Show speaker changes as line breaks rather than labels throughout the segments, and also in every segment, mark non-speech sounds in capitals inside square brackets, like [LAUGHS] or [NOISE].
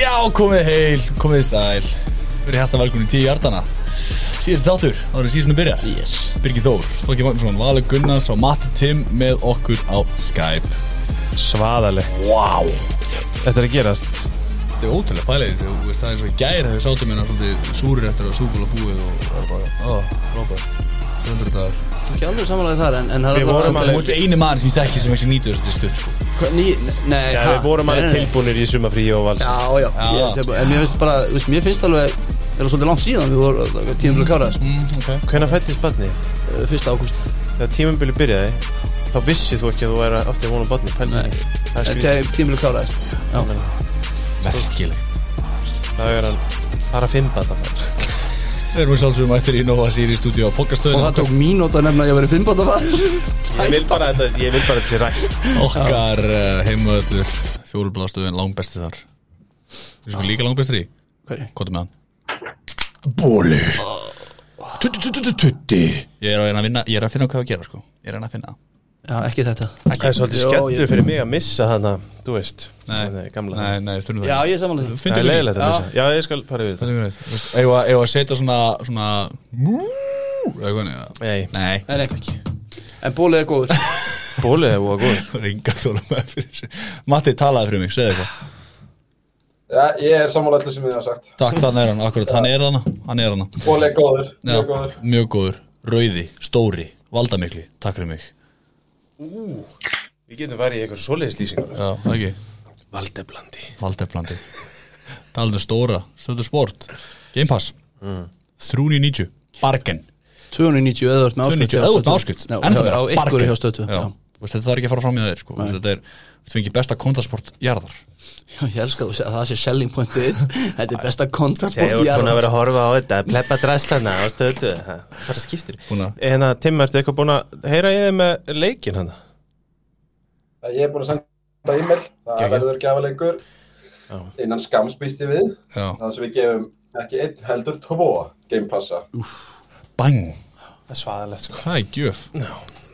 Já, komið heil, komið sæl Við erum hérna velkomin í tíu hjartana Síðast þáttur, þá erum síðan að byrja
Yes
Birgir Þór, Þorki Magnússon, Valur Gunnars og Matti Tim með okkur á Skype
Svaðalegt
Vá wow.
Þetta er að gerast
Þetta er ótrúlega pælið, þú veist það er eins og gæri þegar sátum minna svolítið súrir eftir að súkula búið og það er bara, ó, frábært 200 dagar
ekki alveg samanlega þar en, en það
Við
er
vorum
Það
alveg-
er mútið eini mann sem ég þekki sem ekki nýtur þessu stutt sko.
alveg ný, Nei,
Já,
ha?
við vorum
Nei,
alveg
nei, nei.
tilbúinir í sumafrí og vals
Já, já,
Já.
ég er tilbúin. En mér finnst bara, þú veist, mér finnst alveg Það er svolítið langt síðan við vorum tímabili að kára þess
mm, okay.
Hvenær fættist barnið þitt?
Fyrsta ágúst
Þegar tímambili byrjaði þá vissið þú ekki að þú væri átti að vona barnið pældi
Nei.
ekki. Það er skrítið
Tímabili að kára þess Eh, Já,
Merkilegt
Það er að fara að finna þetta bara.
Við erum sjálfsögum eftir í Nova Siri stúdíu á
og
Pokkastöðinu
það tók mínúta að nefna að ég verið fimmbann að fara
Ég vil bara að þetta, ég vil bara að þetta sé rætt
Okkar uh, heimöðlur fjólublaðstöðin langbesti þar Þú sko líka langbestir í
Hverju?
Hvað er með hann? Bóli Tutti, tutti, tutti, tutti Ég er að, reyna að vinna, ég er að finna hvað að gera sko Ég er að reyna að finna það
Já, ekki þetta
Það er svolítið
Jó,
skemmtur
ég-
fyrir mig að missa þarna, þú veist
Nei,
Nei, gamla
Nei, nei, þurfum
Já,
það
ég er samanlega því
Það
Fyndum
er leiðilegt að
Já.
missa Já, ég skal fara yfir þetta
Fyndum við Eða að setja svona Svona Mú Eða hvernig eða?
Nei,
Nei
Nei, ekki En bólið er góður
bólið er búið að góður
Ringa þóla með fyrir þessu Matti, talaði fyrir mig, segðu eitthvað
Já, ég er sammála allir sem þið hafa sagt.
Takk, þannig er hann, akkurat, hann er hann Hann er hann
Bóli er góður,
Já,
mjög góður.
mjög góður, rauði, stóri, valdamikli, takk fyrir mig
Við getum farið í eitthvað svoleiðis lýsingar
Já, ekki
Valdeblandi
Valdeflandi Talinu stóra, stöðu sport Game Pass mm. 390, bargain
290 eða þú ert með áskrift
290, eða
hjá
út með
Stöðtu.
áskrift
Já,
Ennþá
á
meira,
ykkur
bargain.
hjá stötu
Já, þú veist, Þetta þarf ekki að fara fram í þeir sko. Þetta er, þú fengið besta kontasport jarðar
Ég elska þú að það sé selling point þitt Þetta er besta
Þegar
kontrasport
þú er búin að vera að horfa á þetta Pleppa dræslana á stöðu Bara skiptir
Búin að-
En að Tim, Hérna, ertu eitthvað búin að heyra ég með hérna? leikin hana?
Ég er búin að senda e-mail, það
Geggjað.
verður gefaleikur
Já.
innan skamspýsti við,
Já,
það sem við gefum ekki einn heldur tvo gamepassa.
bang,
Það er svaðalegt sko
það er gjöf
Já.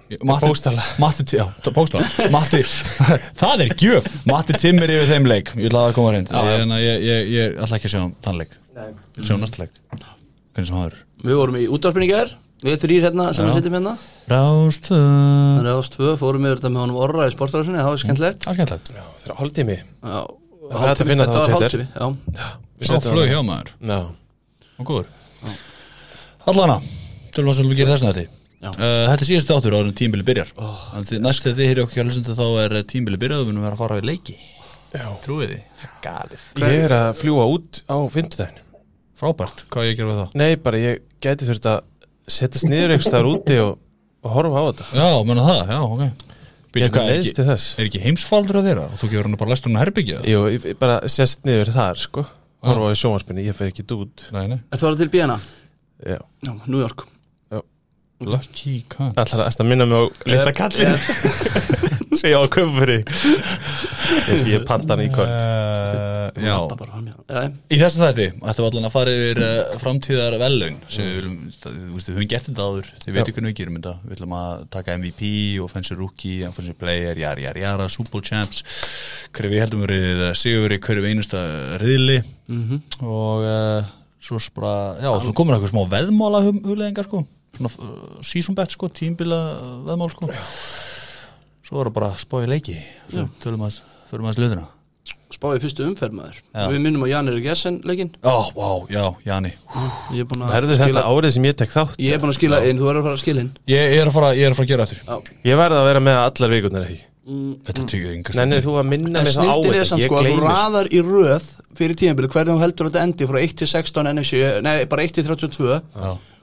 Ég- Matti-
bókstaflega.
Matti, já, það er bókstala Matti, [LAUGHS] það er gjöf Matti Timmir yfir þeim leik, ég ætla að það koma hreint ég, en að ég, ég, ég ætla ekki að sjá um þann leik
Nei.
Ég vil sjá um næsta leik Hvernig sem haður
Við vorum í útvarpinu í gær Við þrýr hérna sem
Já.
við setjum hérna
Rástöð
Þannig að ást tvö fórum við þetta með honum orra í sportrásinni Það var skemmtilegt
Það er skemmtilegt
Þegar haldið mig
Já,
var hægt að finna það á
Þetta var
Twitter.
hálftími, já.
Svo flög hjá maður
Já,
og góður Allana, tölum við um að gera þessna þetta
Já.
uh, Þetta er síðast áttur áður en tímbili byrjar oh. Næst þegar þið heyri okkur að lusnum þá er tímbili byrjað og við munum vera að fara við leiki
Já.
Trúið þið? Galið
ég er að fljúa út á fyndudaginn
Frábært, hvað á ég að gera við það?
Nei, bara ég gæti þurft að setjast niður einhvers staðar úti og, og horfa á þetta
Já, menna það, já, ok Býtu,
Gæti
hvað, er
leiðist
ekki,
til þess
er ekki heimsfaldur á þeirra? Og þú gefur hann bara lestur hann að herbyggja?
Jú, ég ég bara sest niður þar, sko Horfa á í sjónvarpinu, ég fer ekki út
Nei, nei,
Ertu að fara til Bíana?
Já,
Já, New York
lucky cunt
allar að minna mig á Eh, litla kallin [LAUGHS] sem ég á að köpa um fyrir þig. Ég, ég panta hann í kvöld
Uh, já,
Labba bara fram hjá. Já,
Í þessum þætti ættum við allan að fara yfir uh, framtíðar vellaun sem við viljum, það- þú veist, við höfum gert þetta áður þið veitum hvernig við gerum þetta, við ætlum að taka MVP, Offensive Rookie, Offensive Player Jari, Jari, Jara, Super Bowl Champs hverju við heldum verið uh, sigur í hverju einasta riðli og uh, svo s- bara, já, þú komur eitthvað smá veðmála hug- hugleiðingar sko, svona uh, season bet sko, tímbila uh, veðmál sko svo erum bara að spá í leiki svo tölum að, förum aðeins löðina
Spáði fyrstu umferð maður
Já.
Við minnum á Janir Gessen leikinn
Já, vá, já, Jani
Ég er búin að
Verður
skila
þetta árið sem ég tek þátt?
Ég er búin að skila inn, þú verður að fara að skila inn
Ég er að fara, ég er að fara að gera eftir
Ég verð að vera með allar vikunar ekki
Þetta er tíu yngast
Nennir þú að minna
En
mig þá á
snildir er
þetta?
samt
Ég
sko að þú
gleymis
raðar í röð fyrir tíðanbili hvernig þú heldur þetta endi frá 1 til 16 NFC, nei bara 1 til 32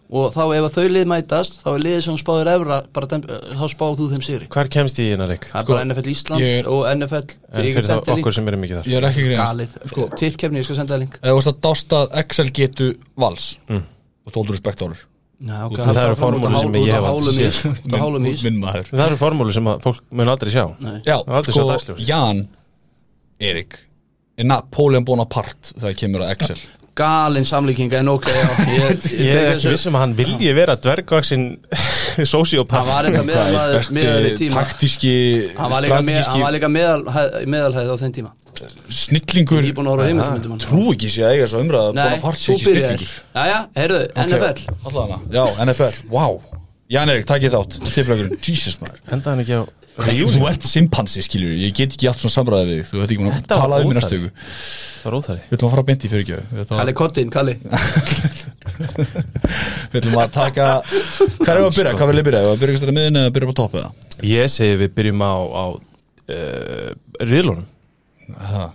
og þá ef að þau lið mætast þá er liðið sem þú spáðir efra bara dem, þá spáðu þú þeim sigri
Hvar kemst ég í hennar leik?
Það er bara NFL Ísland
ég-
og NFL
En fyrir þá okkur sem erum ekki þar
Ég er ekki greið
Galið, sko, tippkefni, ég skal senda það link
Eða þú veist að dásta Excel getu vals Og tóldur spektálur
Já, ok,
það eru formúlur sem ég hef aldrei
aldrei séð
Minn-
Það hálum ís
Minn maður
Það eru formúlu sem að fólk mun aldrei sjá
Nei.
Já,
Það var aldrei svo
sko,
dagsljósið.
Jan Erik Er Napoleon Bonaparte þegar kemur að Excel
Galin samlíkinga en ok já, Ég,
[LAUGHS] Ég
tek
er
þessu.
ekki vissum að hann vilji vera dvergvaksinn [LAUGHS]
Hann
sociopath
var eitthvað meðal maður meðal við tíma
taktíski
Hann var líka, með, hann var
strategíski
líka meðal, meðalhæð á þeim tíma
snillingur
Ég er búin að horfa á heimildamyndum hann.
trú ekki sé að eiga svo umræða
Nei,
Bonaparte sé
þú
ekki
byrjar
snillingur
Jæja, heyrðu, NFL
Allana. Já, NFL, wow Jan Erik, takk ég þátt, tiplakurinn, Jesus maður
Henda hann ekki á
Þú ert simpansi, skiljur, ég get ekki átt svona samræði við þig Þú ert ekki múin að
var
tala um mér
óþarfi.
næstu viku.
Það var óþæri
Við ætlum að fara beint í fyrirgjöf Við ætlum að-
Kalli Kottin,
[LAUGHS]
Kalli
við ætlum að taka Hvað er að byrja, hvað vil ég byrja, Eigum við að byrja ekki stæða miðin eða byrja bara topp eða
Ég segi við byrjum á, á uh, riðlunum
Aha.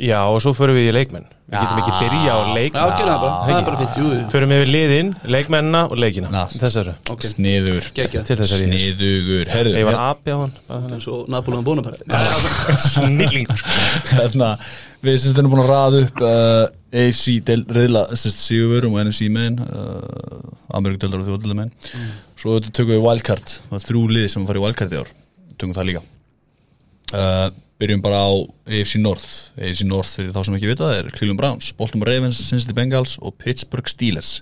Já og svo förum við í leikmenn Við getum ekki byrja á
Já,
leikmenn
gerðu það bara, það er bara fint, jú, jú,
Förum yfir liðin, leikmennina og leikina
Já.
Þessar eru
ok,
Sniður,
geggja
Til þessar ég
sniðugur Herðu,
Ég var
hérna-
api á hann bara þannig.
Svo Napoleon Bonaparte [LAUGHS]
Snillingur
[LAUGHS] hérna, við sem þetta erum búin að raða upp uh, AFC del, reyðla Sigurur og NFC menn uh, Amerikadeldar og þjóðdeldar menn svo þetta tökum við wildcard það er þrjú lið sem fara í wildcard í ár tökum það líka uh, byrjum bara á AFC North AFC North fyrir þá sem ekki vita það er Cleveland Browns, Baltimore Ravens, Cincinnati Bengals og Pittsburgh Steelers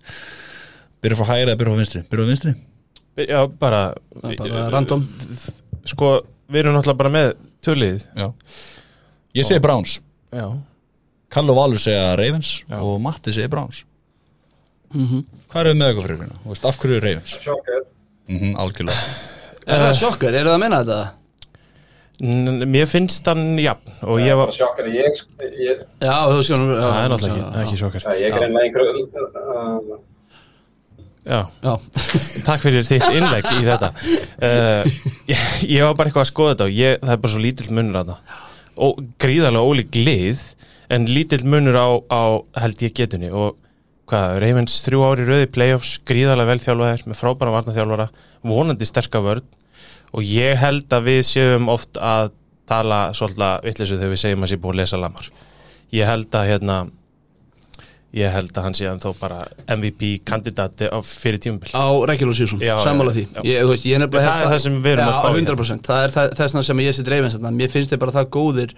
byrjum frá hægri eða byrjum frá vinstri byrjum frá vinstri
Já bara,
Það er bara random
Sko við erum náttúrulega bara með tölið
Já. ég segi Browns
Já
Kall og Valur segja Ravens
Já.
og Matti segja Browns Hvað erum við með eitthvað fyrir hérna? Þú veist, af hverju er Ravens?
Sjokkar.
Mm
Mhm,
algjörlega
Er það sjokkar, eru það að minna þetta?
N Mér finnst hann jafn Og ég var
Bara sjokkar. Ég, sko, ég,
Já, þú skjóðum
Það er náttúrulega ekki, það er ekki sjokkar
ég er einlega einhver... Uh,
Já
Já,
Takk fyrir þitt innlegg í þetta uh, [LAUGHS] ég, ég var bara eitthvað að skoða þetta og ég, það er bara svo lítill munur að það og gríðarlega ólík lið en lítill munur á, á held ég getunni og hvað, Ravens þrjú ári rauði playoffs, gríðarlega vel þjálfaðir með frábæra varnaþjálfara, vonandi sterka vörn og ég held að við séum oft að tala svolítið vittlisu þegar við segjum að sé búið að lesa lamar ég held að hérna ég held að hann sé ennþá bara MVP kandidati á fyrir tímubil
á regular season,
Já, já,
sammála því
já.
ég, þú veist, ég nefnilega
Það
hef
er það sem við erum að spá í.
Já, 100%, það er það- þess vegna sem ég sé dreifins þarna. Mér finnst þið bara það góðir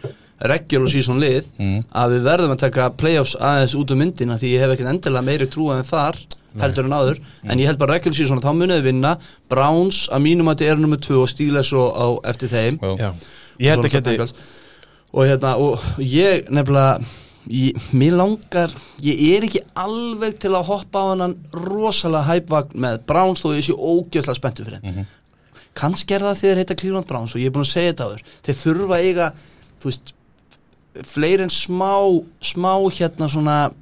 regular season lið
Mm.
að við verðum að taka playoffs aðeins út um myndina því ég hef ekkert endilega meiri trúa en þar heldur en áður,
Mm.
en ég held bara regular season að þá munið við vinna, Browns að mínum að þetta er nummer 2 og stíla svo á eftir þeim
Já.
Já. Ég held
Svo
að
náttúrulega
geti
Bengals. og hérna, og ég nefnilega ég, mér langar, ég er ekki alveg til að hoppa á hennan rosalega hæpvagn með Browns þó ég sé ógeðslega spenntu fyrir
Mhm.
þeim kannski er það þegar þeir heita Cleveland Browns og ég er búin að segja þetta áður, þeir þurfa að eiga þú veist, fleiri en smá smá hérna svona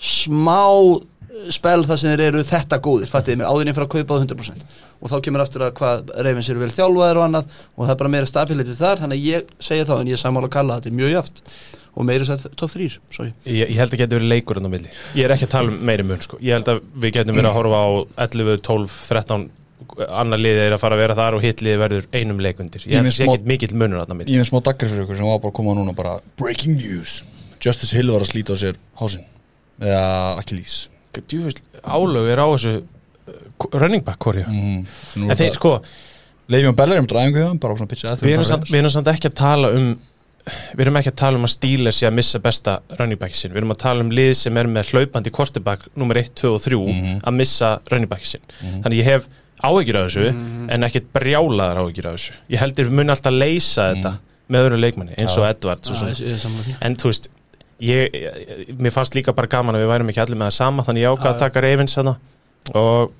smá eh, spel þar sem þeir eru þetta góðir, fattiði mig, áðurinn fyrir að kaupa það 100% og þá kemur aftur að hvað reyfins eru vel þjálfaðir og annað og það er bara meira stability þar, þannig að ég segja þá en ég er sammála að kalla þetta er mjög jaft og meira sætt top 3, sorry
Ég, ég held að geti verið leikur enn á milli Ég er ekki að tala um meiri mun sko Ég held að við getum verið að horfa á 11, 12, 13 annar liðið er að fara að vera þar og hitt liðið verður einum leikundir
Ég
Ég held
finnst
að sé
smá-
ekkit mikill munur enn á milli
Ég finn smá daggar fyrir ykkur sem var bara að koma núna bara Breaking news Justice Hill var að slíta á sér hásinn eða Achilles
Djúvill, Álög er á þessu uh, running back korju
mm.
En þeir sko,
Leifjón Bellar er um dræðingu hjá hann, bara á svona pitcha
við erum, samt, við erum samt ekki að tala um Við erum ekki að tala um að stíla sé að missa besta running back sinn Við erum að tala um lið sem er með hlaupandi quarterback nummer 1, 2 og 3
Mhm.
að missa running back sinn Þannig ég hef áhyggjur af þessu
Mhm.
en ekkit brjálaðar áhyggjur af þessu Ég heldur við mun alltaf
Mhm.
leysa þetta með öðru leikmanni eins og Edwards og svona
ég er sammála því
en þú veist ég, ég, mér fannst líka bara gaman að við værum ekki allir með það sama þannig ég ákvað
Já,
að
já.
taka reyfins hana og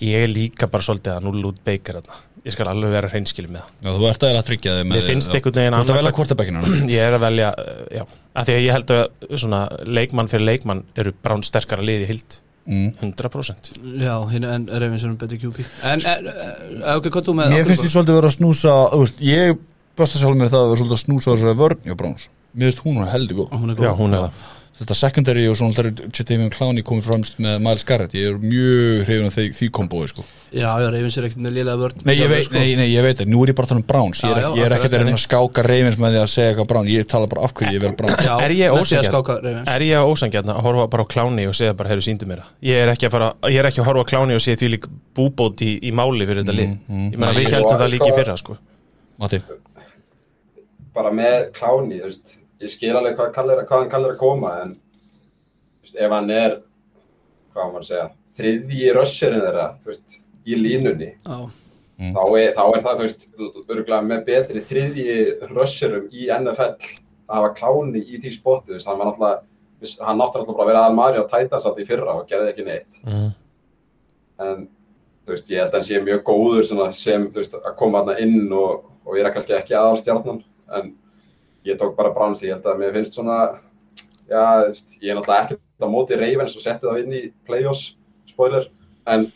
ég er líka bara svolítið að null út beikar hana ég skal alveg vera hreinskilið með
Já, þú ert að er að tryggja þig
Mér finnst einhvern veginn
Þú ert að
annað-
velja kvortabækina
[CLEARS THROAT] það ég er að velja, uh, já, af því að ég held að svona leikmann fyrir leikmann eru brán sterkara liði hild,
mm.
100%
Já, hérna, en reyfins erum betri QB En, en, eh, ok, hvað þú með
Mér finnst því svolítið vera að snúsa þú veist, Ég besta sjálf mér það að vera svolítið að snúsa á þessari vörn hjá Browns Mér finnst hún heldur góð
Hún er
já,
góð
hún er það
þetta secondary og svona þar er Jadavion Clowney komið framst með Miles Garrett ég er mjög hrifin af því, því kombói sko.
Já, já, reyfins er ekkert með lélega vörn
nei, ég veit,
Sko.
nei, nei, ég veit það, nú er ég bara að tala um Browns ég er,
Já,
ég er
já, akkurat,
ekkert að reyna að skáka Ravens með því að segja eitthvað Brown ég tala bara af hverju ég Eh. vel Brown
Já,
Er ég
með því að
ósanngjarn?
skáka Ravens.
Er ég ósangjarn að horfa bara á kláni og segja bara, heyrðu, síndu mér það? Ég er ekki að, fara, ég er ekki að horfa á kláni og segja því lík búbót í, í máli fyrir þetta lið. Ég meina,
Nei, Mm,
við
ég-
heldum það
Sko-
líki fyrra, sko.
Matti,
bara með kláni, þú veist, ég skil alveg hvað, kallir, hvað hann kallir að koma, en þú veist, ef hann er, hvað á maður að segja, þriðji rössurinn þeirra, þú veist, í línunni,
Já,
þá, er, þá er það, þú veist, örgulega með betri þriðji rössurum í NFL, að hafa kláni í því spotti, þú veist, hann var náttúrulega, þú veist, hann náttúrulega alltaf bara að vera aðan maður á tætansat í fyrra og gerði ekki neitt.
Mm.
Mhm.
En, þú veist, ég held að hann sé mjög góður svona, sem, þú veist, að koma hann inn og, og ég er kannski ekki aðalstjarnan, en ég tók bara Browns, ég held að mér finnst svona, já, þú veist, ég er náttúrulega ekkert á móti Ravens og setti það inn í Playoffs, spoiler, en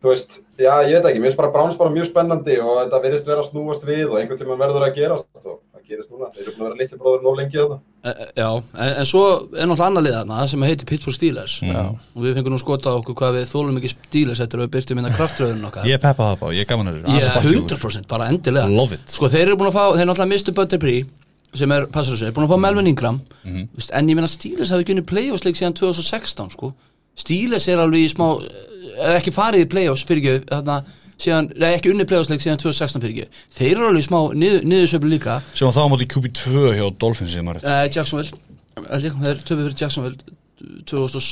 þú veist, já, ég veit ekki, mér finnst bara Browns bara mjög spennandi og þetta verðist vera að snúast við og einhvern tímann verður að gerast og það gerist núna, þeir eru búin að vera litli bróður nóg lengi þetta.
E, e, já, en, en svo er náttúrulega annað lið þarna sem heitir Pittsburgh Steelers
Mm.
og við fengum nú skota á okkur hvað við þólum ekki Steelers eftir að við byrtum inn að kraftröðun okkar
Ég er peppa það bá, ég er gaman að þessu
Ég
Aðeins
er
að bakka ykkur.
100% bara endilega
Love it.
Sko þeir eru búin að fá, þeir náttúrulega mistu Butterpree sem er passarhúsið, er búin að fá Melvin Ingram mm
Mhm.
en ég meina Steelers hafi ekki unni playoffs leik síðan 2016 sko Steelers er alveg í smá, er ekki farið í playoffs fyrir ekki, síðan, nei, ekki unni playoffs leik síðan 2016 fyrir ekki Þeir eru alveg í smá niður, niðursveiflu líka
Sem var þá á móti QB2 hjá Dolphins sem maður rétt
Nei, Jacksonville Held ég, Það er töfið fyrir eh, Jacksonville 2000,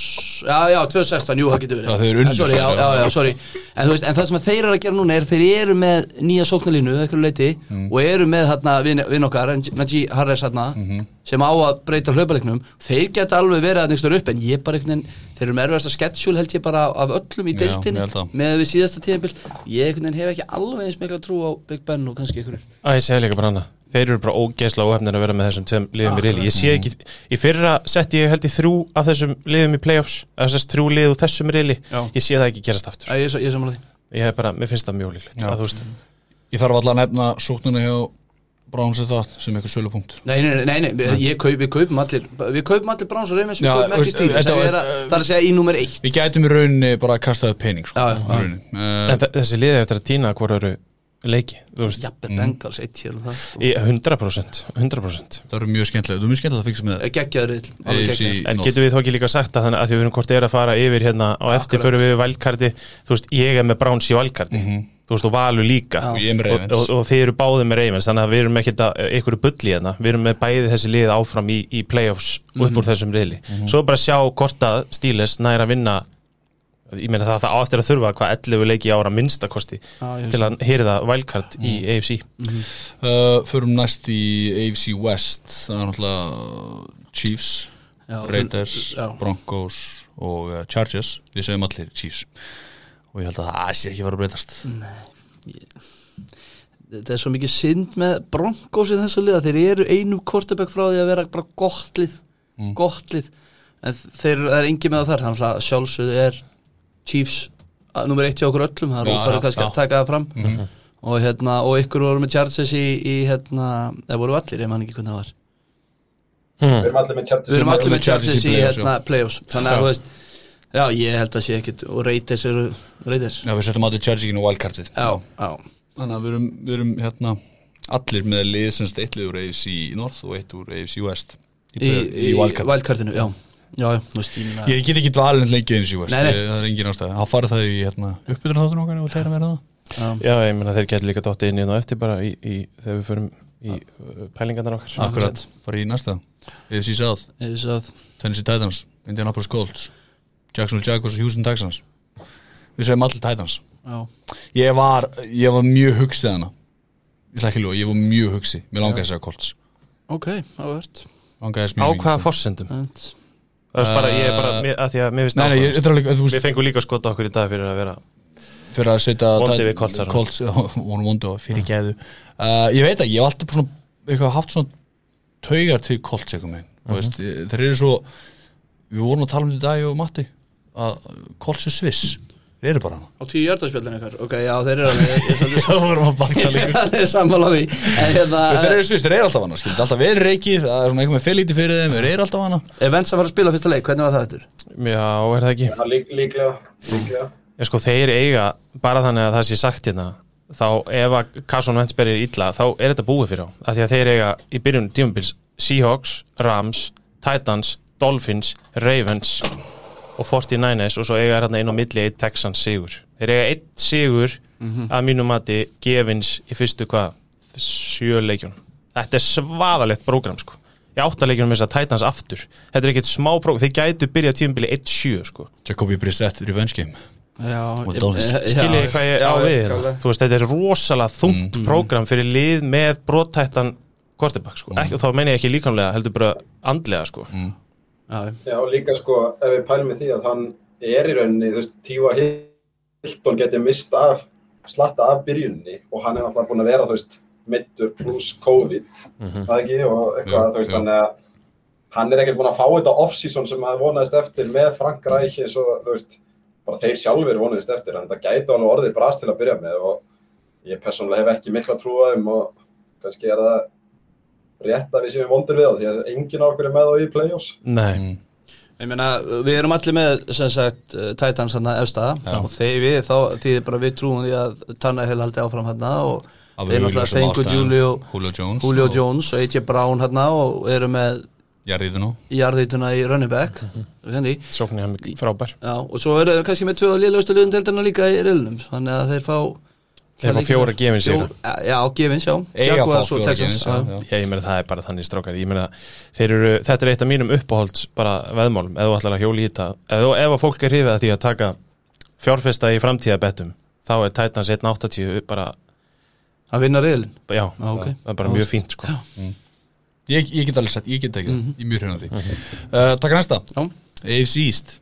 já, já, 2016, jú, það getur verið
Já, þau eru unnu
Eh, sorry, já,
saman.
já, já, sorry. En, þú veist, en það sem að þeir eru að gera núna er þeir eru með nýja sóknarlínu einhverju leiti,
Mm.
og eru með hérna, vin, vin okkar, en Najee Harris hérna,
Mhm.
sem á að breyta hlaupaleiknum þeir geta alveg verið að nýstur upp en ég bara einhvern veginn, þeir eru með erfiðasta schedule held ég bara af öllum í
Já,
deildinni
ég held það.
með við síðasta tíðanbíl ég einhvern veginn hef ekki alveg eins mikla trú á Big Ben og kannski einhverjum
Æ, ég segi líka bara hana Þeir eru bara ógeðslega óhefnir að vera með þessum tveim liðum í reyli Ég
Mm.
sé ekki, í fyrra setti ég held í þrjú af þessum liðum í playoffs eða þessast þrjú lið úr þessum reyli
Já.
Ég sé það ekki gerast aftur
ég, ég, ég samanlega því
Ég hef bara, mér finnst það mjög líklegt að þú veist
Ég þarf alltaf að nefna sóknuna hjá Browns eða það sem eitthvað sölupunkt
Nei, nei, nei, nei, nei. Ég kaup, við kaupum allir Við kaupum allir Browns og Reimens, við
Já,
kaupum
veist,
ekki Steelers
þetta
Það
var-
er að- það er að segja í númer eitt
Við gætum í rauninni bara að kasta upp pening sko,
Já, já.
í rauninni. Eh,
En þe- þessi liði eftir að týna hvort eru leiki Þú veist,
Jafnir Bengals, eitt hér og það sko.
í 100% 100%
Það eru mjög skemmtilega, þú er mjög skemmtilega að fylgja með
Geggjaður rill, alveg
AFC
geggjaður
En
North.
getum við þó ekki líka sagt að þannig að því við erum hvort er að fara yfir hérna á eftir
Akkurat.
förum við valkarti, þú veist, ég er með Browns í valkarti, þú veist, og Valur líka
Mhm. Og ég er með
og,
Ravens.
og, og þið eru báðið með Ravens, þannig að við erum ekkert að ykkur bulli hérna, við erum með bæði þessi lið áfram í, í playoffs upp
Mhm.
úr þessum reyli, svo er bara að sjá hvort að Stíles næra að vinna ég meina það, það á eftir að þurfa hvað 11 leiki í ára minnstakosti
Já, ég
til að hýrða valkart í
Mhm.
AFC
Uh, Förum næst í AFC West Það er náttúrulega Chiefs,
Já,
Raiders,
já.
Broncos og uh, Chargers Við segjum allir Chiefs Og ég held að það sé ekki fara að breytast
Mm. Þetta er svo mikið synd með Broncos í þessu liða, þeir eru einu kortebæk frá því að vera bara gott lið
Mm.
gott lið, en þeir það er engi með það þar, þannig að sjálfsögðu er Chiefs að- númer eitt hjá okkur öllum, það er
Já,
útfæður
já,
kannski
já. Mhm.
að taka það fram og hérna, og ykkur voru með Chargers í, í hérna, það voru allir, ég man ekki hvernig það var
Við erum allir með Chargers.
Hmm. við erum allir með
með Chargers
Chargers
í
í
playoffs, sko.
hérna, playoffs þannig að þú veist já, ég held að sé ekkit og Raiders eru Raiders já,
Já, við setjum allir Chargers í og Wildcardið
já,
Þannig að við erum, við erum hérna allir með lið sem steytli úr AFC North og eitt úr AFC West í,
í,
í, í Wildcard
Wildcardinu já, já, já, þú veist, ég minna
Ég get ekki dvalin lengi eins og West
Nei, nei.
Ég- Það er engin ástæða, það farið það í hérna, uppbytun þáttur okkar og þeirra meira það
Já, ég meina þeir getur líka dottið inn í það eftir bara í, í, þegar við förum í uh, pælingarnar okkar
Akkurat, farið í næsta AFC South,
ég veist að
Tennessee Titans Indianapolis Colts, Jacksonville Jaguars og Houston Texans Við segjum allir Titans
já,
Ég var, ég var mjög hugsið hana Ég ætla ekki að ljúga, ég var mjög hugsið Mér langaði að segja Colts
ok, áhvert
Langaði þess
Á
mjög mikið.
hvaða forsendum? Uh, Það er bara, ég er bara, mér, að því að mér finnst
Nei, nei, ég,
ákvæðast.
ég, ég, ég, ég,
Við fengum líka skota okkur í dag fyrir að vera
fyrir að setja
Vondi
tæ-
við Colts, Aron.
Colts, [LAUGHS] já, voru vondi og fyrir geðu uh, ég veit að ég hef alltaf bara svona, eitthvað, haft svona taugar til Colts eitthvað með uh veist,
Mhm.
eh, þeir eru svo við vorum að tala um þetta í dag og Matti að Colts er Sviss þeir eru bara
[LAUGHS]
hana
á tíu hjartarspjallinu ykkar, ok, já, þeir eru alveg ég- ég þarf
það vorum að um bakta líka
að það er sammála því en hérna,
þeir eru Sviss, þeir eru alltaf hana skilur, þetta er alltaf verið reikið, það er svona eitthvað með felíti fyrir þeim þeir eru alltaf hana
ef Vents eh, að fara að spila fyrsta leik, hvernig var það þetta?
Já, er það ekki?
Já, lík, líklega, líklega.
Ég sko, þeir eiga, bara þannig að það sé sagt hérna þá ef að Kasson Ventsberg er illa þá er þetta búið fyrir á að því að þeir eiga í byrjun tímabils Seahawks, Rams, Titans, Dolphins Ravens og 49ers og svo eiga þarna inn á milli eitt Texans sigur. Þeir eiga eitt sigur að mínum mati gefins í fyrstu hvað, sjö leikjun Þetta er svaðalegt prógram sko. Í áttaleikjunum þess að Titans aftur Þetta er ekkert smá prógram, þeir gætu byrja tímabili 1-7 sko.
Jacobi Brissett, revenge game
já,
Og
ég-
Dolphins.
eh, já, Mm.
Skiljið þið hvað ég á
já,
við
klálega.
Mm-hmm. hérna? Þú veist, þetta er rosalega þungt prógram fyrir lið með brotættan quarterback
Mm.
sko. ekki, og þá meina ég ekki líkamlega, heldur bara andlega sko.
já,
Já, og líka sko, ef við pælum með því að hann er í rauninni, þú veist, Tífa Hilton getið mist af, slatta af byrjunni og hann er alltaf búin að vera, þú veist, mittur pluss COVID, það ekki, og eitthvað,
Jú,
þú veist,
jú.
þannig að hann er ekkert búin að fá þetta off-season sem hann vonaðist eftir með Frank Reich eins og, þú veist, bara þeir sjálfur vonaðist eftir, en þetta gæti alveg orðið brast til að byrja með og ég persónulega hef ekki mikla trúaðum og kannski er það rétt að við séum vondir við það því að enginn á okkur er með á í play-offs.
Nei,
Mm. Ég meina, við erum allir með, sem sagt, eh, Titans hann að efsta og þeir við, þá þýðir bara við trúum því að Tannehill haldi áfram hann og
Af
þeir náttúrulega
augljósum
fengu
ástæðum.
Julio,
Julio Jones
Julio
og-
Jones og AJ Brown hann og eru með
Jarðið nú
jarðituna í running back
Mhm.
þannig,
sóknir hann er frábær
já, og svo eru þeir kannski með tvö liðlaustu liðum deildina líka í reilnum þannig að þeir fá
Þeir fá fjóra gefins í
Fjó- Já, gefins, já
Eiga að
Jaguars
fá
og
fjóra
Texans
gefins, já,
já.
já.
Já, ég meina það er bara þannig strákar Ég meina þeir eru, þetta er eitt af mínum uppáhalds bara veðmálum, ef þú ætlar að hjóli í þetta ef, þú- ef að fólk er hrifið að því að taka fjárfesta í framtíðabettum þá er Titans 1.80 bara,
Að vinna reilin
já,
Já, ok.
það er bara mjög fínt sko.
ég, ég get alveg sagt, ég get ekki
Mhm.
það, ég er mjög hrjóðan því uh, Takk næsta,
Já,
AFC East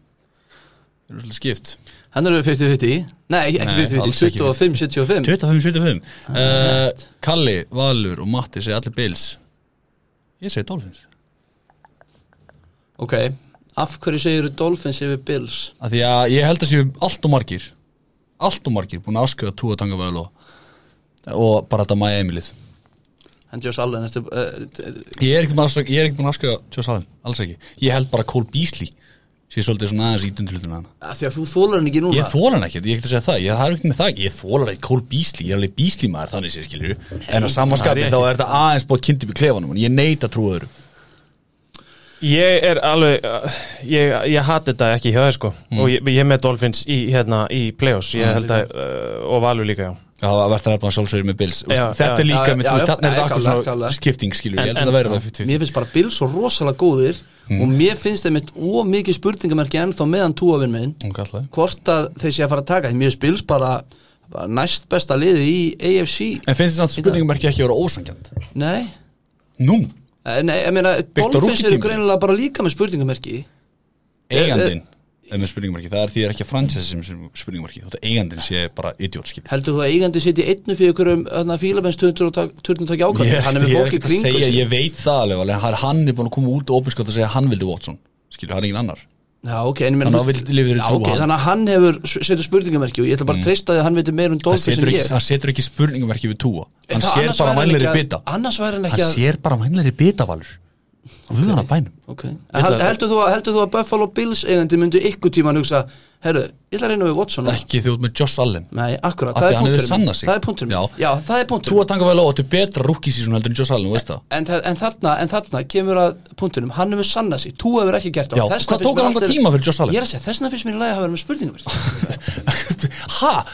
Það eru svolítið skipt
hann eru 50-50 Nei, ekki
Nei, alls ekki.
50-50, 25-75
25-75
Ah.
uh, Kalli, Valur og Matti segja allir Bills Ég segi Dolphins
Ok, af hverju segir Dolphins yfir Bills?
af Því að ég held að séu allt og margir allt og margir búin að afskrifa Tua Tanga Völu og, og bara þetta Miami lið
En Josh Allen eftir, uh,
Ég er ekkert búin að afskrifa- ég er ekkert búin að afskrifa Josh Allen, alls ekki Ég held bara Cole Beasley sé svolítið svona aðeins ítundu hlutina hana
að Því að þú þólar hann ekki núna
Ég þólar hann ekkert, ég ekkert að segja það, ég það er ekkert með það ekki, ég þólar ekki Cole Beasley, ég er alveg Beasley maður þannig sér skilur, en að samanskapin þá er þetta aðeins búið kynntið í klefanum, en ég neita trú öðru.
Ég er alveg uh, ég, ég hati þetta ekki hjá þér sko
Mm.
og ég, ég er með Dolphins í, hérna, í Playoffs ég held að, uh, og Valur líka já.
Já, það verður að verða sjálfsögur með Bills,
Já,
Úst, þetta
já,
er líka,
já,
mitt,
já,
þú veist,
já,
þarna er
já,
þetta akkur
klálega,
svona
klálega.
skipting skilur, ég
En-
held að það verður það
Mér
50-50.
finnst bara Bills svo rosalega góðir
Mm.
Og mér finnst þeim eitt ómikið spurningamerki ennþá meðan túafinn minn
Hún kallaði.
Hvort að þeir sé að fara að taka Því mér finnst Bills bara, bara næst besta liði í AFC
En finnst þetta spurningum ekki ekki að vera ósangjant?
Nei,
Nú,
Eh, nei, ég meina
Byggt á
Dolphins eru
rúkitímabilið.
greinilega bara líka með spurningamerki
eigandin
Eh,
er með spurningum ekki, það er því það er ekki fransessi sem spurningum ekki, þetta eigandin sé bara idiot skilur.
Heldur þú að eigandi sitja einn upp í ykkur um fílabenns 220 takja
Ég,
ákvæm
ég,
Hann er með
ég,
fólk í
ég,
kringu
segja,
sig.
ég veit það alveg, alveg, hann- hann er búin að koma út og opinskátt að segja að hann vildi Watson, skilur, það er engin annar.
Já, ok, en ég meina
Þannig að við lifir í
Já,
trú
ok,
á hann. Mm.
þannig að hann hefur setur spurningamerki og ég ætla bara að treysta því að hann veitir meir um
hann
Dolphins
setur,
en
ekki,
ég
hann setur ekki spurningumverki við túa hann
Það-
sér
annars
bara
væri hann
mænleiri
ekki að-
bita
Annars væri hann ekki
hann
að
sér bara mænleiri bita valur og við hann að bænum
Ok, En held- heldur þú, að- heldur þú að Buffalo Bills eigandi myndu ykkur tíman hugsa Herru, ég ætla að reyna við Watson núna?
ekki þú ert með Josh Allen
Nei, akkurat,
Af
það
því
er
hann hefur
punkturinn minn.
sannað sig.
Það er punkturinn minn.
Já.
Já, það er punkturinn
þú að tanga vel á að þetta er betra rúkisísun heldur en Josh Allen, þú
[LAUGHS]
veist það
En, það- en, þarna, en þarna kemur að punktunum Hann hefur sannað sig, tú hefur ekki gert það
Já,
Og
hvað
þess vegna finnst
tók hann
mér
alltaf
allt-
tíma fyrir Josh Allen?
Ég er að segja, þessna finnst mér í lagi að hafa verið með spurningum
ha?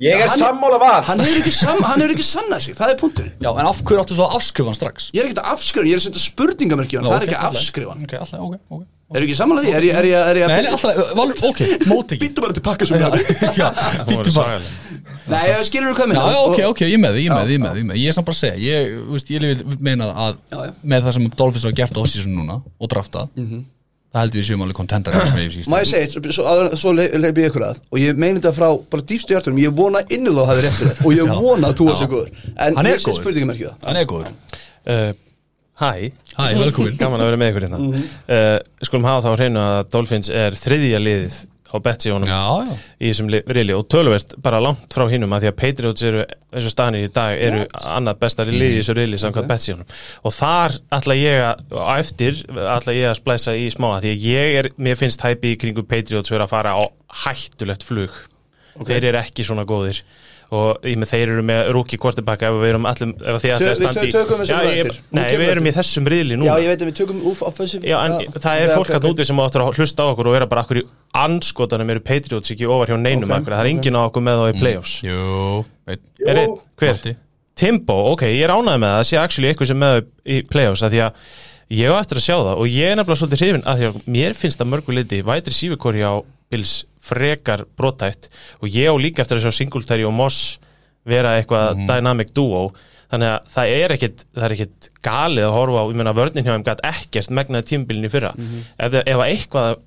Ég er
hann-
sammála val
Hann hefur ekki, sam, hann hefur ekki sannað sig, það er punkturinn
já, en af hverju áttu þú að afskrifa hann strax?
Ég er ekki að afskrifa, ég er að setja spurningamerki á hann,
Ná,
það er
ok,
ekki að
alltaf.
afskrifa hann
ok, alltaf, ok, ok
Er ekki samanlega því? Er ég, er ég, er ég
Nei, nei, alltaf, valur, ok, mót ekki
Býttu bara til pakka sem það
Já, býttu bara
Nei, ég skilur þú
Já,
hvað minna
já, ok, ok, ég með þig, ég með þig, ég með þig, ég með þig Ég er samt bara að segja, ég, þú veist, ég vil meina að
Já, Mhm. já.
með það sem Dolphins hafa gert á sísun núna og draftað, það heldur við séum alveg kontendar
Má ég segja, eitt, svo, svo, svo leip leip ég ykkur að Og ég meina þetta frá bara dýfstu hjartunum Ég vona innilega að hafi rétt fyrir þér Og ég
Já.
vona að þú
Já.
er svo góður En
Hann er
ég set
góður.
spurningamerki á það
Hann er góður
uh, Hæ
Hæ, velkomin
Gaman að vera með ykkur hérna uh, Skulum hafa þá á hreinu að Dolphins er þriðja liðið á Betsíónum
Já, já
í þessum li- riðli og töluvert bara langt frá hinnum að því að Patriots eru eins og staðanir í dag eru annað bestari lið
Mm.
í þessu riðli samkvæmt okay. og þar ætla ég að, á eftir ætla ég að splæsa í smá að því að ég er, mér finnst hæpi í kringu Patriots vera að fara á hættulegt flug þeir eru ekki svona góðir og ég með þeir eru með rúki kvortibakka ef við erum allum, ef þið ætla að
við
standa í
tökum þessu
Já,
bara
ég-
eftir. Hún
Nei,
kemur
við erum
eftir.
í þessum riðli
Já,
núna
ég veit að við tökum úf offensive
Já, en það er fólk að úti sem áttur að hlusta á okkur og vera bara akkur í anskotanum eru Patriots ekki ofar hjá neinum
Ok,
akkur, það er enginn á okkur með þá í playoffs
Jú, veit
Er einn, hver?
Matti.
Timbo, ok, ég er ánægð með það, það sé actually eitthvað sem með þá í playoffs, af því að ég á eftir að sjá það og ég er nefnilega svolítið hrifin af því að mér finnst það mörgu liti vætri sífikori á Bills frekar brotætt og ég á líka eftir að sjá Singletary og Moss vera eitthvað dynamic duo þannig að það er ekkit, það er ekkit galið að horfa á, ég meina vörnin hjá þeim gætt ekkert megnaði tímbilin í fyrra ef, það- ef að eitthvað,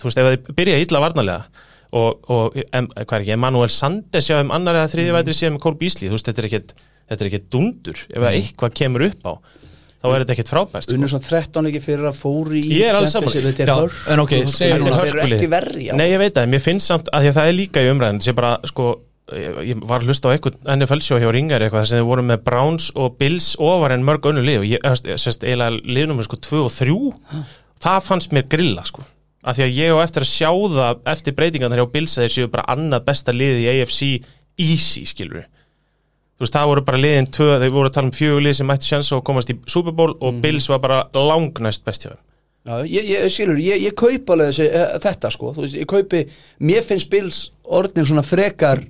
þú veist, ef þið byrja illa varnarlega og, og em, hvað er ekki, Emanuel Sandes hjá þeim annar eða þriði vætri síðan með Cole Beasley, þú veist, þetta er ekkit þetta er ekkit dundur, ef að eitthvað kemur upp á þá er þetta ekkit frábæst
Unnur svona 13 ekki fyrir að fóri í
Ég er alveg
Champions
sammála.
League, þetta er
Já,
hörk
en ok, segir
Þetta
núna
er hörk
hörkulið.
ekki verri já.
Nei, ég veit það, mér finnst samt að því að það er líka í umræðin sem bara, sko, ég ég var að hlusta á einhvern NFL sjó hjá Ringari eitthvað þar sem þið voru með Browns og Bills ofar en mörg önnu lið og ég, ég, ég sérst, eiginlega liðnum sko 2 og 3 það fannst mér grilla, sko af því að ég á eftir að sjá það eftir breytingarnar hjá Bills að þeir séu bara annað besta lið í AFC easy, skilur þú veist, það voru bara liðin tvö, þeir voru að tala um fjögulið sem mættu sjans og komast í Super Bowl og Bills var bara langnæst best hjá þeim
Já, ég, ég skilur, ég, ég kaup alveg þessi, eh, þetta sko, þú veist, ég kaupi mér finnst Bills orðin svona frekar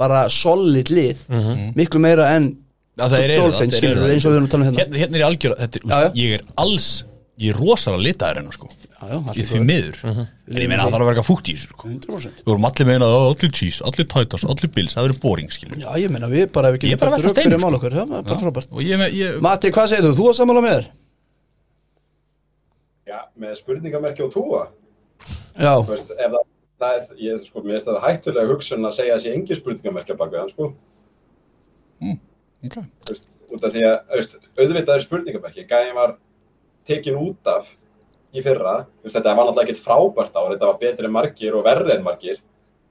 bara solid lið
Mhm.
miklu meira en
Já, þeir eru það,
Dolphins,
þeir
skilur,
eru það.
eins og við erum að tala um hérna.
Hérna, hérna er ég algjör, þetta, er,
Já, já.
úst, ég er alls Ég er rosalega litaður hennar sko
já, já, allt
Ég
í
því
góðu. Mhm.
miður En ég meina að það þarf að verka fúkt í þessu sko
100%
Við vorum allir meina að allir cheese, allir tætars, allir bils Það verður boring skilur
Já, ég meina við bara, við
Ég er bara að velta sko.
upp fyrir
steinum,
mál okkur, það var bara frábært
Og ég, með- ég
Matti, hvað segir þú? Þú að samála með þér?
Já, með spurningamerki og túa. Þú
Já,
veist, ef það, það er, ég, sko, mér finnst það hættulega hugsun að segja að sé engi spurningamerkja bak við hann, sko.
ok.
Þú veist, út af því að, þú veist, auðvitað er spurningamerki. Gæðin var tekin út af í fyrra. Þú veist, þetta var náttúrulega ekkert frábært ár, þetta var betri en margir og verri en margir.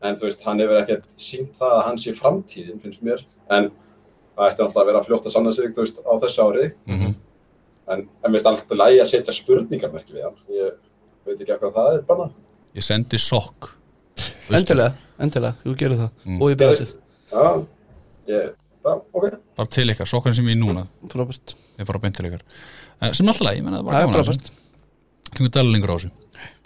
En þú veist, hann hefur ekkert sínt það að hann sé framtíðin, finnst mér. En það ætti náttúrulega að vera fljótt að sanna sig, þú veist, á þessu árið.
Mhm.
En, en mér finnst alltaf lægi að setja spurningamerki við hann. Ég veit ekki hvað það er bara.
ég sendi sokk
endilega, endilega, þú gerir það
Mm.
og ég beðast þið,
Já, ég, já, ok.
Bara til ykkar, sokkarinn sem ég er í núna
frábært
Ég fara beint til ykkar Eh, Sem alltaf læg, ég menna það
Það
var
er
gaman sko. að
frábært
þessu Klingur dæla lengur á þessu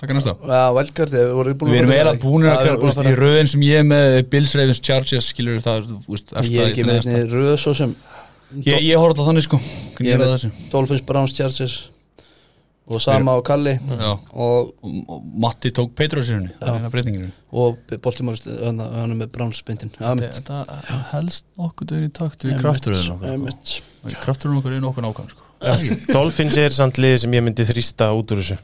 Takk að næsta
Já, velkart, við vorum búin
Við erum
fara-
eiginlega búin að
Já, við
klára
erum
þú
búin
veist,
fara-
í röðin sem ég er með eh, Bills, Ravens, Chargers skilur það, þú veist,
Ég er
efsta í
ekki með
neðasta.
einni röð svo sem
Ég, ég horfði á þannig sko Hvernig
Ég
er það
er með
þessu?
Dolphins, Browns, Chargers og Sama og Kalli
Já,
og,
og, og Matti tók Petrus í henni Það er eina breytinginu
og Baltimore hann hann er með Browns spindin Já, mitt
Þetta helst okkur döðin í takt við krafturöðin okkur
Einmitt.
sko. Krafturöðin okkur er nokkuð nákvæm sko
Dolphins er samt liði sem ég myndi þrýsta út úr þessu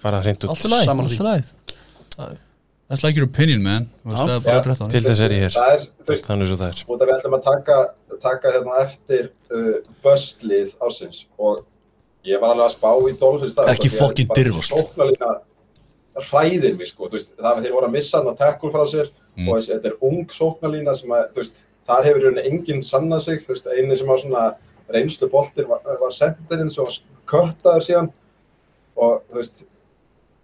bara hreint út
Allt í lagi,
Saman
allt
því.
í lagi That's like your opinion man Þú veist,
Já.
Það er bara rétt á
til
hann
þess er ég hér
Það er, þú veist,
þannig svo það er
út af við ætlum að taka, taka hérna eftir uh, börslið ásins og ég var alveg að spá í sko, Dolphins það.
Ekki fucking dirfast.
Sóknarlína hræðir mig, sko, þú veist, það þeir voru að missa hann að tackle frá sér
Mm.
og þessi, þetta er ung sóknarlína sem að, þú veist, þar hefur hérna enginn sannað sig, þú veist, eini sem á svona reynslu boltir var, var senderinn sem var körtaður síðan og, þú veist,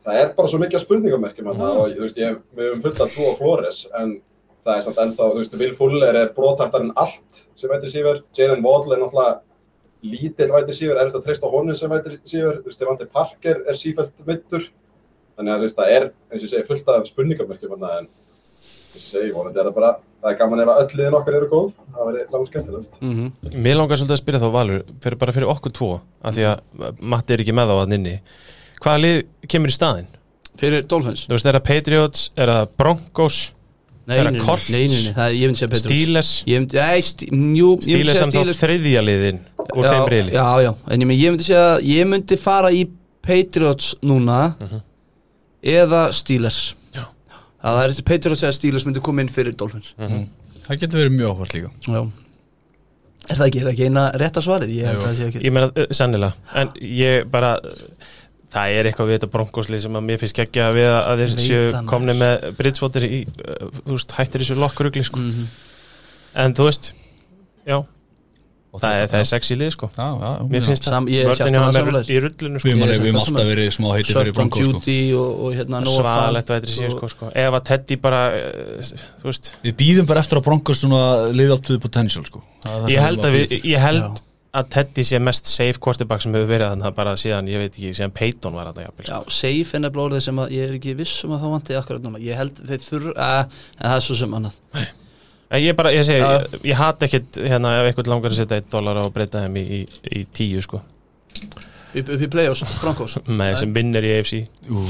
það er bara svo mikið af spurningamerkjum mm. og, þú veist, ég, við höfum fullt að trúa Flores en það er samt ennþá, þú veist, Will Fuller er brotaktar en allt sem veitir síver, Jalen Waddle er náttúrulega lítill veitir síver, er þetta treyst á honum sem veitir síver, þú veist, Devante Parker er sífælt mittur, þannig að þú veist, það er, eins og ég segi, fullt af spurningamerkjum þarna, en eins og ég segi, vonandi er það bara, það er gaman ef að öll liðin okkar eru góð, það verði langt skemmtilegt.
Mér langar svolítið að spyrja þá Valur fyrir bara fyrir okkur tvo af því að Matti er ekki með á að nynni hvaða lið kemur í staðinn?
Fyrir Dolphins
Þú veist, er það Patriots, er það Broncos
Nei,
Þeirra
nei, nei,
Colts.
nei, nei, nei, það er, ég myndi segja Petrus
Steelers
Ég myndi, nei, stí, jú, ég myndi
Steelers
segja
sem þá
Steelers
þriðja liðin úr
Já,
þeim reyli
Já, já, en ég myndi, ég myndi segja ég myndi fara í Patriots núna eða Steelers
Mhm. Já.
Það er Patriots eða Steelers myndi koma inn fyrir Dolphins
Mm.
Það getur verið mjög áhvert líka
Já Er það ekki, er það ekki eina rétta svarið? Ég held að það sé ekki
Ég meina, uh, sennilega en ég bara uh, það er eitthvað við þetta Broncoslið sem að mér finnst ekki að við að þeir
Veit það,
séu
maður.
komni með Bridgewater í, uh, þú veist, hættir þessu lokkurugli sko.
Mhm.
en þú veist já,
Og
það er, það er sexy lið sko.
Já, já, já.
mér finnst
Sam-
það,
ég er
vörðin hjá
hjartanlega
hann
sammálaður.
er í rullinu
Við
sko.
erum
Ég er
alveg- við erum
það sem
alltaf
er-
verið smá heiti fyrir
Shotgun
Broncos sko.
Duty og, og hérna Noah
svaðalegt
Fant
vætri síðan
og-
sko, sko. ef að Teddy bara uh, þú veist,
Við býðum bara eftir að Broncos svona live up to the potential sko. Það er það sem
ég held að
bara
við
bíðum.
ég held
Já.
að Teddy sé mest safe quarterback sem hefur verið þannig bara síðan, ég veit ekki, síðan Peyton var þetta jafnvel,
Já,
sko.
safe er nefnilega orðið sem að ég er ekki viss um að þá vanti akkurat núna Ég held þeir þurr að en það er svo sem annað
En Eh, ég bara, ég segi,
Já.
ég, ég hati ekkit hérna ef einhvern langar að setja eitt dólar á að breyta þeim í, í, í tíu sko
Upp, upp í playoffs,
[LAUGHS]
Broncos
með sem vinnir í AFC,
Ú,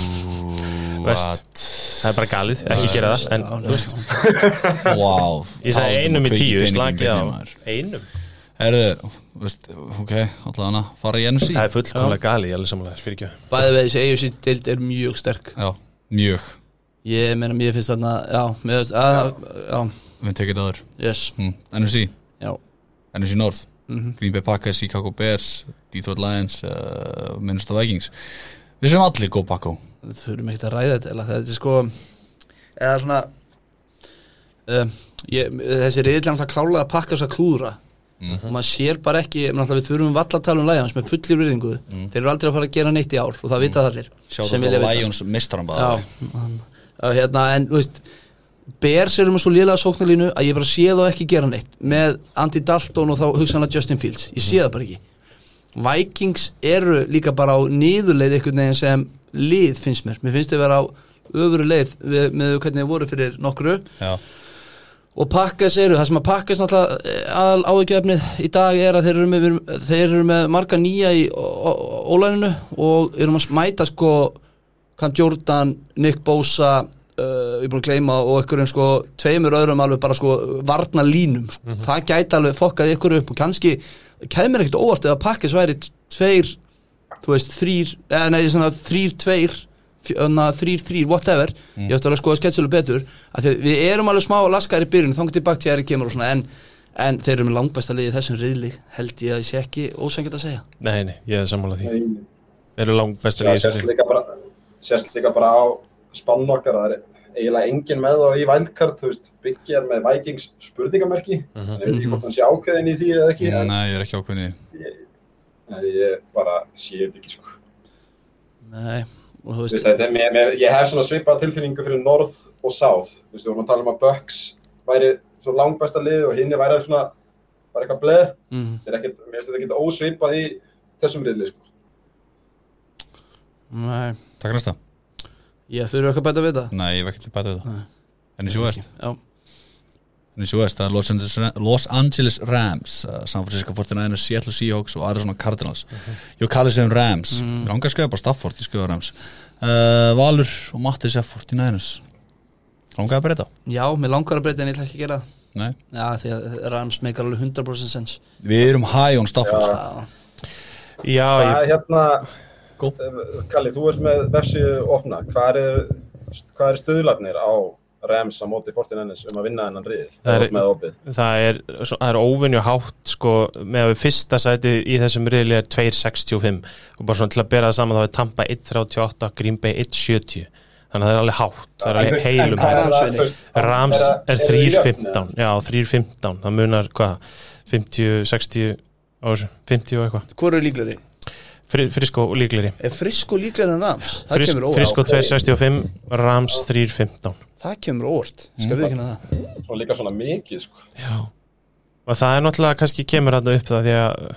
Vest. það er bara galið ekki gera það, en
Já,
þú veist
Wow
[LAUGHS] ég segi einum í tíu, slakið á einum
Erðu, veist, ok, alltaf hana fara í NFC
Það er fullkomlega gali, ég er alveg samanlega, spyr ekki
Bæði veið þessi AFC dild er mjög sterk
Já, mjög,
Ég meina, mér finnst þarna, já, mér finnst, að, já,
við tekið aður
yes,
mm. NFC,
já
NFC North Green Bay Packers, Chicago Bears Detroit Lions, uh, Minnesota Vikings Við sem allir go Paco
við þurfum ekkert að ræða þetta eða þetta er sko eða svona um, ég, þessi reyðilega náttúrulega klálega að pakka þess að klúðra og maður sér bara ekki, náttúrulega við þurfum valla að tala um Lions með fullir virðingu þeir eru aldrei að fara að gera neitt í ár og það vita það allir
Sjá
sem
þetta
vilja vita.
Lions
Já,
mistrambaðar
hann- að hérna, en þú veist Bears eru með svo lélega sóknarlínu að ég bara sé þá ekki gera neitt með Andy Dalton og þá hugsanlega Justin Fields ég sé það bara ekki Vikings eru líka bara á niðurleið einhvern veginn sem lið finnst mér mér finnst þau vera á öfru leið við, með hvernig þau voru fyrir nokkru
Já,
og pakkas eru, það sem að pakkas náttúrulega eh, aðal áhugjafnið í dag er að þeir eru með, þeir eru með marga nýja í ólæninu og erum að mæta sko Cam Jordan, Nick Bosa uh, ég er búin að gleyma og einhverjum sko tveimur öðrum alveg bara sko varna línum, sko. það gæti alveg fokkað ykkur upp og kannski kemur ekkert óvart ef að pakkas væri t- tveir þú veist, þrýr, eða nei, svona þrýr, tveir þrýr, þrýr, whatever ég ætti alveg að skoða sketsulu betur af því að við erum alveg smá laskar í byrjun þá getur baktíðari kemur og svona en, en þeir eru með langbæsta liðið þessum riðli held ég að ég sé ekki ósengið að segja
Nei, nei, ég er samanlega því
Nei.
Þeir eru langt besta
Það
líðis
sérst líka bara sérst líka bara á spann okkar það er eiginlega engin með þá í vældkart þú veist, Biggi er með Vikings spurningamerki en ég veit ekki hvort hann sé ákveðin í því eða ekki en,
nei, ég er ekki ákveðni
en ég bara sé þetta ekki sko
Nei, og þú
Þú veist,
veist
þetta, er- mér, mér, ég hef svona svipað tilfinningu fyrir North og South Þú veist, við vorum að tala um að Bucks væri svo langbæsta lið og hinni væri svona bara eitthvað bleð
mm,
Þetta er ekkert, mér finnst þetta ekkert ósvipað í þessum riðli sko
Nei,
Takk næsta
ég þurfi eitthvað bæta við það
Nei, ég vekk til að bæta þetta
Nei.
NFC West
Já,
NFC West, það er Los Angeles, Los Angeles Rams uh, San Francisco 49ers, Seattle Seahawks og Arizona Cardinals Ég kalli sem Rams mm. Ranga skrifa bara Stafford, ég skrifa Rams uh, Valur og Matti segja 49ers Ranga að breyta
já mér langar að breyta en ég ætla ekki að gera það.
Nei.
Já, því að Rams meikar alveg 100% sens
Við erum high on Stafford sko.
Já,
Já,
Hvað
ég,
er hérna, Eh,
Go.
Kalli, þú ert með vefsíðu opna. Hvað er, hvað er stuðlarnir á Rams á móti Fortinennis um að vinna hennan riðil?
Það er-
Þú ert með opið.
það er, svo- það er óvinju hátt sko, með að við fyrsta sæti í þessum riðli er 2.65 og bara svona til að bera það saman þá er Tampa 1.38 Green Bay 1.70 þannig að það er alveg hátt, það er alveg heilum
En
hár.
hvað er það, þú veist,
Rams
eru-
er
eru þau jöfn,
3.15 Já, 3.15, það munar hvað 50, 60 á þessu, 50 og eitthvað,
Hvor eru líklari?
Fri- frisko og líkleri
Er Frisko líklari en Rams? Það
Fris,
kemur óvart
Frisko 2.65 Rams 3.15
Það kemur óvart, skal við ekki hana það
eða? Svo líka svona mikið, sko.
Já Og það er náttúrulega kannski kemur hann upp það því að eh,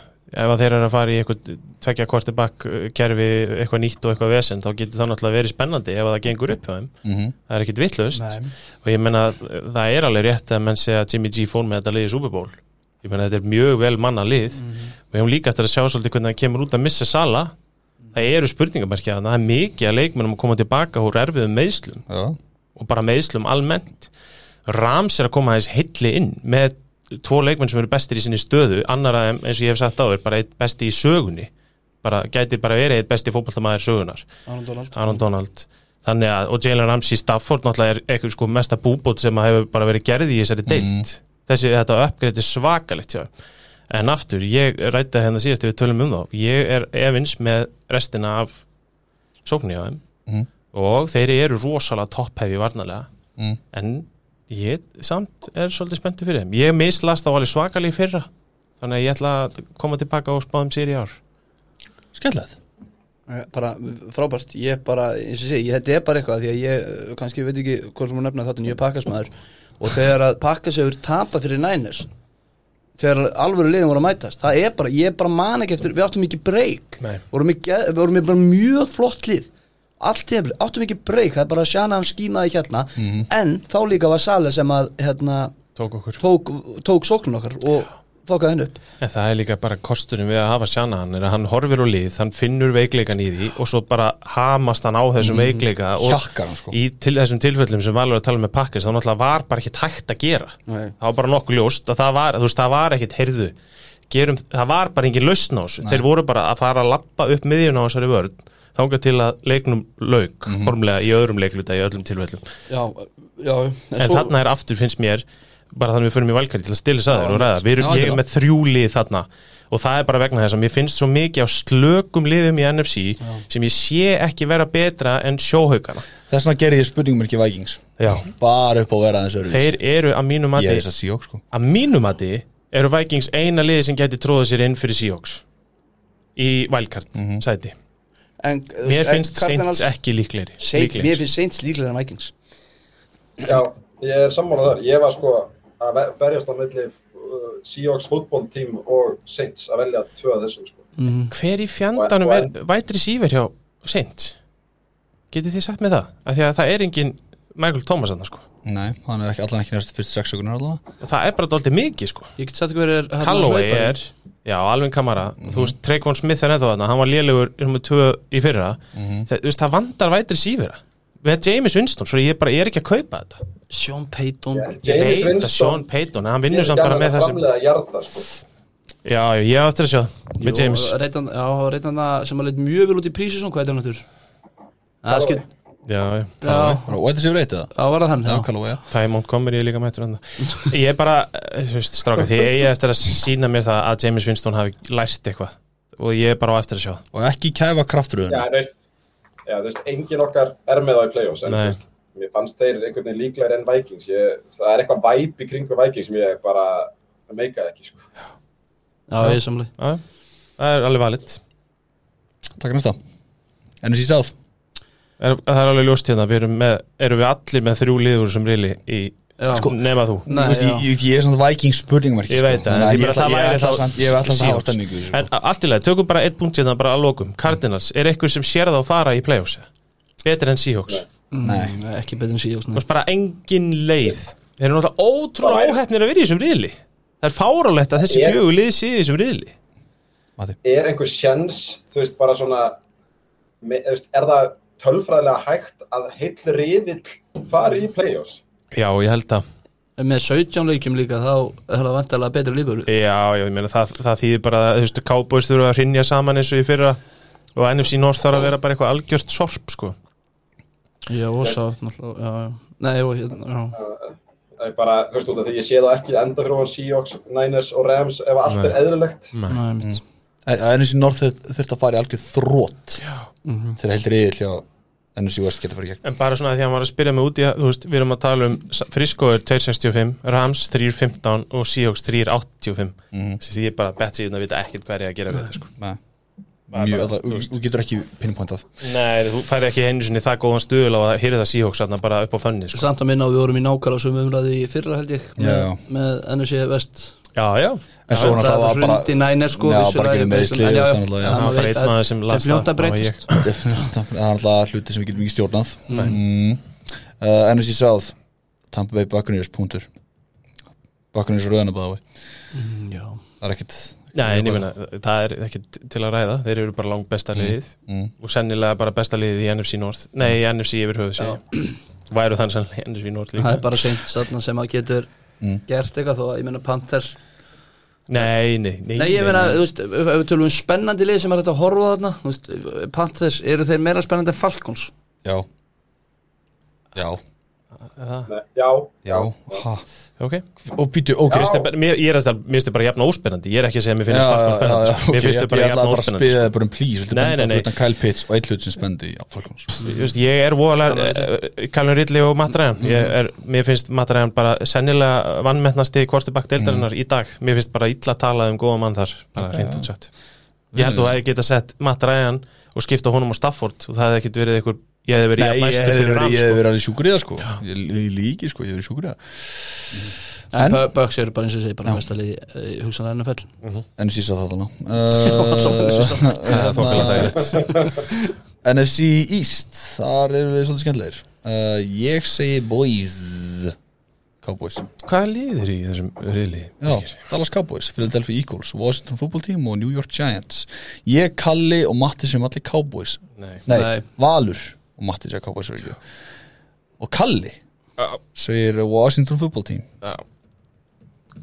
ef að þeir eru að fara í eitthvað tvekja kvarti bakk eh, kerfi eitthvað nýtt og eitthvað vesend þá getur það náttúrulega verið spennandi ef að það gengur upp hjá þeim
Mhm.
það er ekkit vittlust
Nei.
og ég menna það er alveg rétt að menn segja að Jimmy G fór með þetta liðið Super Bowl ég menna þetta er mjög vel manna lið og ég hef líka eftir að sjá svolítið hvernig það kemur út að missa sala það eru spurningamarkið að það er mikið að leikmennum að koma tilbaka úr erfiðum meðslum
Já.
og bara meðslum almennt Rams er að koma aðeins hilli inn með tvo leikmenn sem eru bestir í sinni stöðu annar að eins og ég hef sagt á þér bara eitt besti í sögunni bara gæti bara verið eitt besti fótballtamaður sögunar
Arnold Donald
Aaron Donald þannig að, og Jalen Ramsey Stafford náttúrulega er eitthvað sko mesta búbót sem að hefur bara verið gerði í þessari deilt þessi, þetta uppgreiti svakalegt hjá þeim. en aftur, ég rætti hérna síðast ef við tölum um þá, ég er efins með restina af sóknu hjá þeim
Mhm.
og þeir eru rosalega topphefi varnalega
Mm.
en ég samt er svolítið spenntu fyrir þeim, ég mislast á alveg svakalega í fyrra, þannig að ég ætla að koma tilbaka og spáðum sér í ár
Skellað
Eh, bara frábært, ég bara eins og sé, ég, þetta er bara eitthvað því að ég eh, kannski veit ekki hvort maður nefna þetta en ég er pakkasmaður og þegar að pakkas hefur tapað fyrir næners þegar alvöru liðin voru að mætast það er bara, ég bara man ekki eftir, við áttum ekki breyk
Nei.
vorum ekki, við vorum ekki bara mjög flott lið allt tefli, áttum ekki breyk það er bara að sjana hann skímaði hérna
Mhm.
en þá líka var Sala sem að hérna,
tók okkur
tók, tók sóknun okkar og fókaði henn upp
En það er líka bara kostunum við að hafa sjana hann er að hann horfir á lið, hann finnur veikleikan í því og svo bara hamast hann á þessum veikleika og
Mm. Hjakkar hann sko
í til, þessum tilfellum sem Valur er að tala með pakkis þá náttúrulega var bara ekkit hægt að gera
Nei.
það var bara nokkuð ljóst að það var, þú veist, það var ekkit heyrðu gerum, það var bara engin lausn á þessu þeir voru bara að fara að lappa upp miðjun á þessari vörð þangað til að leiknum lauk,
Mhm.
formlega í öðrum leikluta í öllum tilfellum
já, já en,
en þarna er aftur finnst mér bara þannig við förum í valkari til að stilla
Já,
sæður og ræða, við
já,
erum, ég er
algjörlega.
með þrjú lið þarna og það er bara vegna þess að mér finnst svo mikið á slökum liðum í NFC sem ég sé ekki vera betra en sjóhaugana
Þess vegna gerir ég spurningum ekki Vikings
Já.
Bara upp á að vera aðeins öðru
þeir eru að mínu
Ég
mati
er þess að síjók sko
að mínu mati eru Vikings eina liði sem gæti tróða sér inn fyrir Seahawks í valkart
Mhm.
sæti
en,
mér finnst
Cardinals-
Saints ekki líklegri
Saints-
líklegir.
Mér finnst Saints líklega en Vikings
Já, ég er sammála þar. Ég var sko að ve- berjast á milli uh, Seahawks fútból tím og Saints að velja tvö af þessum sko.
hver í fjandanum er vætri síver hjá Saints getið þið sagt með það af því að það er engin Michael Thomas annars sko
Nei, hann er ekki allan ekki næst fyrst sex sekunar allavega
og það er bara dálítið mikið sko
Ég get sagt ykkur er hérna,
Callaway
hlaupari.
er, já, alveg kamara þú veist, Trayvon Smith er ennþá þarna hann var lélegur um tvö í fyrra það, þú veist, það vandar vætri sífira með James Winston, svo ég, bara, ég er ekki að kaupa þetta
Sean Payton
ég
James
veit að
Winston-
Sean Payton, en hann vinnur
Ég
samt bara með það sem
Framlega jarða sko.
já, já, ég á eftir að sjá það, með James
Reytan, já, reytan það sem að leit mjög vel út í prísisón Hvað er það náttúr? Það skil
já, já,
Já,
Og þetta séu reytið það
það var það hann
Já,
já.
kalla og já
það er Montgomery líka mættur hann ég er bara, eh, þú veist, stráka því ég er eftir að sína mér það að James Winston hafi lært eitthvað og ég er bara á eftir að sjá það.
Og ekki kæfa kraftröðun
Já, þú veist, já, þú veist, engin okkar er með á í play-offs, en
Nei.
þú veist, mér fannst þeir einhvern veginn líklegir en Vikings. Ég, það er eitthvað væp í kringu Vikings sem ég bara meikaði ekki sko.
já, ég er samlega
Já, já. það er alveg valitt
Takk næsta NFC South
Er, það er alveg ljóst hérna, við erum, með, erum við allir með þrjú liður sem rili í,
Já.
sko, nema þú
Nei,
Nei,
veist,
já.
ég, ég, ég er svona Vikings spurningmarki
Ég veit það, en
sko. Ég
því bara
ætla
það væri
ég ætla
þá-
samt- ég ætla alltaf að hafa
Seahawks.
stemningu í þessu, sko.
En allt í lagi, tökum bara eitt punkt hérna bara að lokum Cardinals, er eitthvað sem sér það að fara í playoffs betur enn Seahawks
Nei.
Mm, Ekki betur en Seahawks
Þú
nei.
veist bara engin leið Þeir eru náttúrulega ótrúlega óhættnir að vera í þessum riðli Það er fárálegt að þessi
Ég-
fjögur lið séu í þessum riðli
er einhver sjens, þú veist, bara svona, me, þú veist, er það tölfræðilega hægt að heill riðill fari í play-offs?
Já, ég held að
Með 17 leikjum líka þá er það vantarlega betur lífur
Já, já, ég meina það, það þýðir bara að, þú veist, Cowboys þurfa að hrynja saman eins og í fyrra og NFC North þarf að vera bara eitthvað algjört sorp, sko
Já, og sá náttúrulega, já, já. Nei, og hérna, já
Það er bara, þú veist, út af því ég sé það ekki enda fyrir hún Seahawks, Niners og Rams ef allt er eðlilegt.
Nei, mitt
En- en NFC North þurft að fara í algjörð þrótt Þegar heldur ég hljá NFC West geta farið í gegn
En bara svona að því að hann var að spyrja mig út í að, þú veist, við erum að tala um S- Frisco er 265, Rams 315 og Seahawks 385 mm. sem því ég bara bett sig að vita ekkert hvað er ég að gera við þetta, sko.
Nei
Bara-
Mjög,
bara,
alveg,
þú
þú,
veist.
þú getur ekki pinpointað
Nei, þú færði ekki einu sinni það góðan stuðul á að hýrða það Seahawks þarna bara upp á fönni, sko.
Samt að minna að við vorum í nákvæmlega sömu umræði í fyrra held ég með,
Já.
með NFC Vest
Já, já.
En svo
það
náttúrulega
var
var bara
hrundi nænir sko
Já,
vissulega,
bara gerir
ég
meiðsli
veist,
og
en já,
þannig alveg, já.
já,
Það var
maður
bara
veit
einn
að
maður sem las
það fljóta
það, það var
breytist.
ég.
Það er náttúrulega hluti sem við getum ekki stjórnað mm. uh, NFC South Tampa Bay Buccaneers, punktur Buccaneers og rauðan að báða
Já.
Það er ekkit
Nei, Mm, en ég meina, það er ekki til að ræða, þeir eru bara langt besta liðið
mm.
og sennilega bara besta liðið í NFC North, nei, í NFC yfir höfuð, segja. Væru þann sennilega í NFC North líka.
það er bara seint þarna sem að getur
Mm.
gert eitthvað þó að ég meina Panthers
Nei, nei, nei.
Nei, ég meina,
nei.
þú veist, ef ef við tölum um spennandi lið sem er hægt að horfa á þarna þú veist, Panthers, eru þeir meira spennandi en Falcons?
Já Já,
Það-
Nei, Já,
já ha.
Ok.
Og býtu, ok
Mér finnst þetta- mér- Ég er að mér finnst þetta bara jafn óspennandi Ég er ekki að segja að mér finnst Falcons spennandi sko. Mér finnst þetta bara
Ég
jafn óspennandi sko.
ætlaði bara að spila það bara um please Viltu
Nei, nei,
benda
nei.
fyrir utan Kyle Pitts og eitt hlut sem spendi Já, Falcons
Þú veist, Ég er voðalega eh, Callum Ridley og Matt Ryan
Mhm.
Ég er, Mér finnst Matt Ryan bara sennilega vannmettnasti kvortibakk deildarinnar
Mhm.
í dag Mér finnst bara illa talað um góða mann þar bara reynd og sett Ég held að þú hefði geta sett Matt Ryan og skipta honum á Stafford og það hefði ekkert verið einhver Ég hefði verið
Nei,
jafn
ég
næstur
hefði
fyrir
verið-
Rams
ég
sko.
hefði verið alveg sjúkur í það sko Ég ég líki sko, ég hefði verið sjúkur í það En-
Bu- Bucks eru bara eins og ég segi, bara besta lið eh, í hugsanlega NFL
NFC South
[LAUGHS]
þarna
svo NFC
uh,
South.
Það er þokkilega dægilegt
[LAUGHS] NFC East Þar eru við svolítið skemmtilegir uh, Ég segi boys Cowboys
Hvað liðir í þessum riðli?
Já, Dallas Cowboys, Philadelphia Eagles Washington Football Team og New York Giants Ég, Kalli og Matti sem allir Cowboys
Nei.
Nei,
Nei.
Valur og Matti sem Cowboys er ekki Og Kalli segir Washington Football Team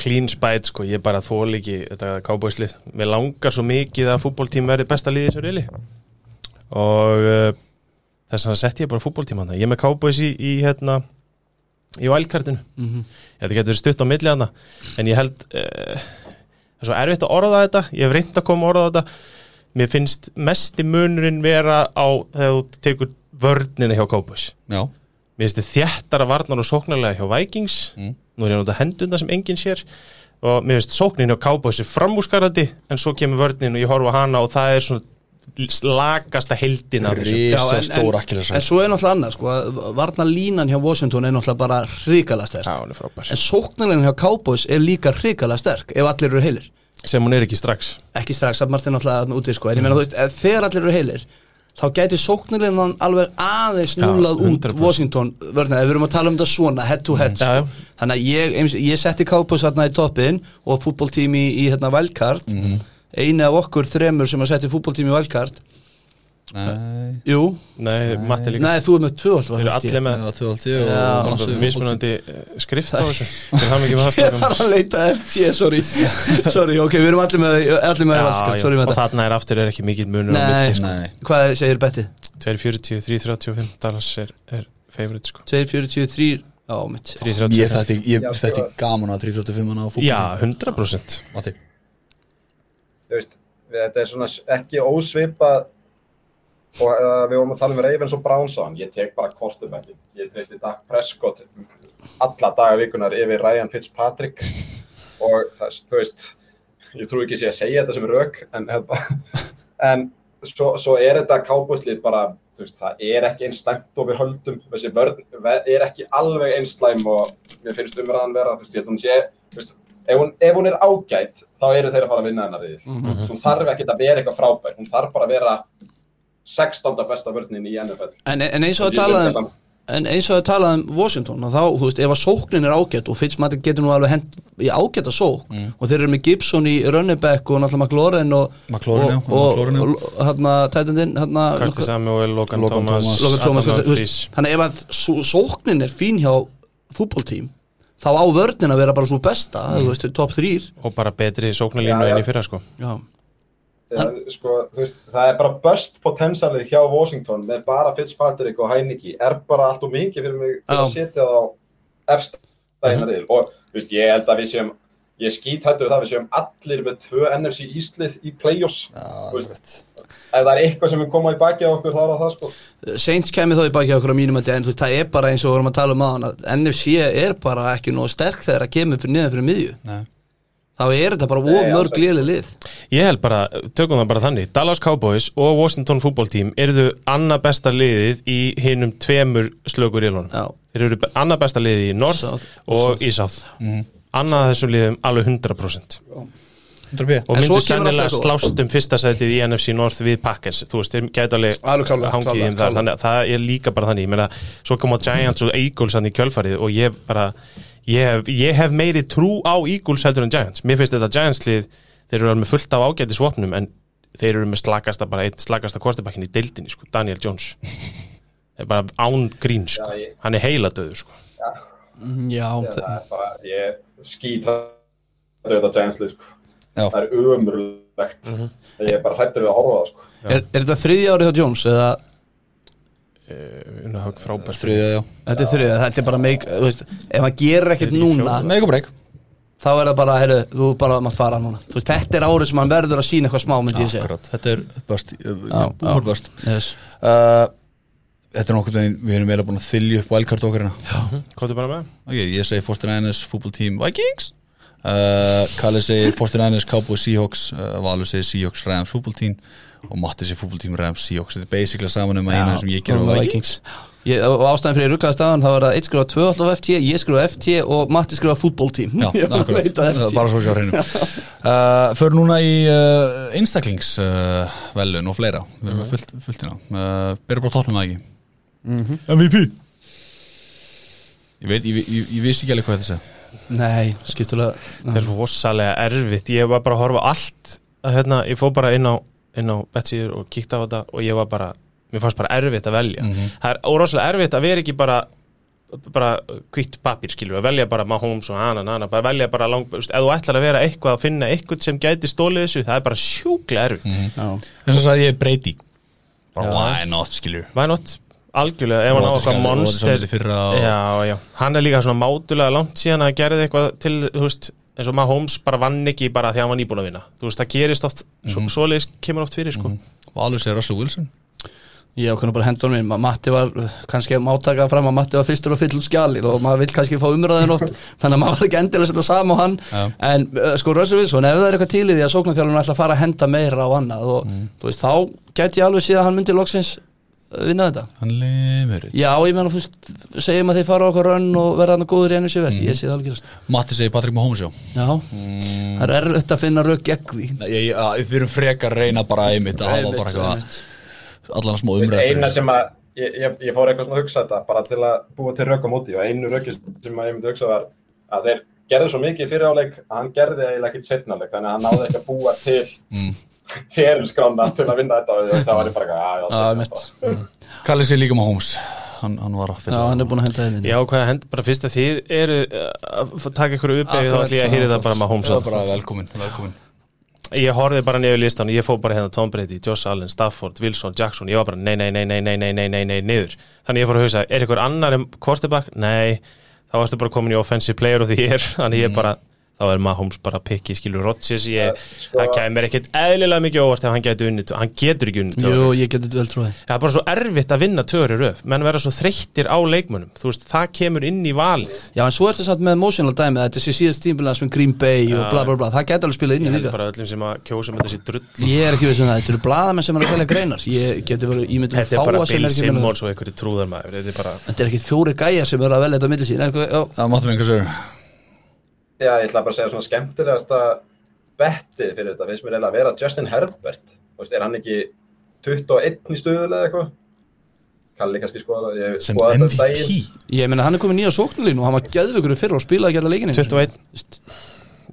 clean spite sko, ég bara þól ekki þetta kábóislið, mér langar svo mikið að fútbóltím verði besta liðið þessu reyli og uh, þess vegna setti ég bara fútbóltíma hann ég er með kábóis í, í hérna í valkartinu, ég held að getur stutt á milli hana, en ég held uh, það er svo erfitt að orða þetta ég hef reynd að koma að orða þetta mér finnst mesti munurinn vera á þegar þú tekur vörnina hjá kábóis
já,
Mér finnst þið þjættara varnar og sóknarlega hjá Vikings
Mm.
Nú er ég að nota hendunda sem enginn sér Og mér finnst sóknin hjá Cowboys er framúskarandi En svo kemur vörnin og ég horfa á hana Og það er svona slagasta heldin af þessu
Já, en-
risa
en-
stór akkilesar
En svo er náttúrulega annað, sko að Varna línan hjá Washington er náttúrulega bara hrikalega sterk
Já, hún er frábær
En sóknarlegin hjá Cowboys er líka hrikalega sterk Ef allir eru heilir
Sem hún er ekki strax
Ekki strax, að Martin náttúrulega þarna úti, sko En ég meina, þú veist, ef þegar allir eru heilir Þá gæti sóknarlegin alveg aðeins
Já,
núlað út
100%.
Washington vörna Ef við erum að tala um þetta svona, head to head,
Já, já.
sko Þannig að ég, eins- ég setti Cowboys þarna í toppin Og fútboltími í, í hérna Valkart
Mhm.
Einu af okkur þremur sem að setja fútboltími í Valkart
það
Jú,
Nei, Matti líka
nei, þú er með tvöfald
Þeir eru allir með
var 12 og
Já,
og-
bara
og-
mismunandi eh, skrift á þessu Þeir hafa mikið með
[LAUGHS] Ég
hafstækum
var að leita eftir, sorry [LAUGHS] Sorry, ok, við erum allir með allir með valskart, sorry með
Og
þetta
þarna er aftur er ekki mikið munur á
Nei.
milli sko.
Nei,
Hvað segir Betty?
2.40, 3.35 Dallas er, er favorite sko
2.43 Já, mitt
3.35
ég þetta ég
Já,
þetta
sko.
er gaman að 345 á fútbol
Já, 100%
Matti,
þú veist, við- þetta er svona s- ekki ósvipað og uh, við vorum að tala um Ravens og Brownson ég tek bara kortumæki, ég treysti Dak Prescott alla daga vikunar yfir Ryan Fitzpatrick og það, þú veist ég trú ekki sé að segja þetta sem rauk en, hérna, [LAUGHS] en svo, svo er þetta kápúslið bara þú veist, það er ekki eins stæmt og við höldum þessi vörn ve- er ekki alveg eins slæm og mér finnst umræðan vera þú veist, ég held að hún sé þú veist, ef, hún, ef hún er ágætt þá eru þeir að fara að vinna hennar
Mhm.
við mm -hmm. hún þarf ekki að vera eitthvað frábær hún þarf bara að vera 16. besta vörnin í NFL
En, en eins og að tala um En eins og að tala um Washington og þá, þú veist, ef að sóknin er ágætt og Fitzmatter getur nú alveg hent í ágætta sók
Mm.
og þeir eru með Gibson í Rönnebeck og náttúrulega McLaurin og
McLaurin, já,
og, og,
McLaurin, já.
og, og hérna, tætendinn, hérna
Curtis Samuel, Logan,
Logan
Thomas,
Thomas.
Logan Thomas,
Adam
þú veist,
Humphries
þannig ef að só- sóknin er fín hjá fútboltím þá á vörnin að vera bara svo besta
Mm.
þú veist, top 3
og bara betri sóknarlínu
Já, já.
enn í fyrra sko
já.
Það, sko, þú veist, það er bara best potensialið hjá Washington með bara Fitzpatrick og Heineke er bara allt og mikið fyrir mig til
Já. Mhm.
að setja það á efstæðina riðil og þú veist, ég held að við séum ég skýt hættur það að við séum allir með tvö NFC Íslið í play-offs Þú veist, ef það er eitthvað sem er koma í baki á okkur þá er það það sko
Saints kemur þá í baki okkur á mínum að en þú veist, það er bara eins og við vorum að tala um aðan að NFC er bara ekki nóg sterk þegar það kemur fyrir niður fyrir miðju
Nei.
þá er þetta bara
Nei,
of
alls
mörg
ekki.
liðli lið
ég held bara, tökum það bara þannig Dallas Cowboys og Washington fútbóltím eru annað besta liðið í hinnum tveimur slökur ílunum
Já.
þeir eru be- annað besta liðið í North
South.
og í South
Mhm.
annað af þessum liðum alveg 100%
100 bíða
og
En svo
myndu
kemur
sennilega
alltaf-
slást um fyrsta sætið í NFC North við Packers þú veist, þeir gæti alveg
Alveg klárlega,
hangið í
klárlega,
þeim þar
klárlega.
þannig að það er líka bara þannig, ég meina svo koma Giants og Eagles hann í kjölfarið og ég bara ég hef, ég hef meiri trú á Eagles heldur en Giants mér finnst þetta Giants lið, þeir eru alveg fullt af ágæti svopnum en þeir eru með slagasta bara einn slagasta kortebakkin í deildinni sko, Daniel Jones er bara án grín sko,
Já, ég-
hann er heiladöður sko
já,
það er bara, ég skýt hættur þetta Giantslið sko
Já.
það er umurlegt ég er bara hættur við að horfa á það sko
er, er þetta þriðja árið hjá Jones eða
Unnar Hák frábær
þriðja, já
þetta er þriðja, þetta er bara meik, þú veist, ef hann gerir ekkert
Þriðji,
núna
fjórða.
Mega break
þá er það bara, heyrðu, þú bara mátt fara núna þú veist, þetta er árið sem hann verður að sína eitthvað smá myndi ég segja
Akkurat, þetta er best Búmur
já.
best
yes.
Uh, Þetta er nokkuð veginn, við erum meira búin að þylja upp wildcard okkar hérna
Kóttu bara með
Ok, ég segi 49ers, Football Team, Vikings uh, Kalli segir 49ers, Cowboys, Seahawks uh, Valur segir Seahawks, Rams, Football Team og Matti segir Football Team, Rams, Seahawks Þetta er basically saman um að eina sem ég gerum á Vikings
Ég, og ástæðan fyrir ruggaða staðan þá var það 1 skrifa 2 alltaf FT, ég skrifa FT og Matti skrifa fútbóltím [LAUGHS]
Já, akkurat,
veit að FT
bara svo sjá hreinu uh, Föru núna í uh, einstaklingsvelun uh, verðlaun og fleira Við erum með fullt, fullt hérna uh, Byrja bara tóknum það ekki Mhm. MVP Ég veit, ég, ég, ég vissi ekki alveg hvað þetta segja
Nei, skiptulega
Það er rosalega erfitt, ég var bara að horfa á allt að hérna, ég fór bara inn á, inn á Betsy og kíkti á þetta og ég var bara, mér fannst bara erfitt að velja það er rosalega erfitt að vera ekki bara bara kvitt papir skilur að velja bara Mahomes og hana, hana, bara velja bara lang, þú veist, ef þú ætlar að vera eitthvað að finna eitthvað sem gæti stólið þessu, það er bara sjúklega erfitt
já,
Þess að sagði ég Brady Bara why not, skilur
Why not? Algjörlega, ef hann á
Rodgers
eitthvað
gerði-
monster
Rodgers gerði fyrra og-
Já, já, hann er líka svona mátulega langt síðan að gerði eitthvað til, þú veist eins og Mahomes bara vann ekki bara því að hann var nýbúin að vinna þú veist, það gerist oft,
Mhm.
svo, svoleiðis kemur oft fyrir, sko
Valur segir Russell Wilson
ég ákveðna bara hendur minn Matti var, uh, kannski máttakað fram að Matti var fyrstur og fyll út skjalið og maður vill kannski fá umræðin
[LAUGHS]
oft þannig að maður var ekki endilega að setja saman á hann
Já.
en uh, sko Russell Wilson, ef það er eitthvað til í því að sóknarþjálfurinn ætla að fara að henda meira á annað og
Mm.
þú veist, þá gæti ég alveg síðan að hann myndi loksins uh, vinna þetta
Hann lemur it.
Já, ég meina, þú veist, segjum að þeir fara á okkur rönn og verða hann góður í ennum sér vest,
Mm.
ég sé það alveg gerast.
Matti segir Patrick Mahomes já
Já,
Mm.
það er erfitt að finna rögg gegn því.
Nei, ég, að, Við erum frekar að reyna bara einmitt að hafa bara eitthvað allan smá
Þú veist, eina
umræð
sem að ég, ég, ég fór eitthvað svona að hugsa þetta bara til að búa til rökum úti og einu rökist sem að ég myndi hugsa var að þeir gerðu svo mikið fyrir áleik að hann gerði eiginlega ekkert setna áleik þannig að hann náði ekki að búa til
Mm.
[LAUGHS] fyrirskrána til að vinna þetta og þú veist, það var ég bara eitthvað "Ah, já,
Já,
þetta er
einmitt.
bara-
Kallið segir líka Mahomes Hann, hann var að
Já,
finna
hann er búin að henda henni.
Já, hvað er hend, bara fyrst að þið eru uh, að f- taka ykkur uppegið þá
Akkurat,
ætlum ég að hýri það bara Mahomes
Það
að
var bara velkomin, velkomin.
Ég horfið bara niður listan og ég fóð bara hérna Tom Brady, Josh Allen, Stafford, Wilson, Jackson ég var bara nei, nei, nei, nei, nei, nei, nei, nei, nei, niður þannig ég fór að hugsa, er ykkur annar en quarterback? Nei, þá varstu bara komin í offensive player og því ég er, [LAUGHS] þannig
Mm.
ég bara þá er Mahomes bara pikki, skilur Rodgers ég,
sko-
það kæmir ekkert eðlilega mikið óvart ef hann getur unnit, hann getur ekki unnit
Jú, ég geti vel trúið.
það er bara svo erfitt að vinna töru röf menn vera svo þreyttir á leikmunum þú veist, það kemur inn í valið
Já, en svo er þetta samt með emotional dæmið, þetta sé síðast tímbilans með Green Bay og bla bla bla, það gæti alveg spilað inn í
Ég held
líka.
bara öllum sem að kjósa með þessi drull
Ég er ekki veist um það, þetta eru bladamenn sem er að selja greinar, ég geti verið, ég myndi
Þetta er
fáa
bara
sem
Bill
er ekki með það.
Simmons og einhverju trúðarmæður Þetta er bara
Þetta er ekki fjóri gæjar sem eru að velja þetta á milli sín, er eitthvað, já,
Það máttum einhvers vegar
Já, ég ætla bara að segja svona skemmtilegasta bettið fyrir þetta, finnst mér eiginlega að vera Justin Herbert, þú veist, er hann ekki 21 í stöðulega eitthvað? Kalli kannski skoða það, ég hef
sem
skoðað þetta um
MVP
daginn.
ég meina hann er komin nýja sóknulínu og hann var gæðvökur fyrir og spilaði ekki alla leikinu.
21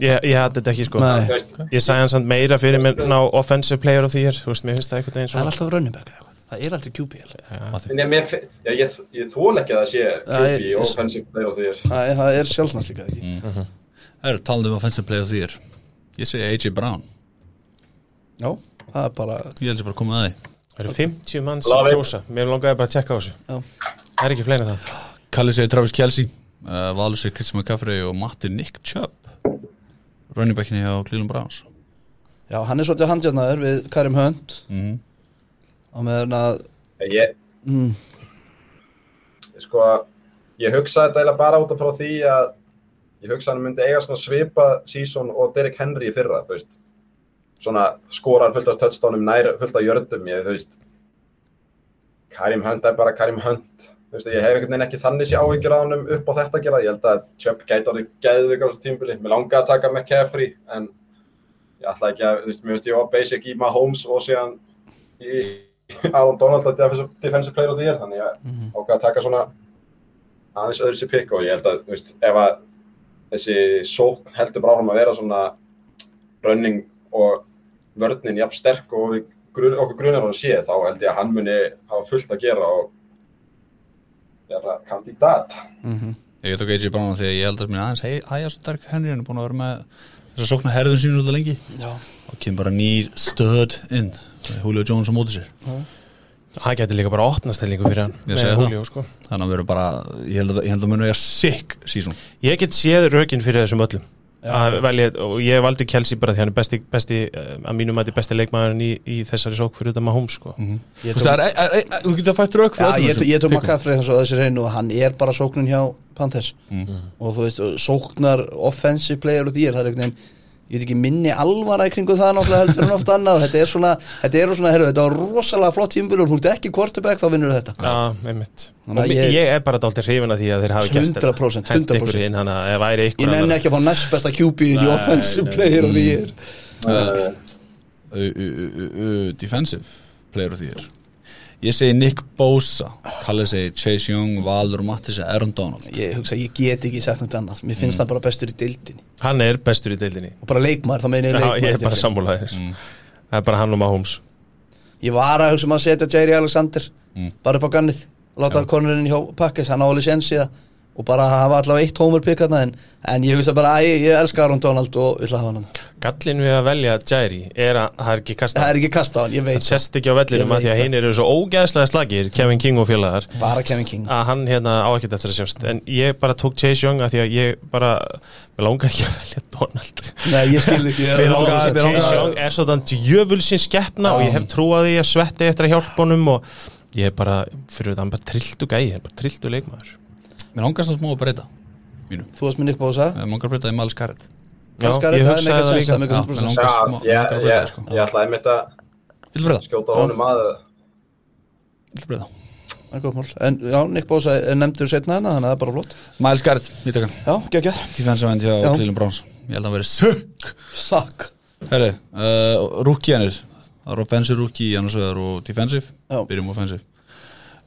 Ég, ég hætti þetta ekki sko
Nei.
Þú veist,
Ég sagði hann samt meira fyrir mér ná offensive player og því ég er Þú veist, mér finnst það einhvern veginn
Það er
svona
alltaf running back eða eitthvað, það er aldrei QPL.
en ég, mér, fi- já, ég, ég þól ekki að það sé
Æ,
QB
ég-
og offensive player og því er.
Það er- það er sjálfnast líka ekki.
Mm.
Það eru talandi um offensive player þýr Ég segi AJ Brown
Já, það er bara
Ég held sér bara að koma að því
Það eru 50 manns
Love
að
it.
kjósa Mér langaði bara að tjekka á þessu
Já.
Það er ekki fleina það
Kallið segir Travis Kelsey uh, Valur segir Christian McCaffrey og Matti Nick Chubb Running backinni hjá Cleveland Browns
Já, hann er svolítið handjarnaður við Karim Hönd
Mm.
Mhm.
og meðan að
En Ég,
mm,
sko, ég hugsaði þetta eiginlega bara út af frá því að ég hugsaði hann myndi eiga svona svipa season og Derrick Henry í fyrra, þú veist svona skorar fullt af touchdownum nær fullt af jördum, ég þú veist Karim Hunt er bara Karim Hunt þú veist, ég hef einhvern veginn ekki þannig sé áhyggjur á honum upp á þetta að gera, ég held að Chubb gæti orðið gæðvik á þessu tímbili, mér langaði að taka McCaffrey, en ég ætla ekki að, þú veist, mér veist ég var basic í Mahomes og síðan í Aaron Donald að defensive, defensive player of the year, þannig ég
Mhm.
ákvað að taka svona aðeins öðru sér pikk og ég held að, þú veist, ef að þessi sókn heldur bara áfram að vera svona running og vörnin jafn sterk og við grun, okkur grunar hann sé þá held ég að hann muni hafa fullt að gera og vera kandidat.
Ég tók AJ Brown af því að ég held að minna aðeins hey, hægjast Derek Henry hann er búin að vera með þess að sókna herðun sín út að lengi
Já,
og kemur bara nýr stöð inn Julio Jones á móti sér
Hann gæti líka bara opnastellingu fyrir hann
Ég
með
segi það.
Julio, sko.
þannig að við erum bara ég held að, ég held að munu eiga sick season
Ég get séð rökin fyrir þessum öllum Að velja, og ég valdi Kelsey bara því hann er besti, besti eh, að mínum að besti leikmaðurinn í, í þessari sók fyrir þetta Mahomes sko.
Mhm.
Þú veist, það er- er- er- er- þú getur að fætt rök fyrir
já
öllum
ég,
þessum
ég tók
pickum.
McCaffrey þess að þessi reynu og hann er bara sóknun hjá Panthers
Mhm.
og þú veist, sóknar offensive player og því er það er einhvern veginn ég veit ekki minni alvara í kringu það náttúrulega heldur en oft annað þetta er svona, þetta er svona, heyrðu, þetta var rosalega flott tímbil og þú ert ekki quarterback þá vinnur þetta
Já, einmitt
Þannig
Og
að
ég,
ég-
ég er bara dálítið hrifin af því að þeir hafi gert þetta
100%,
Hent
100%.
ykkur inn hana, eða væri
Ég
ykkur
nenni ekki að fá næst besta QB inn í
Nei,
offensive
nei.
player og því er
Uh,
Ö- ö- ö- ö- ö- defensive player of the year ég segi Nick Bosa Kalle segi Chase Young, Valur Mattis og Aaron Donald
Ég hugsa, ég get ekki sagt nætt annað Mér
Mm.
finnst það bara bestur í deildinni
Hann er bestur í deildinni
og bara leikmaður, þá meina
Já,
ég leikmaður Mm.
Ég er bara
deildinni.
sammálaðir Það er bara hann og Mahomes
Ég var að hugsa um að setja Jerry Alexander bara upp á gannið láta hann konurinn hjá pakkis, hann á alveg séns í það og bara hafa allavega eitt homer pick þarna en, en ég hugsa bara, æ, ég elska Aron Donald og vill að hafa hann þarna.
Gallin við að velja Jairi er að það er ekki kasta
það er ekki kast á hann, ég
það
veit það. Mm.
sest ekki á vellinum
Ég
að því að
veit
hinn eru svo ógæðslega slagir Kevin King og félagar
bara Kevin King
að hann hérna á ekkert eftir að sjást en ég bara tók Chase Young að því að ég bara mér langar ekki að velja Donald
Nei, ég skil ekki
Mér
ég-
langar-
mér
Chase
langar-
Young er svona djöfulsins skeppna og ég
Mm.
hef trúað því að svetti eftir að hjálpa honum og ég er bara, fyrir þetta, hann bara trilltu gæi hann bara trilltu leikmaður
Mér langast að smá að breyta
þú varst minn upp á þess að
Mér langar að breyta í Miles Garrett
Já,
Kannski er
ég
þetta
hugsaði
mega
það
sens,
líka.
það er mega
Já,
100%
mér
Já,
langast smá
ég,
að breyta
ég,
sko.
ég ætlaði einmitt að
Vildu breyta?
skjóta honum að
Vildu breyta?
Það er góð mál. en já, Nick Bosa er nefndur setna hana þannig að það er bara flott
Miles Garrett, mítakann
já, geggjað,
Defensive end hjá
Já.
Cleveland Browns Ég held að hann verið sökk
suck
Herri, uh, rúki hannir Það er offensive rúki annars vegar og defensive
Já.
Byrjum offensive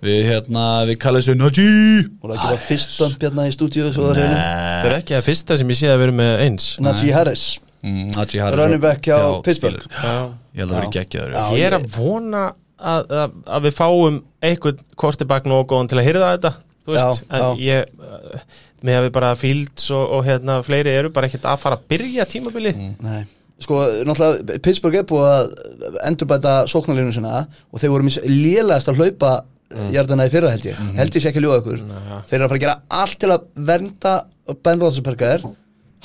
Við hérna, við kallum þessu Nagy
og það er ekki bara fyrst bump hérna í stúdíu svo það er hérna
þetta er
Nei
ekki að fyrsta sem ég sé að vera með eins
Najee Harris
Mm, Najee Harris
Running
og-
back hjá
já,
Pittsburgh.
Steelers.
Já.
Ég held að verið geggjaður já.
Já.
ég er að vona að, að, að við fáum einhvern kortibak nógu góðan til að hyrða þetta þú veist,
Já,
en ég uh, með að við bara Fields og, og hérna fleiri eru bara ekkert að fara að byrja tímabili
Nei. sko, náttúrulega Pittsburgh er búið að endurbæta sóknarlínu sinna og þeir voru mis lélegast að hlaupa
Mm.
hjartana í fyrra held ég held ég sé ekki að ljóða ykkur þeir eru að fara að gera allt til að vernda Ben Roethlisberger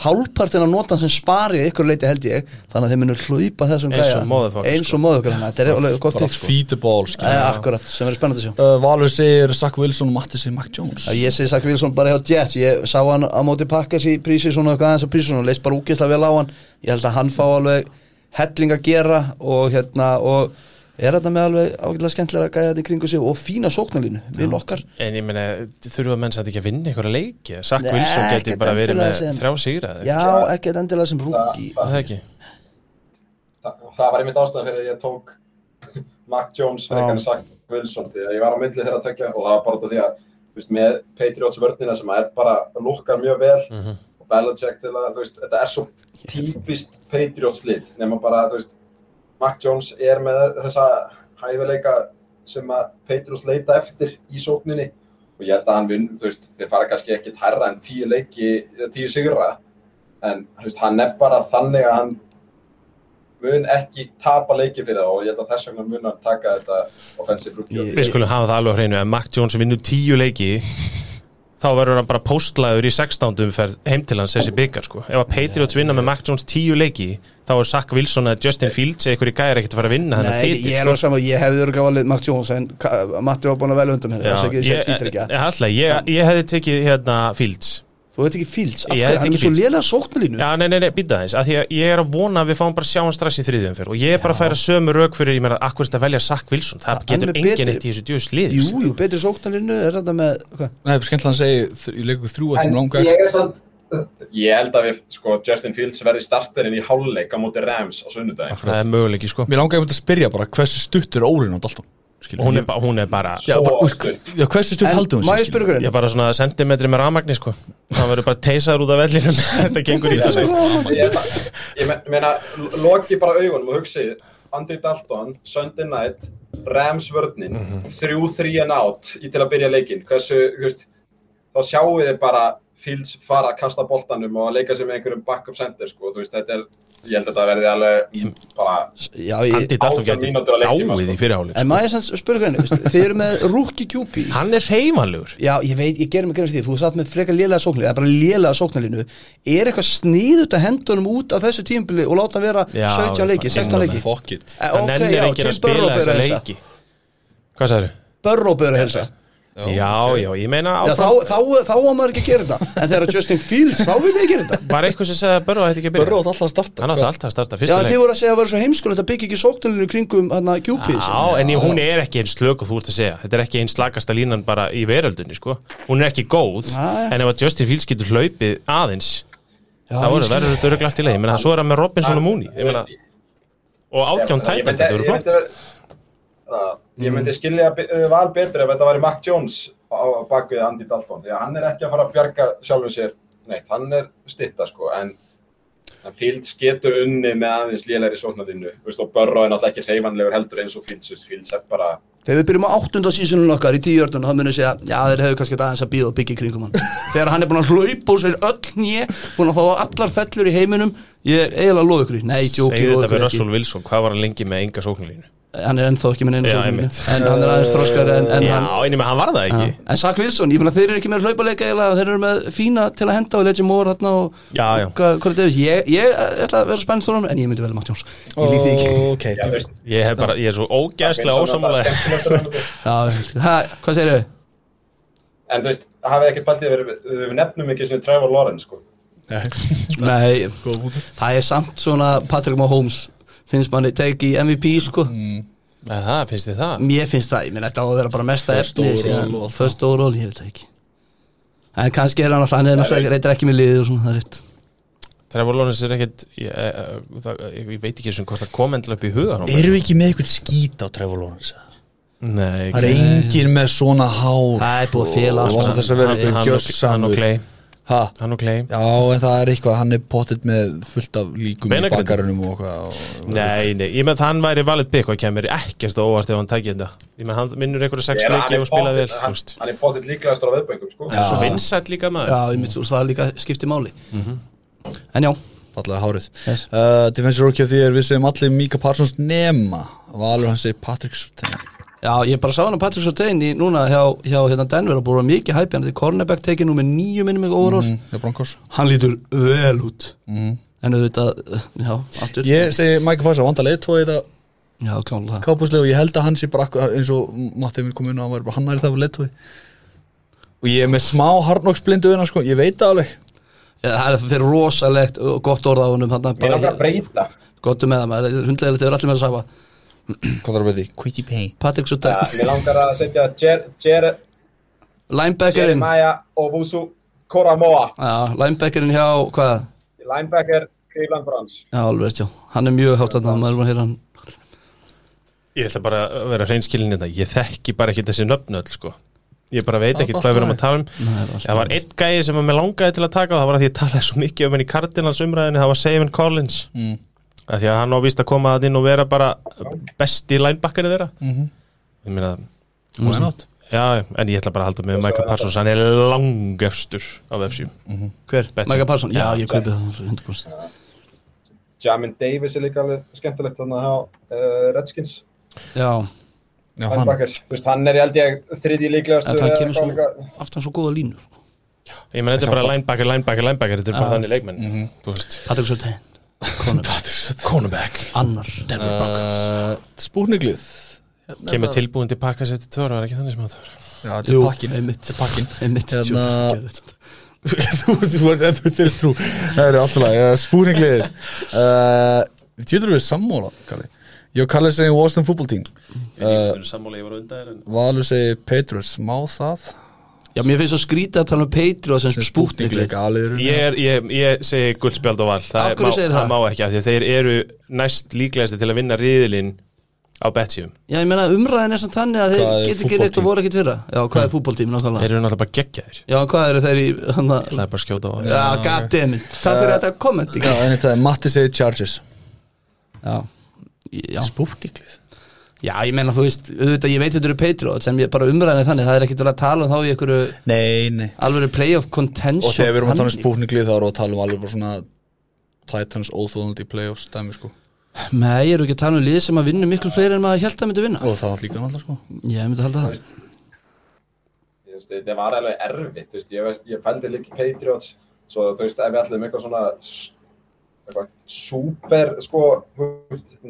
hálfpartin að nota hann sem sparið ykkur leiti held ég þannig að þeir munur hlaupa þessum
Eins
gæja
og motherfucker,
eins
sko.
og móðu okkur þetta er alveg gott
Bara
pick, sko.
feed the ball
Eh,
skilur.
akkurat, sem verður spennandi að sjá
uh, Valur segir Sack Wilson og Matti segir Mac Jones
Já, ég segi Sack Wilson bara hjá Jets ég sá hann á móti pakkas í prísi svona eitthvað aðeins á prísi svona, leist bara úkislega vel á hann ég held að hann fá alveg helling að gera og hérna og er þetta með alveg ágætlega skemmtilega að gæja þetta í kringu sig og fína sóknarlínu við okkar
en ég meina, þurfa menn samt ekki að vinna einhverja leiki Sack
Nei,
Wilson geti
ekkert
bara verið
endilega
með
sem-
þrjá sigra eða
já, ekkert endilega sem rúki
eitthvað. Er það ekki
það, það var einmitt ástæðan fyrir að ég tók [LAUGHS] Mac Jones fyrir ekki sagt Wilson því að ég var á myndli þeirra að tekja og það var bara út af því að þú veist, með Patriots vörnina sem er bara lukkar mjög vel
Mhm.
og Belichick til að þú veist, þetta er svo típist Patriots lið nema bara þú veist Mac Jones er með þessa hæfileika sem að Patriots leita eftir í sókninni og ég held að hann vinn, þú veist, þeir fara kannski ekkit hærra en tíu leiki, eða tíu sigra en þú veist, hann er bara þannig að hann mun ekki tapa leiki fyrir það og ég held að þess vegna mun hann taka þetta offensive rookie
Ég-
við skulum hafa það alveg á hreinu, ef Mac Jones vinnur tíu leiki þá verður hann bara postlaður í 16. umferð heim til hans þessi byggar sko ef að Patriots vinna með Mac Jones tíu leiki þá er Sack Wilson eða Justin Fields eða einhverju gæri ekkert að fara að vinna
Nei,
þennan
ég
titil sko.
er alveg saman, ég hefði verið gáðið Matt Jones en Ka- Matti var búin að velja undan mér
Já,
þess að ég sé
ég,
tvítryggja
alltaf, ég, ég hefði tekið hérna Fields
þú veit ekki Fields, af
Ég
hverju,
veit
hann
ekki
er svo
Fields.
lélega sóknarlínu
Já, nei, nei, nei, býta þess, að því að ég er að vona að við fáum bara sjáum strax í þriðjum fyrr og ég er bara að færa sömu rauk fyrir, ég meira, akkur þetta velja Sack Wilson, það
Hann er
getur enginn
betri.
eitt í þessu djús lið
jú, jú, betri sóknarlínu er þetta með, hvað
Nei, skemmtilega hann segir þr- Ég leikur þrjú að þeim langa
er samt Ég held að við, sko, Justin Fields verði starterinn í háluleik á móti Rams á sunnudaginn
það er möguleiki, sko
Mér langaði einmitt að spyrja bara hversu stutt er órin á Dalton Skilur,
og hún er,
ég-
ba hún er bara,
Já, bara,
Svo
úr,
stutt.
já, hversu stutt haldum
en
við
maður spyrur
ég er bara svona sentimetri með ramagni, sko hann verður bara teisaður út af vellinum [LAUGHS] þetta gengur í sko. þessu
Ég, ég me- meina, lo- loki bara augunum og hugsi Andy Dalton, Sunday Night, Rams vörninn,
Mhm.
þrjú þríjan átt í til að byrja leikinn Hversu, þú veist, þá sjáu þið bara Fields fara að kasta boltanum og að leika sig með einhverjum backup center, sko, þú veist, þetta er, ég held að þetta verði alveg bara
já, ég,
Andy Dalton
Átján
gæti
mínútur á leiktíma,
dáið
sko.
í fyrirháleik
En maður sem spurði hvernig, [LAUGHS] þið eru með rúkki kjúpi
hann er hreyfanlegur
Já, ég veit, ég gerum að gerast því, þú satt með frekar lélega sóknarlínu, það er bara lélega sóknarlínu Er eitthvað sníðut að henda honum út á þessu tímbili og láta hann vera
Já,
17 leiki,
ég-
16 leiki
Fuck it
Eh,
hann
Ok,
ennir
já,
enginn
Tim
að spila
Burrow byrja
þessa
að helsa
leiki hvað sagður?
Burrow byrja að helsa Já,
Já, já, ég meina
þá,
áfram
þá, þá á maður ekki að gera þetta En þegar Justin Fields, þá vil ég að gera þetta
var eitthvað sem segði að Börru ætti ekki að
Börru
byrja
átt alltaf að starta
hann átti alltaf að starta
Já,
fyrsta
en
leik
þið voru að segja að vera svo heimskulegt að byggja ekki sóknarlínu kringum hérna, sko. hana kjúpi
Já, en ég, hún er ekki eins slök og þú ert að segja Þetta er ekki eins slagasta línan bara í veröldunni sko. Hún er ekki góð
Nei.
En ef að Justin Fields getur hlaupið aðeins Það voru verður þetta öruglega allt í leið Ég meina, Svo er hann með Robinson og Mooney Ég meina, Og átján
Ég
tætan,
myndi-
þetta eru
ég myndi
flott
vera- Já, Ég myndi skilja be- uh, val betur ef þetta væri Mac Jones á á bak við Andy Dalton því að hann er ekki að fara að bjarga sjálfur sér neitt, hann er stitta sko en, en En Fields getur unni með aðeins lélæri sóknarðinu og Burrow er náttúrulega ekki hreyfanlegur heldur eins og Fields þú veist, Fields er bara
Þegar við byrjum á áttunda sísunum okkar í tíuörnum þá munum við segja, já þeir hefur kannski aðeins að bíða og byggja í
[LAUGHS]
kringum hann. Þegar hann er búin að hlaupa úr sér öll nýje, búin að fá allar fellur í heiminum, ég eiginlega lofa ykkur. í. Nei, djóki,
Segðu þetta við
lofa ykkur ekki.
Russell Wilson, hvað var hann lengi með enga sóknulínu?
Hann er ennþá ekki minn einu
Já,
sóknarlínu,
einmitt.
en hann er aðeins þroskar en, en
Já,
hann...
einnig með hann var það ekki
Já. En Sack Wilson, ég meina þeir eru ekki með hlaupaleika eiginlega, þeir eru með fína til að henda og leggja mór hérna og
Já, já.
og hvað hvað er þetta? Ég, ég ætla að vera spennt þrónum en ég myndi velja Matt Jones. Ég líði ekki.
Ok,
Já, veist,
Ég, hef bara, ég er svo ógæðslega ósamlega
ósamlega
Já, ha, hvað segir þau?
En þú veist, hafið ekkert bælt í að vera- við nefnum ekki sem Trevor Lawrence sko.
Nei,
góð punktur.
það er samt svona Patrick Mahomes finnst manni teki í MVP sko.
Mm.
Það finnst þið það
Mér finnst það, ég meina þetta á að vera bara mesta
First
efni
overall
síðan.
og allt það.
First overall, ég veit það ekki. En kannski er hann alltaf, hann er náttúrulega reytir ekki með liðið og svona, það er rétt.
Trevor Lawrence er ekkit ég, eh, það, ég, ég veit ekki sem hvort það kom endilega upp í hugan
Erum við ekki með eitthvað skít á Trevor Lawrence?
Nei,
Það er engin með svona hár
Það er búið að
Og
fela allt
hann
saman.
þess að vera
hann,
eitthvað
hann, og- hann og
gjörsamur
Clay
Ha?
Hann og Clay
Já, en það er eitthvað, hann er pottet með fullt af líkum í
Beinagrind.
bakarunum og eitthvað og-
Nei, nei, ég með hann væri valið bygg og kemur ekkert á óvart ef hann tækja þetta Ég með hann minnur einhverju sex
Ef hann
leiki
er
ef hann spilað
pottþétt-
vel þú
hann,
veist.
hann er bóttið líklegastur á veðböngum sko.
Já.
Svo vinsætt líka maður
Já, ég myndi, úr það líka skipti máli.
Mhm.
En já,
fallega hárið
Yes.
uh, Defensive Rookie of the Year, við segjum allir Mika Parsons nema Valur hann segir Patrick Surtain
já, ég bara sá hann að Patrick Sortain í núna hjá, hjá hérna Denver og búið að vera mikið hæpi, hann er cornerback tekið nú með nýju minnum mig overall.
Já, Mm, Broncos
Hann lítur vel út.
Mhm.
En auðvitað, já, aftur.
Ég segi Mika Parsons, vanda leiðtói þetta
Já, klálega.
kápuslega og ég held að hann sé bara akkur- eins og Matti minn kom inn og hann var bara hann er það leiðtói og ég er með smá harnoksblindu hérna sko, ég veit það alveg
Já, það er fyrir rosalegt og gott orð á honum hann
Mér langar að breyta
gott um með það maður, hundlegilegt þau eru allir með að sama
Hvað þarf að beði? Quitty Payne
Patrick Sutter,
Ja, Mér langar að setja Jer, Jer,
linebackerinn
Jeremiah Obusu Koramoa
já, linebackerinn hjá, hvað?
Linebacker Cleveland Browns
Já, alveg, rétt, já, hann er mjög hátt að maður er búin að heyra hann
Ég ætla bara að vera reynskilin þetta Ég þekki bara ekki þessi nöfn öll sko Ég bara veit ekki hvað við erum að tala um
Nei, það er allt
Það var einn gæði sem að mér langaði til að taka og það var að því að ég talaði svo mikið um henni í Cardinals umræðinu það var Savin Collins mm. að því að hann ávist að koma að inn og vera bara besti linebackinu þeirra
Mhm.
Ég meina,
Why not?
já, en ég ætla bara að halda með Micah Parsons, hann er langefstur á F7
Hver?
Betson.
Micah Parsons? Já,
Já,
ég kaupi það 100%
Jamin Davis er líka alveg skemmtilegt þannig að hafa Redskins
Já,
Já, hann
linebacker, þú veist, hann er ég held ég þriðji líklegastur
en það
eða
kemur
eitthvað líka.
svo aftan svo góða línur
Ég meina, þetta er bara linebacker, linebacker, linebacker þetta er
Ah.
bara þannig leikmenn
Mhm.
Þú veist,
Patrick Sutter, cornerback,
cornerback
annar
uh, Spúrniglið
Kemur tilbúin til pakka sér til töru, var ekki þannig sem að töru
Já, þetta
Jú,
er pakkin
einmitt.
Þetta er pakkin
einmitt
Hérna-
djöfull, geðveikt.
[LAUGHS] þú þú ert endur þeirri trú það eru alltaf lag, spúringliðið uh, tjóður við sammála Kalli. ég og Kalli segi Washington football team uh,
Sammála, ég var undan þér en
Valur segi Patriots, má það
Já, mér finnst það skrítið að tala um Patriot sem spútniklið
aliður
Ég, er, ég, ég segi guldspjald og val
Af
Það, er-
hverju
má,
segirðu það?
það má ekki af því að þeir eru næst líklegasti til að vinna riðilinn á betjum
Já, ég meina umræðin er samt þannig að
Hvað
þeir
er
geti ekki reitt
fútboltím?
og voru ekkit fyrra Já, hvað er fútbóltími nákvæmlega?
Þeir eru náttúrulega bara geggjaðir
Já, hvað eru þeir í hann
Það er bara að skjóta á það
Já, goddammit Takk fyrir þetta komment
Já, en þetta er Matti segir Chargers
Já, já.
Spúrniglið
já, ég meina þú veist auðvitað, Ég veit þetta eru Patriot sem ég bara umræðin þannig Það er ekkert verið að tala um þá í einhverju
Nei, nei
alveg playoff contention
Og þegar við erum að tala um
þannig.
spúrniglið þá erum við að tala um alveg bara svona Titans óþólandi playoffs dæmi sko
Nei, ég er ekki að tala um lið sem að vinna miklu fleiri en maður held að myndi vinna
Og það var líka náttúrulega sko
Ég myndi halda það
Ég veist, þetta var alveg erfitt, þú veist, ég, veist, ég pældi líka í Patriots, svo þú veist, ef við ætlum eitthvað svona s- eitthvað super, sko,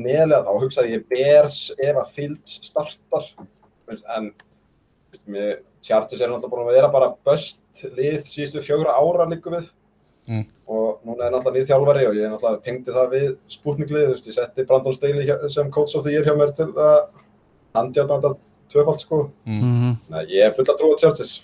neðlega þá hugsaði ég Bears ef að Fields startar, þú veist, en þú veist, mér, Chargers er náttúrulega búin að vera bara böst lið síðustu fjögra ára líku við
Mm.
og núna er náttúrulega nýð þjálfari og ég náttúrulega tengdi það við spútninglið, þú veist, ég setti Brandon Staley hjá- sem coach of the year hjá mér til að handjáta þetta tvöfald, sko,
Mhm.
Nei, ég er full að trúa á Chargers.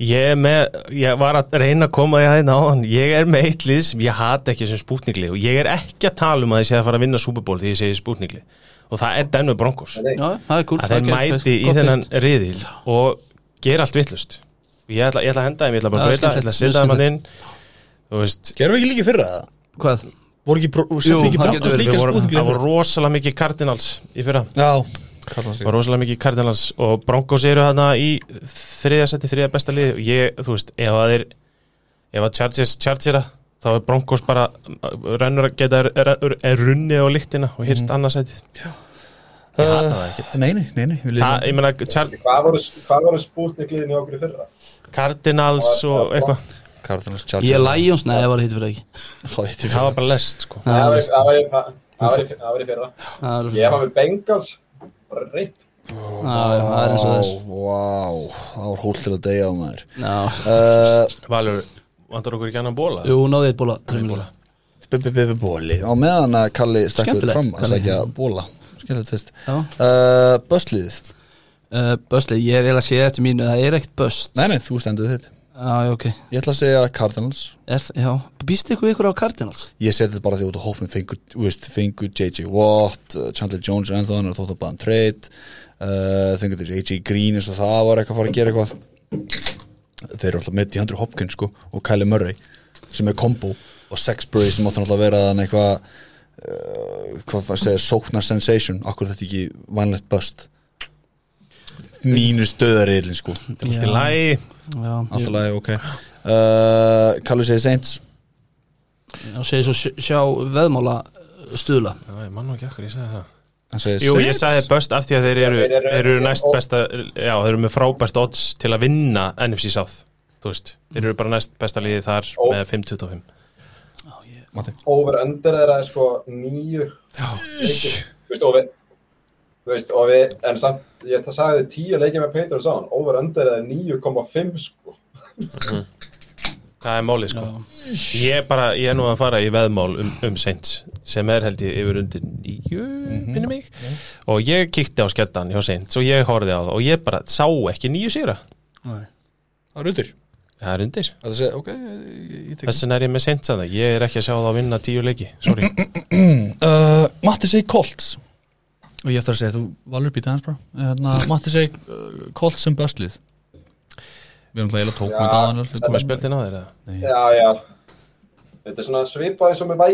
Ég, er með, ég var að reyna að koma því að hérna á hann Ég er með eitt lið sem ég hata ekki sem spútningli og ég er ekki að tala um að ég sé að fara að vinna Super Bowl því ég segi spútningli og það er Denver Broncos
Nei,
Já, það er gúl
að þeir mæti í þennan riðil og gera allt vittlust ég ætla, ég ætla að henda þeim, ég ætla bara
Já,
að breyta ég
skemmtilegt,
ætla að
mjög
setja þeim að inn þú veist,
Gerum við ekki líka í fyrra það?
Hvað?
voru ekki, bró- settu
Jú,
ekki
það
Brandons
getur
Við
verið.
líka
vorum-
spúðinglega
Það voru rosalega mikið Cardinals í fyrra
Já,
var rosalega mikið Cardinals og Broncos eru hana í þriðja seti, þriðja besta lið og ég, þú veist, ef að þeir ef að Chargers chargera þá er Broncos bara uh, rennur að geta er, er, er runnið á lyktina og hýrt mm. annars setið Ég hata það ekkert.
Eh, Nei, nei, nei, nei við
það,
lifum-
ég meina, Char
Hvað voru, hvað voru spútnik liðin hjá okkur í fyrra?
Cardinals og eitthvað
Cardinals, Chargers
Ég Lions, nei, það var hitt fyrir ekki
Það [LAUGHS] var eitt í
það
fyrir.
var bara lest, sko
Það
Það
var
var í-
list.
það var í- það var í- það var í fyrra.
Það var-
Ég var með Bengals. Ripp.
það er Ah, það er eins og þess
Vá, vá, það var hól til að deyja á maður
Já.
Uh,
Valur, vantar okkur ekki annan bóla?
Jú, náðu eitt bóla, trefum bóla
b- b- b- b- Bóli á meðan að Kalli stakkur
Skemmtilegt,
fram að
Kalli.
segja bóla Skemmtilegt fyrst
Já.
uh, Bösliðið
Uh, Bösli, ég er eiginlega að sé eftir mínu það er ekkert böst Ah,
Nei, nei, þú stendur þitt
Já, já, ok
Ég ætla að segja Cardinals
er, Já, býst ykkur við ykkur á Cardinals?
Ég seti þetta bara því út á hópnum fengu, þú veist, fengu J.J. Watt, uh, Chandler Jones en þannig að þótt að baðan trade uh, fengu þessi A.J. Green eins og það var eitthvað að fara að gera eitthvað Þeir eru alltaf með DeAndre Hopkins sko og Kylie Murray sem er kombo og Sexbury sem áttan alltaf að vera þannig eitthvað uh, hvað að segja, sókna sensation akkur þetta ekki vanlegt bust mínus döðariðlin sko
Þú veist, í lagi
Já,
Alltaf lagi, ok uh, Kallu segir Saints
ég segi svo sj- sjá veðmála uh, stuðla
Já, ég mann nú ekki akkur, ég sagði það
Hann segir
Jú, ég
Saints.
sagði best af því að þeir eru,
þeir eru-
þeir eru næst besta Já, þeir eru með frábært odds til að vinna NFC South, þú veist Þeir eru bara næst besta liðið þar
Ó.
með 5.25
Matti.
Over under þeirra er sko nýju. leikir. Þú veist, og við, þú veist, og við, en samt, ég það sagði þið tíu leikið með Peitur og sáðan, over under er 9,5 sko.
Það er málið, sko Ég er bara, ég er nú að fara í veðmál um, um Saints sem er held ég yfir undir nýju,
Mhm.
minni mig og ég kíkti á skettan hjá Saints og ég horfði á það og ég bara sá ekki nýju sigra
Það er undir
Það er undir
Það segja, ok, ég, ég- ég tek
Þess vegna er ég með Saints að það, ég er ekki að sjá það að vinna tíu leiki,
[CLEARS THROAT]
sorry
uh, Matti segir Colts Og ég ætla að segja, þú valur býta hans bara hérna, Matti segir uh, Colts sem böslið Við erum hlægilega tókum
Já,
þetta aðan öll, við
Þú
tókum
er spjöldin á þeir eða?
Já, já. Þetta er svona svipað eins og með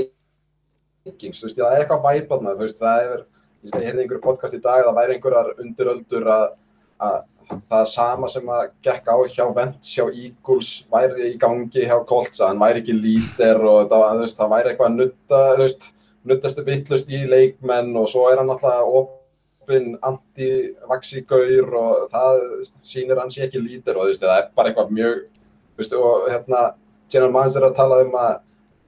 Vikings, þú veist, það er eitthvað væparna, þú veist, það er, ég segi, hérna einhver podcast í dag, það væri einhverjar undiröldur að, að það sama sem að gekk á hjá Vents, hjá Eagles, væri í gangi hjá Colts, að hann væri ekki lítir og það, var- þú veist, það væri eitthvað að nutta, þú veist, nuttastu vittlust í leikmenn og svo er hann alltaf opinn anti-vaxigaur og það sýnir hann sé ekki lítir og þú veist, það er bara eitthvað mjög, þú veist, og hérna, General Manager er að tala um að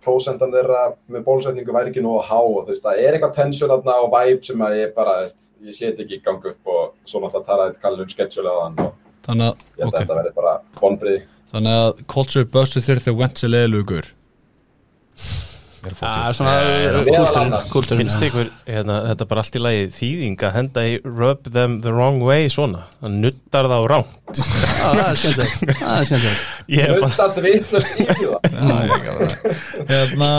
prósentan þeirra með bólusetningu væri ekki nógu há og þú veist, það er eitthvað tensjón þarna og væp sem að ég bara, þú veist, ég set ekki í gang upp og svo náttúrulega talaði kallið um schedule á þann og
Þannig að,
ég held að
ok,
þetta verði bara vonbrið.
þannig að Colts er böslið þegar þegar Wentz er leiðlugur
Það er svona uh,
meðal
kúltúrinn
annars.
Kúltúrinn
Finnst ykkur, hérna, þetta er bara allt í lagi þýðing að henda í rub them the wrong way svona, það nuttar það á rám
Ah, Það er skemmtilegt Það er skemmtilegt
Ég er bara,
Nuttast vittlust í það.
[LAUGHS] Hérna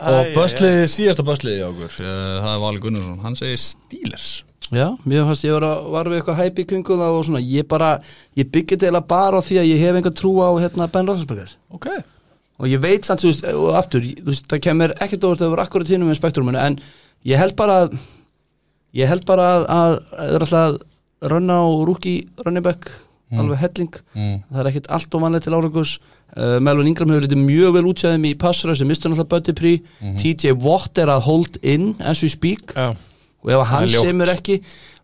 Og
Æ,
böslið, síðasta böslið í okkur uh, Það er Vali Gunnarsson, hann segir Steelers
Já, mér fannst ég var, að, var við eitthvað hæpi í kringu það og svona Ég bara, ég byggja þetta eiginlega bara á því að ég hef einhver trú á hérna Ben Roethlisberger
Ok,
og ég veit samt, þú veist, og aftur ég- þú veist, það kemur ekkert óvart að það voru akkurat hinum með spektruminu, en ég held bara að ég held bara að, að það er alltaf að runna á rúki runningbæk, mm. alveg helling það er ekkert allt og vanlega til árangurs uh, Melvin Ingram hefur litið mjög vel útsæðum í passur sem mistur náttúrulega Buddy Prí TJ Watt er að hold in as we speak
já,
og ef hann
er ljótt.
semur ekki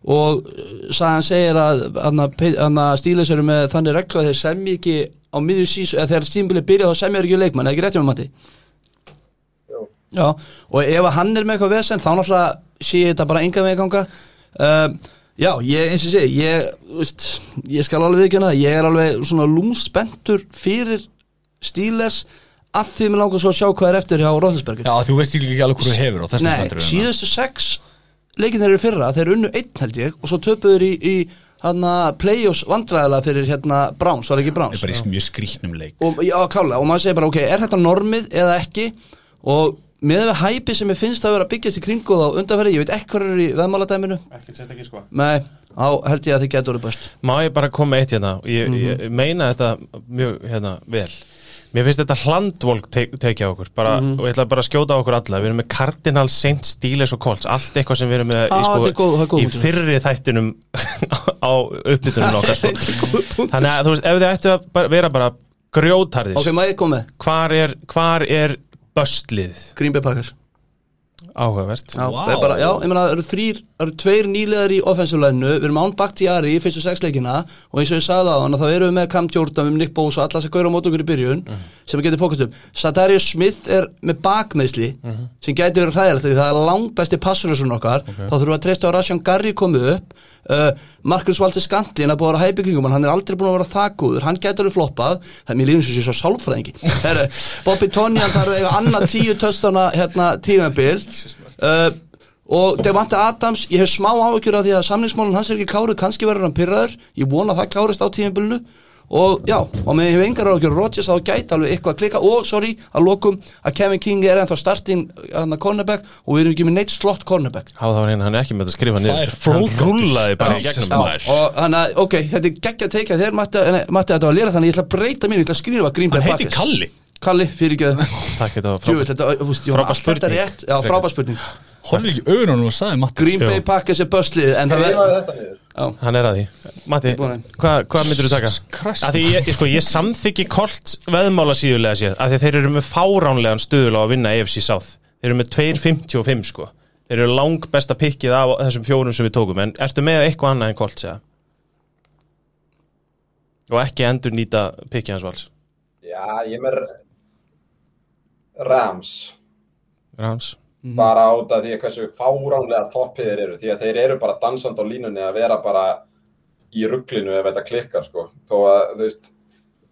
og uh, sagan segir að stílis eru með þannig regla að þeir semji ekki á miðju sís eða þegar stímbilið byrja þá semjur ekki leikmann eða ekki rétt hjá mér, Matti
Jú.
Já, og ef að hann er með eitthvað vesen þá náttúrulega sé ég þetta bara enga með ganga um, Já, ég eins og sé ég, þú veist, ég skal alveg viðkjöna það ég er alveg svona lúmspentur fyrir stíles að því mér langar svo að sjá hvað er eftir hjá Róðlisbergur
já þú veist ekki alveg hverju hefur og þessum
Nei,
stendur við hérna.
síðustu sex leikin þeir eru í fyrra, þeir unnu einn held ég og svo töpuður í, í hana, play-offs vandræðilega fyrir hérna Browns, var það
Ég
ekki
er
Browns
bara í mjög skrýtnum leik
og, já, klálega, og maður segir bara, ok, er þetta normið eða ekki og með við hæpi sem ég finnst að vera að byggjast í kringu þá undanferði, ég veit ekki hvað er í veðmáladæminu
ekkert sérstakki sko
Nei, þá held ég að þið getur orðið best Mhm.
Má ég bara koma með eitt hérna, ég, ég meina þetta mjög, hérna, vel Mér finnst þetta hlandvolk te tekið á okkur bara,
Mhm.
og ég ætla bara að skjóta á okkur alla við erum með Cardinal, Saint, Steelers og Colts allt eitthvað sem við erum með sko,
Á, þetta er góð- það er góð
í
punktur.
fyrri þættinum [LAUGHS] á
[LAUGHS]
uppbytunum okkar sko. Þannig að þú veist, ef þið ættu að bara, vera bara grjótarðir
Ok, maður ég kom með
hvar, er, hvar er börslið
Green Bay Packers
áhugavert?
Já,
Vá.
það er bara, já, ég meina, það eru þrýr, það eru tveir nýlegar í offensivlæðinu, við erum án Bakhtiari í fyrstu sexleikina og eins og ég sagði á hann þá erum við með Cam Jordan, við erum Nick Bosa, alla sem gauður á mót okkur í byrjun sem við getum fókast um. Sadarius Smith er með bakmeðsli sem gæti verið hræðilegt því það er langbesti passurursun okkar, þá þurfum við að treysta á Rasjan Garri komið upp, uh, Markus Valdi Skantlin að búið að vera hæpi kringum hann, hann er aldrei búin að vera það góður, hann gæti alveg floppað, það er mér lífum sem sé svo sálfræðingi. Heru, Bobby Tonjan þarf að eiga annað tíu töstana hérna tímabil. Uh, og Devante Adams, ég hef smá áhyggjur af því að samningsmálun hans er ekki kárið, kannski verður hann pyrraður ég vona að það klárist á tíðinbölinu og já, og með ég hef engar áhyggjur af Rodgers þá gæti alveg eitthvað að klika og sorry að lokum að Kevin King er ennþá starting hann að cornerback og við erum ekki með neitt slott cornerback
Há þá var hérna, hann er ekki með þetta að skrifa
er
niður Hann
fróðgátur.
rúllaði bara í
Já,
gegnum
já.
það.
og þannig að, ok, þetta er geggja að teika þér Matti, nei, Matti þetta var að lera þannig ég ætla að breyta mín, ég ætla að skrýna Green Bay
Hann heiti
Packers
Kalli
Kalli, fyrir
[LAUGHS]
ekki
Takk, þetta var
Jú,
frábært
þetta, þú veist, ég var
Frábær
allt þetta
spurning.
rétt Já, frábær spurning
Horfðu ekki auðvitað og sagði Matti
Green Bay
Jú.
Packers er böslið en það
Skrifaðu
verður
þetta niður.
Hann er að því Matti,
Búin.
hvað hva myndir þú taka?
Christ.
Af Því ég, sko, ég samþyggi kolt veðmála síðulega séð af Því að þeir eru með fáránlegan stuðul á að vinna EFC South Þeir eru með 2.55 sko Þeir eru lang besta pikkið af þessum fjórum sem við tókum En ertu með eitthvað annað en kolt segja? Og ekki endur nýta pikkið hans vals
Já, ég er með Rams
Rams
bara út af því hversu fáránlega toppiðir eru því að þeir eru bara dansandi á línunni að vera bara í rugglinu ef þetta klikkar sko þó að þú veist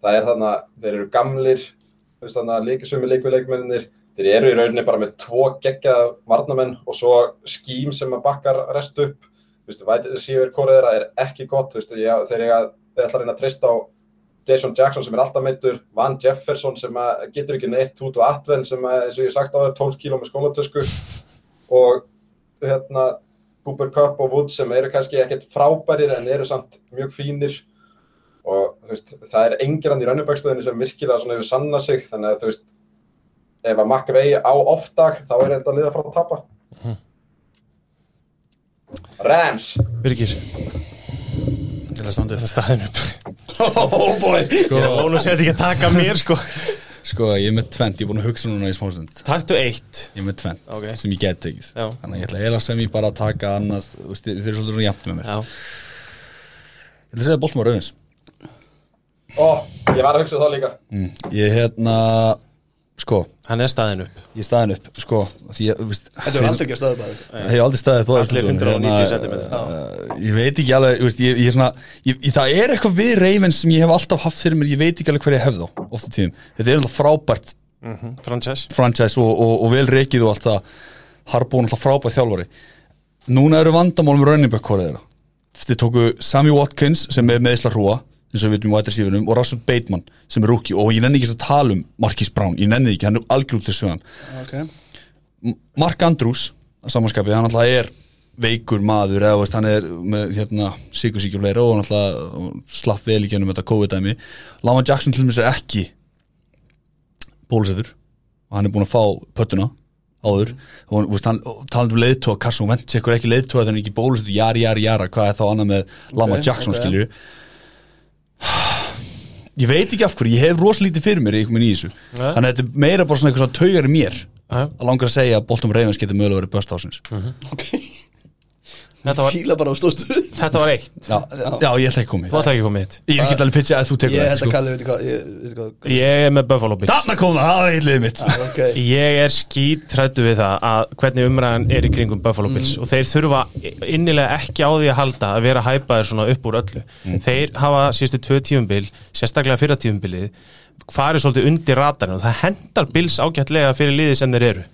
það er þannig að þeir eru gamlir þú veist þannig að leikisumi leikvileikmennir þeir eru í rauninni bara með tvo geggjað varnamenn og svo skím sem að bakkar rest upp þú veist, vætið síður korið þeirra er ekki gott þú veist, ég, þeir eiga, þeir ætla að reyna að treysta á Jason Jackson sem er alltaf meittur, Van Jefferson sem að getur ekki neitt, Tutu Atwell sem að, eins og ég hef sagt á það, 12 kíló með skólatösku og hérna Cooper Cup og Woods sem eru kannski ekkert frábærir en eru samt mjög fínir og þú veist, það er engrann í rönnubækstöðinu sem virkilega svona hefur sanna sig þannig að þú veist, ef að McVay á off-dag þá er þetta liða frá að tapa Rams
Birgir,
til að standa upp.
staðin upp
Oh boy
Ég er ólega sér ekki að taka mér sko
Sko, ég er með tvent, ég er búin að hugsa núna í smástund
Taktu eitt
Ég er með tvent
Ok.
sem ég get tekið
Já.
Þannig að ég ætla eiginlega sem ég bara að taka annars Þú veist, þið þið eru svolítið svona jafn með mér
Já
Ég ætla að segja Baltimore Ravens
Ó, ég var að hugsa það líka
mm. Ég hérna, sko,
Hann er staðin upp
ég staðin upp Sko, því ég, þú veist
Þetta er aldrei ekki að staða bara
Ég hef aldrei staðið upp á
Allir 190 sentimeter.
uh, Ég veit ekki alveg, þú veist, ég, ég er svona ég, ég, Það er eitthvað við Ravens sem ég hef alltaf haft fyrir mér Ég veit ekki alveg hver ég hef þá, ofta tíðum Þetta er alltaf frábært
Mhm, Frances
franchise og, og, og vel reikið og allt það Harbo er alltaf frábær þjálfari Núna eru vandamál með running back korið þeirra Þeir tóku Sammy Watkins sem er meðisla hrúa eins og við vitum í wide receiverum og Russell Bateman sem er rookie og ég nenni ekki að tala um Marquis Brown, ég nenni ekki, hann er algjörn til sögðan
okay.
Mark Andrews að samanskapið, hann alltaf er veikur maður eða þú veist, hann er með hérna, sikursíkjuleira og hann alltaf slapp vel í genum þetta COVID-dæmi Lama Jackson til þess er ekki bólusettur og hann er búin að fá pöttuna áður og hann, þú veist, hann talandi um leiðtóa Carson Wentz, ekkur ekki leiðtóa þegar hann er ekki bólusettur jari, jari, jara, hvað er þá annað með Lama
Ok,
Jackson
ok.
okay. ég veit ekki af hverju, ég hef rosalítið fyrir mér í einhverjum í þessu,
Nei.
þannig að þetta er meira bara svona eitthvað svona taugar í mér að langar að segja að Boltum Ravens getur mögulega verið böst ásins
Þetta var,
Fíla bara á stóðstu
þetta var eitt
já, já, ég ætla ekki komið
Þú ætla ekki komið hitt
Ég get alveg pitcha að þú tekur
Ég
það
held að
sko.
Kalli, veitir hvað, ég- veitir hvað
Ég er með Buffalo Bills
Þarna kom það, það er eitthvað mitt
Ok,
Ég er skítrættu við það að hvernig umræðan er í kringum Buffalo Bills og þeir þurfa innilega ekki á því að halda að vera hæpaðir svona upp úr öllu Þeir hafa síðustu tvö tíumbil sérstaklega fyrra tíumbilið farið svolítið undir ratarinn og það hendar Bills ágætlega fyrir liði sem þeir eru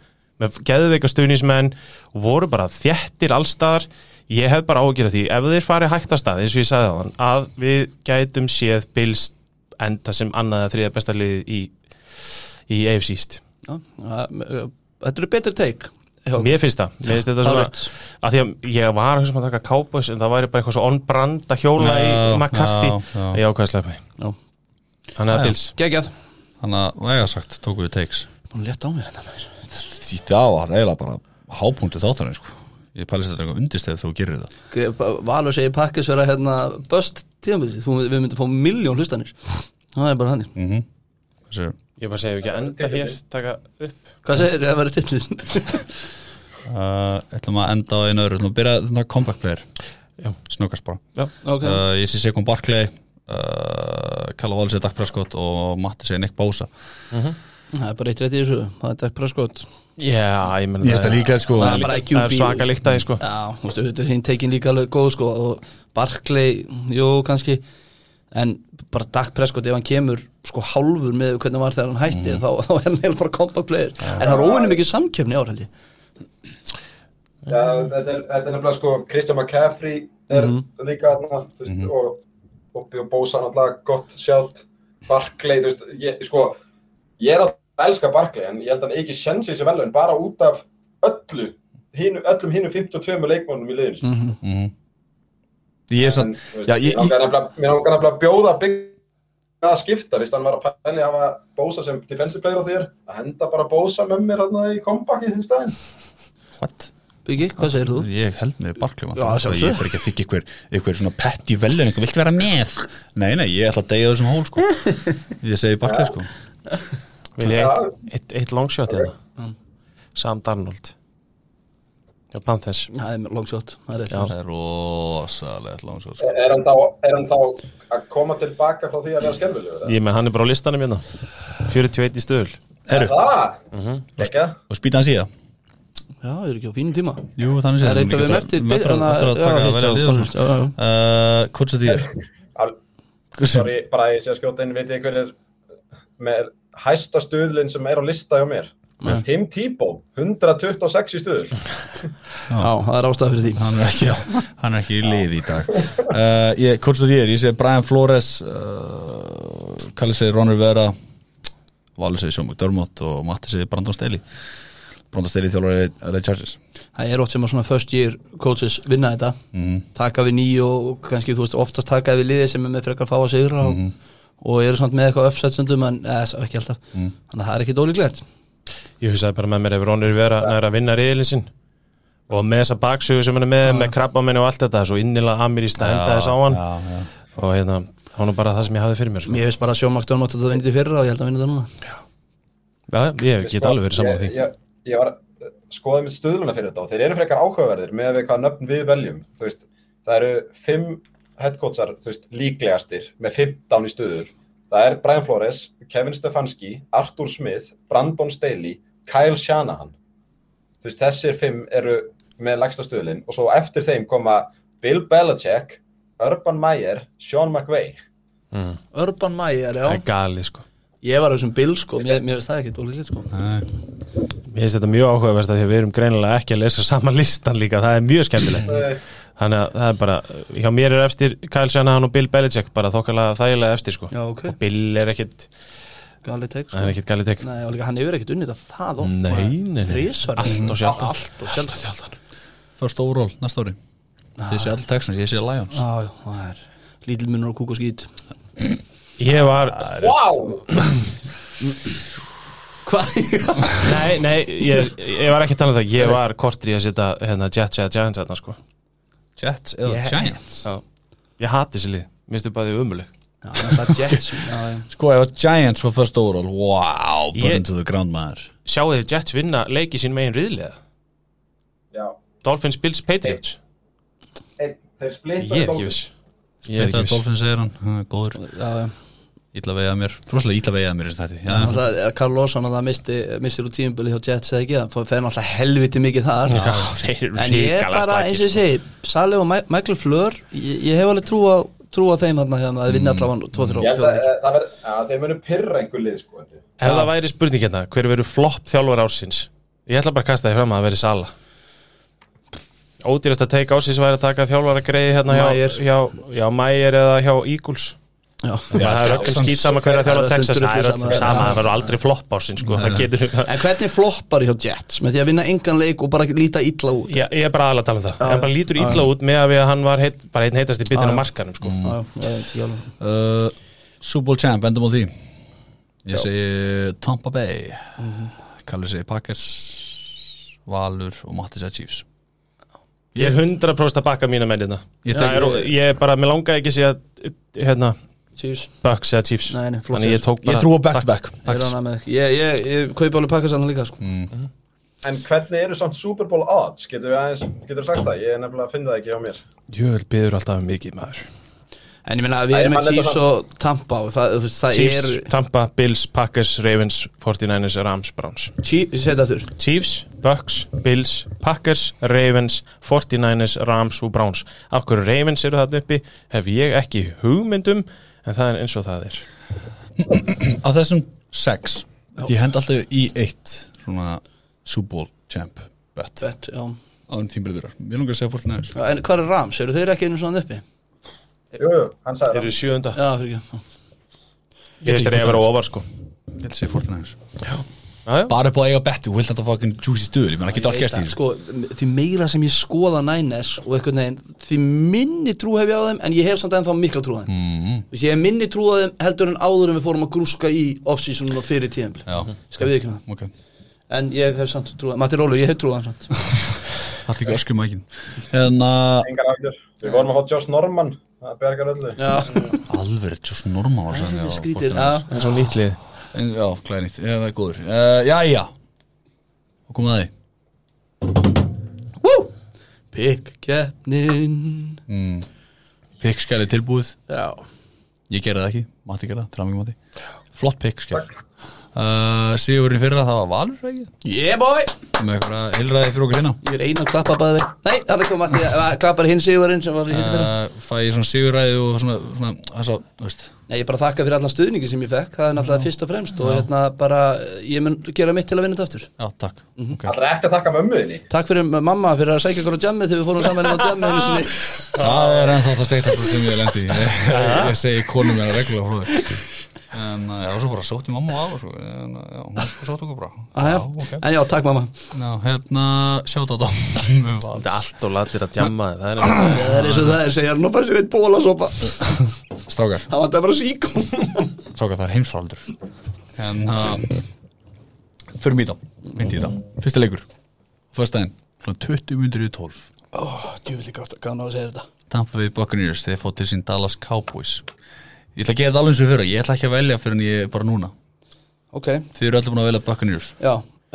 með geðveika stuðnismenn og voru bara þjættir allstaðar ég hef bara ágjörð því ef þeir farið hægt að stað eins og ég sagði á þann að við gætum séð Bills enda sem annaða þriða besta liði í, í AFC East
já, já, þetta eru betur teik
Mér finnst það, mér finnst þetta svona
Alright.
að því að ég var að hugsa um að taka Cowboys en það væri bara eitthvað svo on brand að hjóla í
Já,
McCarthy
já, já.
ég ákvæði að slepa því
Já.
Þannig að Bills
Gegjað
Þannig að vegasagt tókum við takes
Búin að leta á mér þetta maður
Því það var eiginlega bara hápunktu þáttarinn sko. Ég pælist þetta eitthvað undist þegar þú gerir það
Valur segir pakkis vera hérna Böst tíðanbyrði, við myndum fá miljón hlustanir Það er bara þannig
Mhm. Þessi,
Ég bara segi ef við ekki að enda hér, taka upp
Hvað segir það verið tillin?
uh, ætlum að enda á einu öðru Nú byrja þetta comeback player
Já.
Snöggast bara
Já,
ok,
uh, Ég sé Sekon Barkley uh, Kalla Valur segir Dak Prescott og Matti segir Nick Bosa
það er bara eitt rétt í þessu Það er Dak Prescott
ég menn
Ég veist það líka sko
Það er bara
Það er
QB.
svaka líkt aðeins sko
Já, þú veist, auðvitað er hinn tekin líka alveg góð sko og Barkley, jú, kannski en bara Dak Prescott ef hann kemur sko hálfur með hvernig hann var þegar hann hætti
Mhm.
þá, þá er hann eiginlega bara compact player en það er óvinni mikið samkjöfni ár held ég
Já,
Ah.
þetta er, þetta er nefnilega sko Christian McCaffrey er
Mhm.
líka þarna þú veist, og, og, og Bosa náttúrulega gott sjátt Barkley, þú veist, ég, sko ég er alltaf að elska Barkley en ég held að hann eigi ekki sjensi þessi velun bara út af öllu, hinu, öllum hinu 52 leikmónum í liðinu mm -hmm.
Ég er
en,
sann
þú veist,
Mhm. Já, ég,
mér langar nefnilega- mér langar nefnilega að bjóða bygg að skipta, viðst hann var að pæli að hafa Bosa sem defensive player á þér að henda bara Bosa með mér hann í kompakki í stæðin
What?
Byggi, hvað segir þú?
Ég held með Barkley vantar.
Já,
Það
sjálfsögðu.
Ég fyrir ekki að þykja ykkur, ykkur svona pett í velun Ykkur vilt vera með Nei, nei, ég ætla að deyja þessum [LAUGHS] hól sko Ég segi Barkley sko
Vil ég eitt, eitt, eitt longshot eða Sam Darnold Já, Panthers
Það er long shot, það er rétt
Það er rosalega langsóð sko.
er hann, þá, er hann þá að koma tilbaka frá því að vera skemmilegu
Ég menn hann er bara á listanum hérna 41 í stöðul
Er það? Ekki?
Og spýta hans í það
Já, ég er ekki á fínum tíma
Jú, þannig sé
Það er eitt af þeim eftir
Það þarf að
þannig að-
taka
já,
að sko. velja
já,
lið og svona
já, já.
Uh, Hvort sem því er
Al- Sorry, bara að ég sé að skjóta inn, veit ég hver er með hæsta stuðlinn sem er á lista hjá mér Tim Tebow, 126 í stuðl
Já, það er ástæða fyrir því
Hann er ekki, [LAUGHS] hann er ekki í lið í dag uh, ég, Hvort sem því er, ég sé Brian Flores uh, Kalli segi Ron Rivera Valur segi Sjómug Dörmott og Matti segi Brandon Staley Brandon Staley þjálfari Ray Chargers
Það er oft sem að svona first year coaches vinna þetta
Mhm.
taka við nýju og kannski þú veist oftast taka við liðið sem er með frekar fá að sigra og,
Mhm.
og eru samt með eitthvað uppsetsundum en eh, ekki alltaf
Mhm.
þannig að það er ekki dólíklegt
Ég hugsaði bara með mér ef Ronur vera næra að vinna riðilinn sinn og með þessa baksögu sem hann er með með krabbamenni og allt þetta svo innilega amirista enda þess á hann
já, já.
og hérna, það var nú bara það sem ég hafði fyrir mér sko.
Mér finnst bara að sjómakt dánmátt að það vinna þetta í fyrra og ég held að vinna þetta núna
Já, ég get alveg verið saman á því
Ég, ég, ég var skoðið með stuðluna fyrir þetta og þeir eru frekar áhugaverðir með við hvað nöfn við veljum Þú veist, það eru fimm headcoachar þú veist, líklegastir með 15 í stuður það er Brian Flores, Kevin Stefanski Arthur Smith, Brandon Staley Kyle Shanahan þú veist, þessir fimm eru með lagsta stuðlinn og svo eftir þeim koma Bill Belichick, Urban Meyer Sean McVay
Urban Meyer,
Það
já
er galið sko
Ég var á þessum Bill sko, mér, mér finnst það ekkert dólíklegt sko
Mér finnst þetta mjög áhugaverst að því að við erum greinilega ekki að lesa sama listan líka, það er mjög skemmtilegt Þannig að það er bara, hjá mér er eftir Kyle Shanahan og Bill Belichick bara þokkalega þægilega eftir sko
Já, ok,
Og Bill er ekkit,
galið teik sko
hann er ekkit galið tek
Nei, og líka hann hefur ekkert unnið þetta það oft
Nei,
bara
nei, nei.
Þrisvar.
Allt og sjaldan.
Allt og sjaldan
First overall, næsta ári
Ah.
Þið sé allir Texans, ég sé Lions
Já, já, það er lítil munur og kúk og skýt
Ég var,
Wow!
Hvað?
nei, nei, ég, ég var ekki að tala um það, ég var kortri að setja hérna Jets eða Giants hérna sko
Jets eða
Yeah.
Giants
Já. Ég hati þessi lið, mér finnst þau bæði umulig
Já, það er Jets já, já.
Sko, ef að Giants var first overall Wow, burn
Ég-
to the ground maður
Sjáu þið Jets vinna leiki sín megin riðlega
Já,
Dolphins, Bills, Patriots
einn, þeir
Ég
splitta
er ekki viss Ég
Þetta
er ekki
er
viss
Dolphins segir hann, Ha, góður
Já, já.
Ítla vegið að mér, rosalega ítla vegið að mér í þessu þætti. Já,
Það, eh, Karl Lósson að það misti, mistir úr tímabili hjá Jets eða ekki, það fer náttúrulega helviti mikið þar
Já, þeir eru
En ég er
ríkala
bara, eins og ég segi, Saleh og Ma- Michael Fleur, ég, ég hef alveg trú á, trú á þeim þarna hérna að
Mm.
vinna allavega 2-3
Ég held að,
fjóra
eh, það verð, að þeir munu pyrra einhver lið sko. held ég.
Ef það væri spurning hérna, hver verður flopp þjálfur ársins? Ég ætla bara að kasta því fram að það verði Sala Ódýrasta teik ársins væri að taka þjálfara greið hérna hjá,
Mayer.
hjá, hjá Mægir eða hjá Eagles
Já,
Það er öllum
Texans.
skýt sama hverja
Það er
þjálfara
öllum
Texas Það er
drullu
öllum
sama.
sama, það verður aldrei flopp ársins sko. Það getur
En hvernig floppar hjá Jets með því að vinna engan leik og bara líta illa út?
Já, ég er bara aðalega að tala um það En bara lítur illa út með að við að hann var heit, bara einn heitast í bitin á markanum sko.
Eh,
Já, já, ég veit ekki alveg.
Uh, Super Bowl champ, endum á því Ég segi Tampa Bay
Mhm.
Kallir segi Packers Valur og Matti segi Chiefs
Ég er 100% að bakka mína mennina
Ég
Það er, ég er bara, mér langaði ekki að segja hérna,
Chiefs
Bucks eða Chiefs
Nei, nei, flott
Þannig ég tók bara
Ég trú á back-to-back
Ég er
Bucks. Mm.
ánægð með þig. Ég, ég, ég kaupi alveg pakkastanna líka sko.
En hvernig eru samt Super Bowl odds? Getur við aðeins, getur við sagt það? Ég er nefnilega að finna það ekki hjá mér.
Jöfnvel byður alltaf um mikið maður
En ég meina að við erum
Æ,
með
hann er
Chiefs og Tampa og það, þú veist, það
Chiefs,
er
Tampa, Bills, Packers, Ravens 49ers, Rams, Browns
Chiefs, ég segi þetta þurr
Chiefs, Bucks, Bills, Packers, Ravens 49ers, Rams og Browns Af hverju Ravens eru þarna uppi hef ég ekki hugmyndum en það er eins og það er
Af þessum sex Ég hend alltaf í eitt Svona Super Bowl champ bet
En
Án tímbilið byrjar Ég langar að segja fólk næður
hvað er Rams? Eru þeir ekki einu svona uppi?
Jú, jú, hann sagði það.
Eru sjöunda
Já, fyrir ekki
Ég veist þeir eru að vera ofar sko
Ég held að segja fólk næður
Já, já.
Bara upp á að eiga betti Þú vilt alltaf fucking juicy stöður Ég menn að geta allt
Ég veit
gæst í
það,
þessu.
sko, Því meira sem ég skoða nænes og einhvern veginn, því minni trú hef ég á þeim en ég hef samt ennþá mikla trú á þeim mm. Ég hef minni trú á þeim heldur en áður en við fórum að grúska í off-seasonum og fyrir tíðanbli
Já
Skal við ekki það?
Ok
En ég hef samt trú á þeim Matti Rólu, ég hef trú á þeim samt
Það er ekki öskum mækin En að
Engar afgjör. Við vorum að hótt Josh Norman. Það bergar
[LAUGHS]
öllu.
Já,
Alveg Joss Norma var
það er
sagði
svolítið
á 49ers.
skrítið Já,
Það er svo nýtt lið
En, Já, klæðið nýtt, já, það er góður uh, Jæja Og komum að því
Wú! Pick keppnin
Pikk skælið tilbúið,
Já
ég gerði það ekki Matti gerði það, trámingum Matti Flott pikk skæl uh, Sigurinn í fyrra, það var Valur ekki?
Yeah boy
Með eitthvað heilræði fyrir okkur hérna
Ég er eina að klappa bæði við Nei, þetta kom að því klappar hinn sigurinn sem var í hitt fyrir
uh, Fæ ég svona sigurræði og svona, svona þess að, þú veist
Nei, ég bara þakka fyrir allan stuðningi sem ég fekk Það er náttúrulega fyrst og fremst Og hérna bara, ég mun gera mitt til að vinna þetta aftur
Já, takk okay.
Allra ekki að takka mömmuðinni.
Takk fyrir mamma fyrir að sækja okkur á jammið Þegar við fórum [LAUGHS] saman á jammið einu sinni.
Það er ennþá það steiktast sem ég lendi í. [LAUGHS] Ég, ég segi konum mér að regla frá þér En uh, já, svo bara sótti mamma á svo, en, uh, já, hún sótti okkur bara
Jæja.
ok
En já, takk mamma
Já, hérna, sjáta á um það
Þetta er allt og latir að djamma þér, það er eins og-
Það er eins og það er segja Nú fannst þér eitt bólasopa Það
Strákar,
var þetta bara síkum
strákar það er heimsfaraldur En uh, Förum í það, myndi í það Fyrsta leikur, fyrstaðin Svona 20 myndir í 12
Ó, djúvillig gott að kanna að segja þetta
Tampa Bay Buccaneers, þeir fá til sín Dallas Cowboys Ég ætla að gera það alveg eins og fyrir Ég ætla ekki að velja fyrir en ég bara núna
Ok,
Þið eru allir búin að velja Buccaneers
já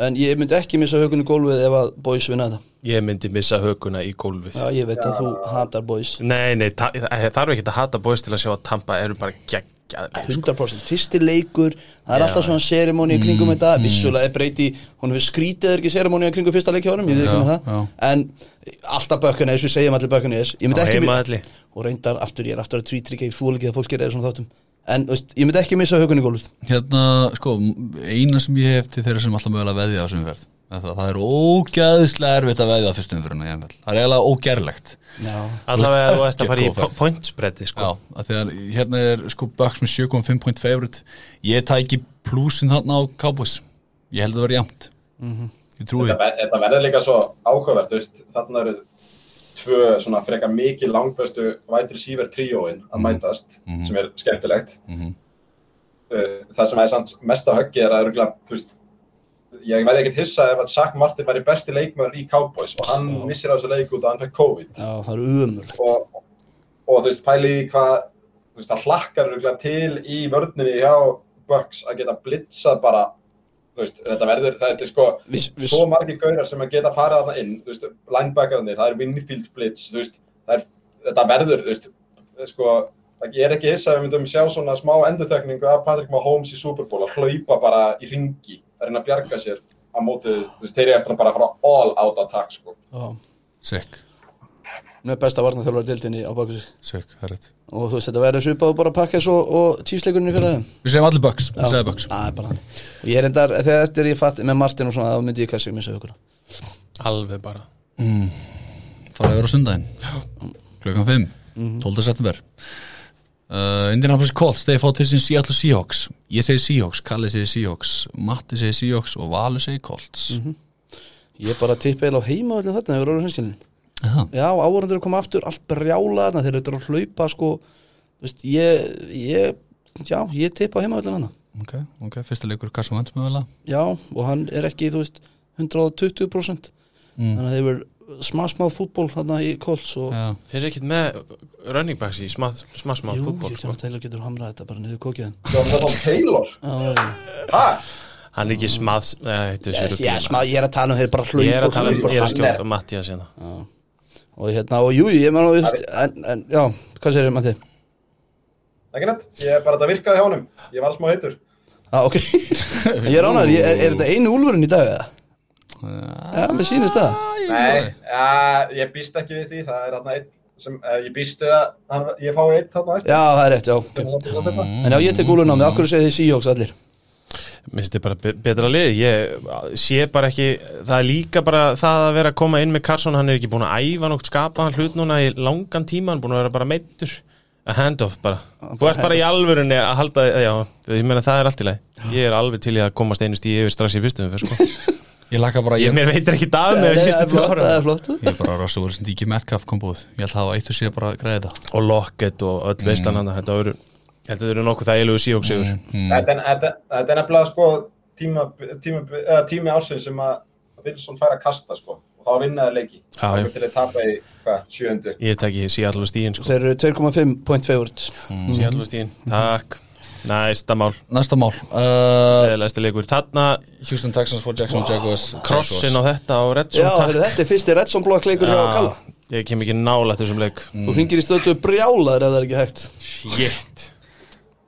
En ég myndi ekki missa hökunni gólfið ef að boys vinna þetta
Ég myndi missa hökuna í gólfið
Já, ég veit að þú hatar boys
Nei, nei, ta- það þarf ekki að hata bóist til að sjá að Tampa eru bara geggjað
100% fyrsti leikur það er alltaf svona sérimóni í kringum þetta vissulega er breyti, hún hefur skrítið er ekki sérimóni í kringum fyrsta leikjónum, ég veit ekki með það en alltaf bökkunni, eins og við segjum allir bökkunni ég myndi
Á
ekki
heimavelli.
og reyndar aftur, ég er aftur að tvítrykja, ég fúl ekki að fólk gerir svona þáttum en þú veist, ég myndi ekki missa hökunni gólfið
Hérna, sko, eina sem ég hef til þeirra sem alltaf mögulega veðja á þessum verð Það, það er ógæðislega erfitt að veðja á fyrstum fyrir en ég vel Það er eiginlega ógerlegt
Já.
Allavega þú ert að fara í
Ekki að
po- point spreadi
Já,
sko.
að því að hérna er sko Bucks með 7.5 point favorite Ég tæki plusin þarna á Cowboys Ég held að það vera jæmt
Mhm.
Ég trúi
Þetta
því
ver- Þetta verður líka svo áhugavert, þú veist, þarna eru tvö svona frekar mikið langbæstu wide receiver tríóin að mætast, sem er skemmtilegt.
Mhm.
Uh, Það sem er samt mesta höggi er að eru þú veist, ég verði ekkert hissa ef að Zach Martin væri besti leikmaður í Cowboys og hann missir á þessu leik út að hann fekk COVID
Já, það er umurlegt
og, og þú veist, pæli í hvað þú veist, það hlakkar örugglega til í vörninni hjá Bucks að geta blitzað bara þú veist, þetta verður, þetta er sko
Viss- viss-
svo margir gaurar sem að geta farið þarna inn þú veist, linebackarnir, það er Winfield blitz þú veist, það er, þetta verður þú veist, það er sko það- Ég er ekki hissa að við myndum sjá svona smá endurtekningu af Patrick Mahomes í Super Bowl að hlaupa bara í ringi, að reyna að bjarga sér á móti, þú veist, þeir eru eftir að bara fara all out attack, sko.
Sick,
Nú er besta varna þjálfara dildinni á baku sig
sick, það er rétt
og þú veist, þetta verður svipað og bara pakkes og, og tífsleikunni fyrir það
Við segjum allir Bucks, við segjum Bucks
Það er bara hann Og ég er endar, þegar eftir ég fatt með Martin og svona, þá myndi ég kannski missa hökunna
Alveg bara
Farið að vera á sundaginn Klukkan 5,
Mhm.
12. september uh, Indianapolis Colts Þeir fá til sín Seattle Seahawks Ég segi Seahawks, Kalli segi Seahawks Matti segi Seahawks og Valur segi Colts
Mhm.
Ég bara tippa eða á heima allir þarna yfir orður hinskilin
Það,
Já, áhverjandur eru koma aftur, allt brjála þarna, þeir eru þetta að hlaupa sko Þú veist, ég, ég, já, ég tippa á heima allir þarna
ok, ok, fyrsta leikur Kassu Vents mögulega
já, og hann er ekki, þú veist 120%
mm.
þannig að þeir eru smá smá fútból þarna í Colts og
Já,
Þeir eru ekkert með running backs í smá smá smá
Jú,
fútból
Júlían
sko.
sko. Taylor getur hamrað þetta bara niður kókið
Jonathan Taylor
hann
ha?
Hann er ekki smá eh, yes,
Já, smá, ég er að tala um þeir bara hlaup
Ég er að
og
tala um,
hlaup og
ég er að
hann
skjóta
er-
Mattias hérna
og hérna, og jú, ég menn og veist, en, en, já, hvað segir þér, Matti?
ekki neitt, ég bara þetta virkaði hjá honum ég var smá heitur
Já, Ah,
[LAUGHS]
ok, ég er ánæður, er, er þetta einu úlfurinn í dag eða? Já, mér sýnist það
Nei, ja, ég býst ekki við því, það er hann einn sem, eh, ég býst við að hann, ég fái einn þarna eftir.
Já, það er rétt, já ok. En já, ég tek úlfurinn á mig, okkur segir þið síjóks allir
Mér finnst þetta bara be- betra lið Ég sé bara ekki Það er líka bara það að vera að koma inn með Karlsson Hann er ekki búin að æfa nokt skapa hann hlut núna í langan tíma Hann er búin að vera bara meittur A handoff bara Þú ert bara í alvörunni að halda Já, ég meina það er allt í lagi Ég er alveg til í að komast einu stíði yfir strax í fyrstum fyrir,
[LAUGHS]
sko.
ég laka bara
Ég
Ég,
mér veitir ekki dag
Nei,
með
Það
fyrstu
er
tvo
flott,
ára
það er flott
ég er bara Russell Wilson Diki Metcalf komboð Ég held að hafa eitt og sé bara að græða þetta
Og Lockett og öll mm. veistlananda Þetta eru, ég held að þetta eru nokkuð þægilegu síjóksíður
Mm,
Þetta er- þetta- þetta er nefnilega sko tíma, tíma, eða, tími ársinn sem að Wilson fær að kasta sko og þá vinnaði leiki
Já, já.
Það er til að tapa í hvað, sjöundu
Ég tek ég síðallu stíðin sko.
Þeir eru 2,5 point favorite
Síðallu stíðin, takk Næsta mál,
Næsta mál uh,
eðlæsti leikur Þarna,
Houston Texans for Jackson Jaguars
krossin á þetta og
Já,
Redsson,
heyrðu, þetta er fyrsti Redson blokk leikur hjá Kalla
Ég kem ekki nálætt þessum leik
Mm.
Þú hringir í stöðu brjálaður ef það er ekki hægt
Shit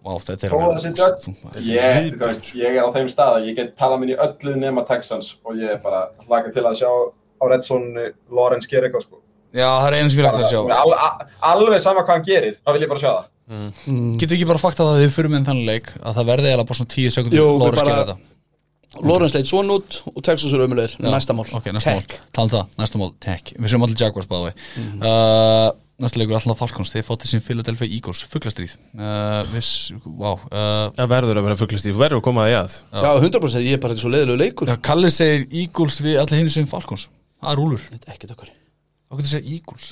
Vá, þetta er um
Þó að þessi dögg, ég, þú veist, ég er á þeim stað að ég get talað minn í öllu nema Texans og ég er bara hlaka til að sjá á Redson Lawrence gera eitthvað sko
Já, það er einu sem ég lagt að sjá
al, al, Alveg sama hvað hann gerir, þá vil ég bara sjá það
Getur ekki bara fakta það að þið fyrir með þannig leik að það verði eða bara svona 10 sekundur
Jú,
Lóris
bara-
gera þetta
Lawrence leit svona út og Texas eru ömulegur Næsta mál
Mm. Ok, næsta
Tech.
mál, tala um það, næsta mál, tech Við séum allir Jaguars báði mm uh, Næsta leikur alltaf Falcons, þeir fótið sem Philadelphia Eagles Fuglastríð uh, Viss, wow uh,
Það verður að vera fugglist, ég verður að koma að ég að
Já, 100% ég er bara þetta er svo leiðilegu leikur
já, Kalli segir Eagles við allir hinn sem Falcons Það er úlur,
Þetta er ekkert okkar
þá getur segja Eagles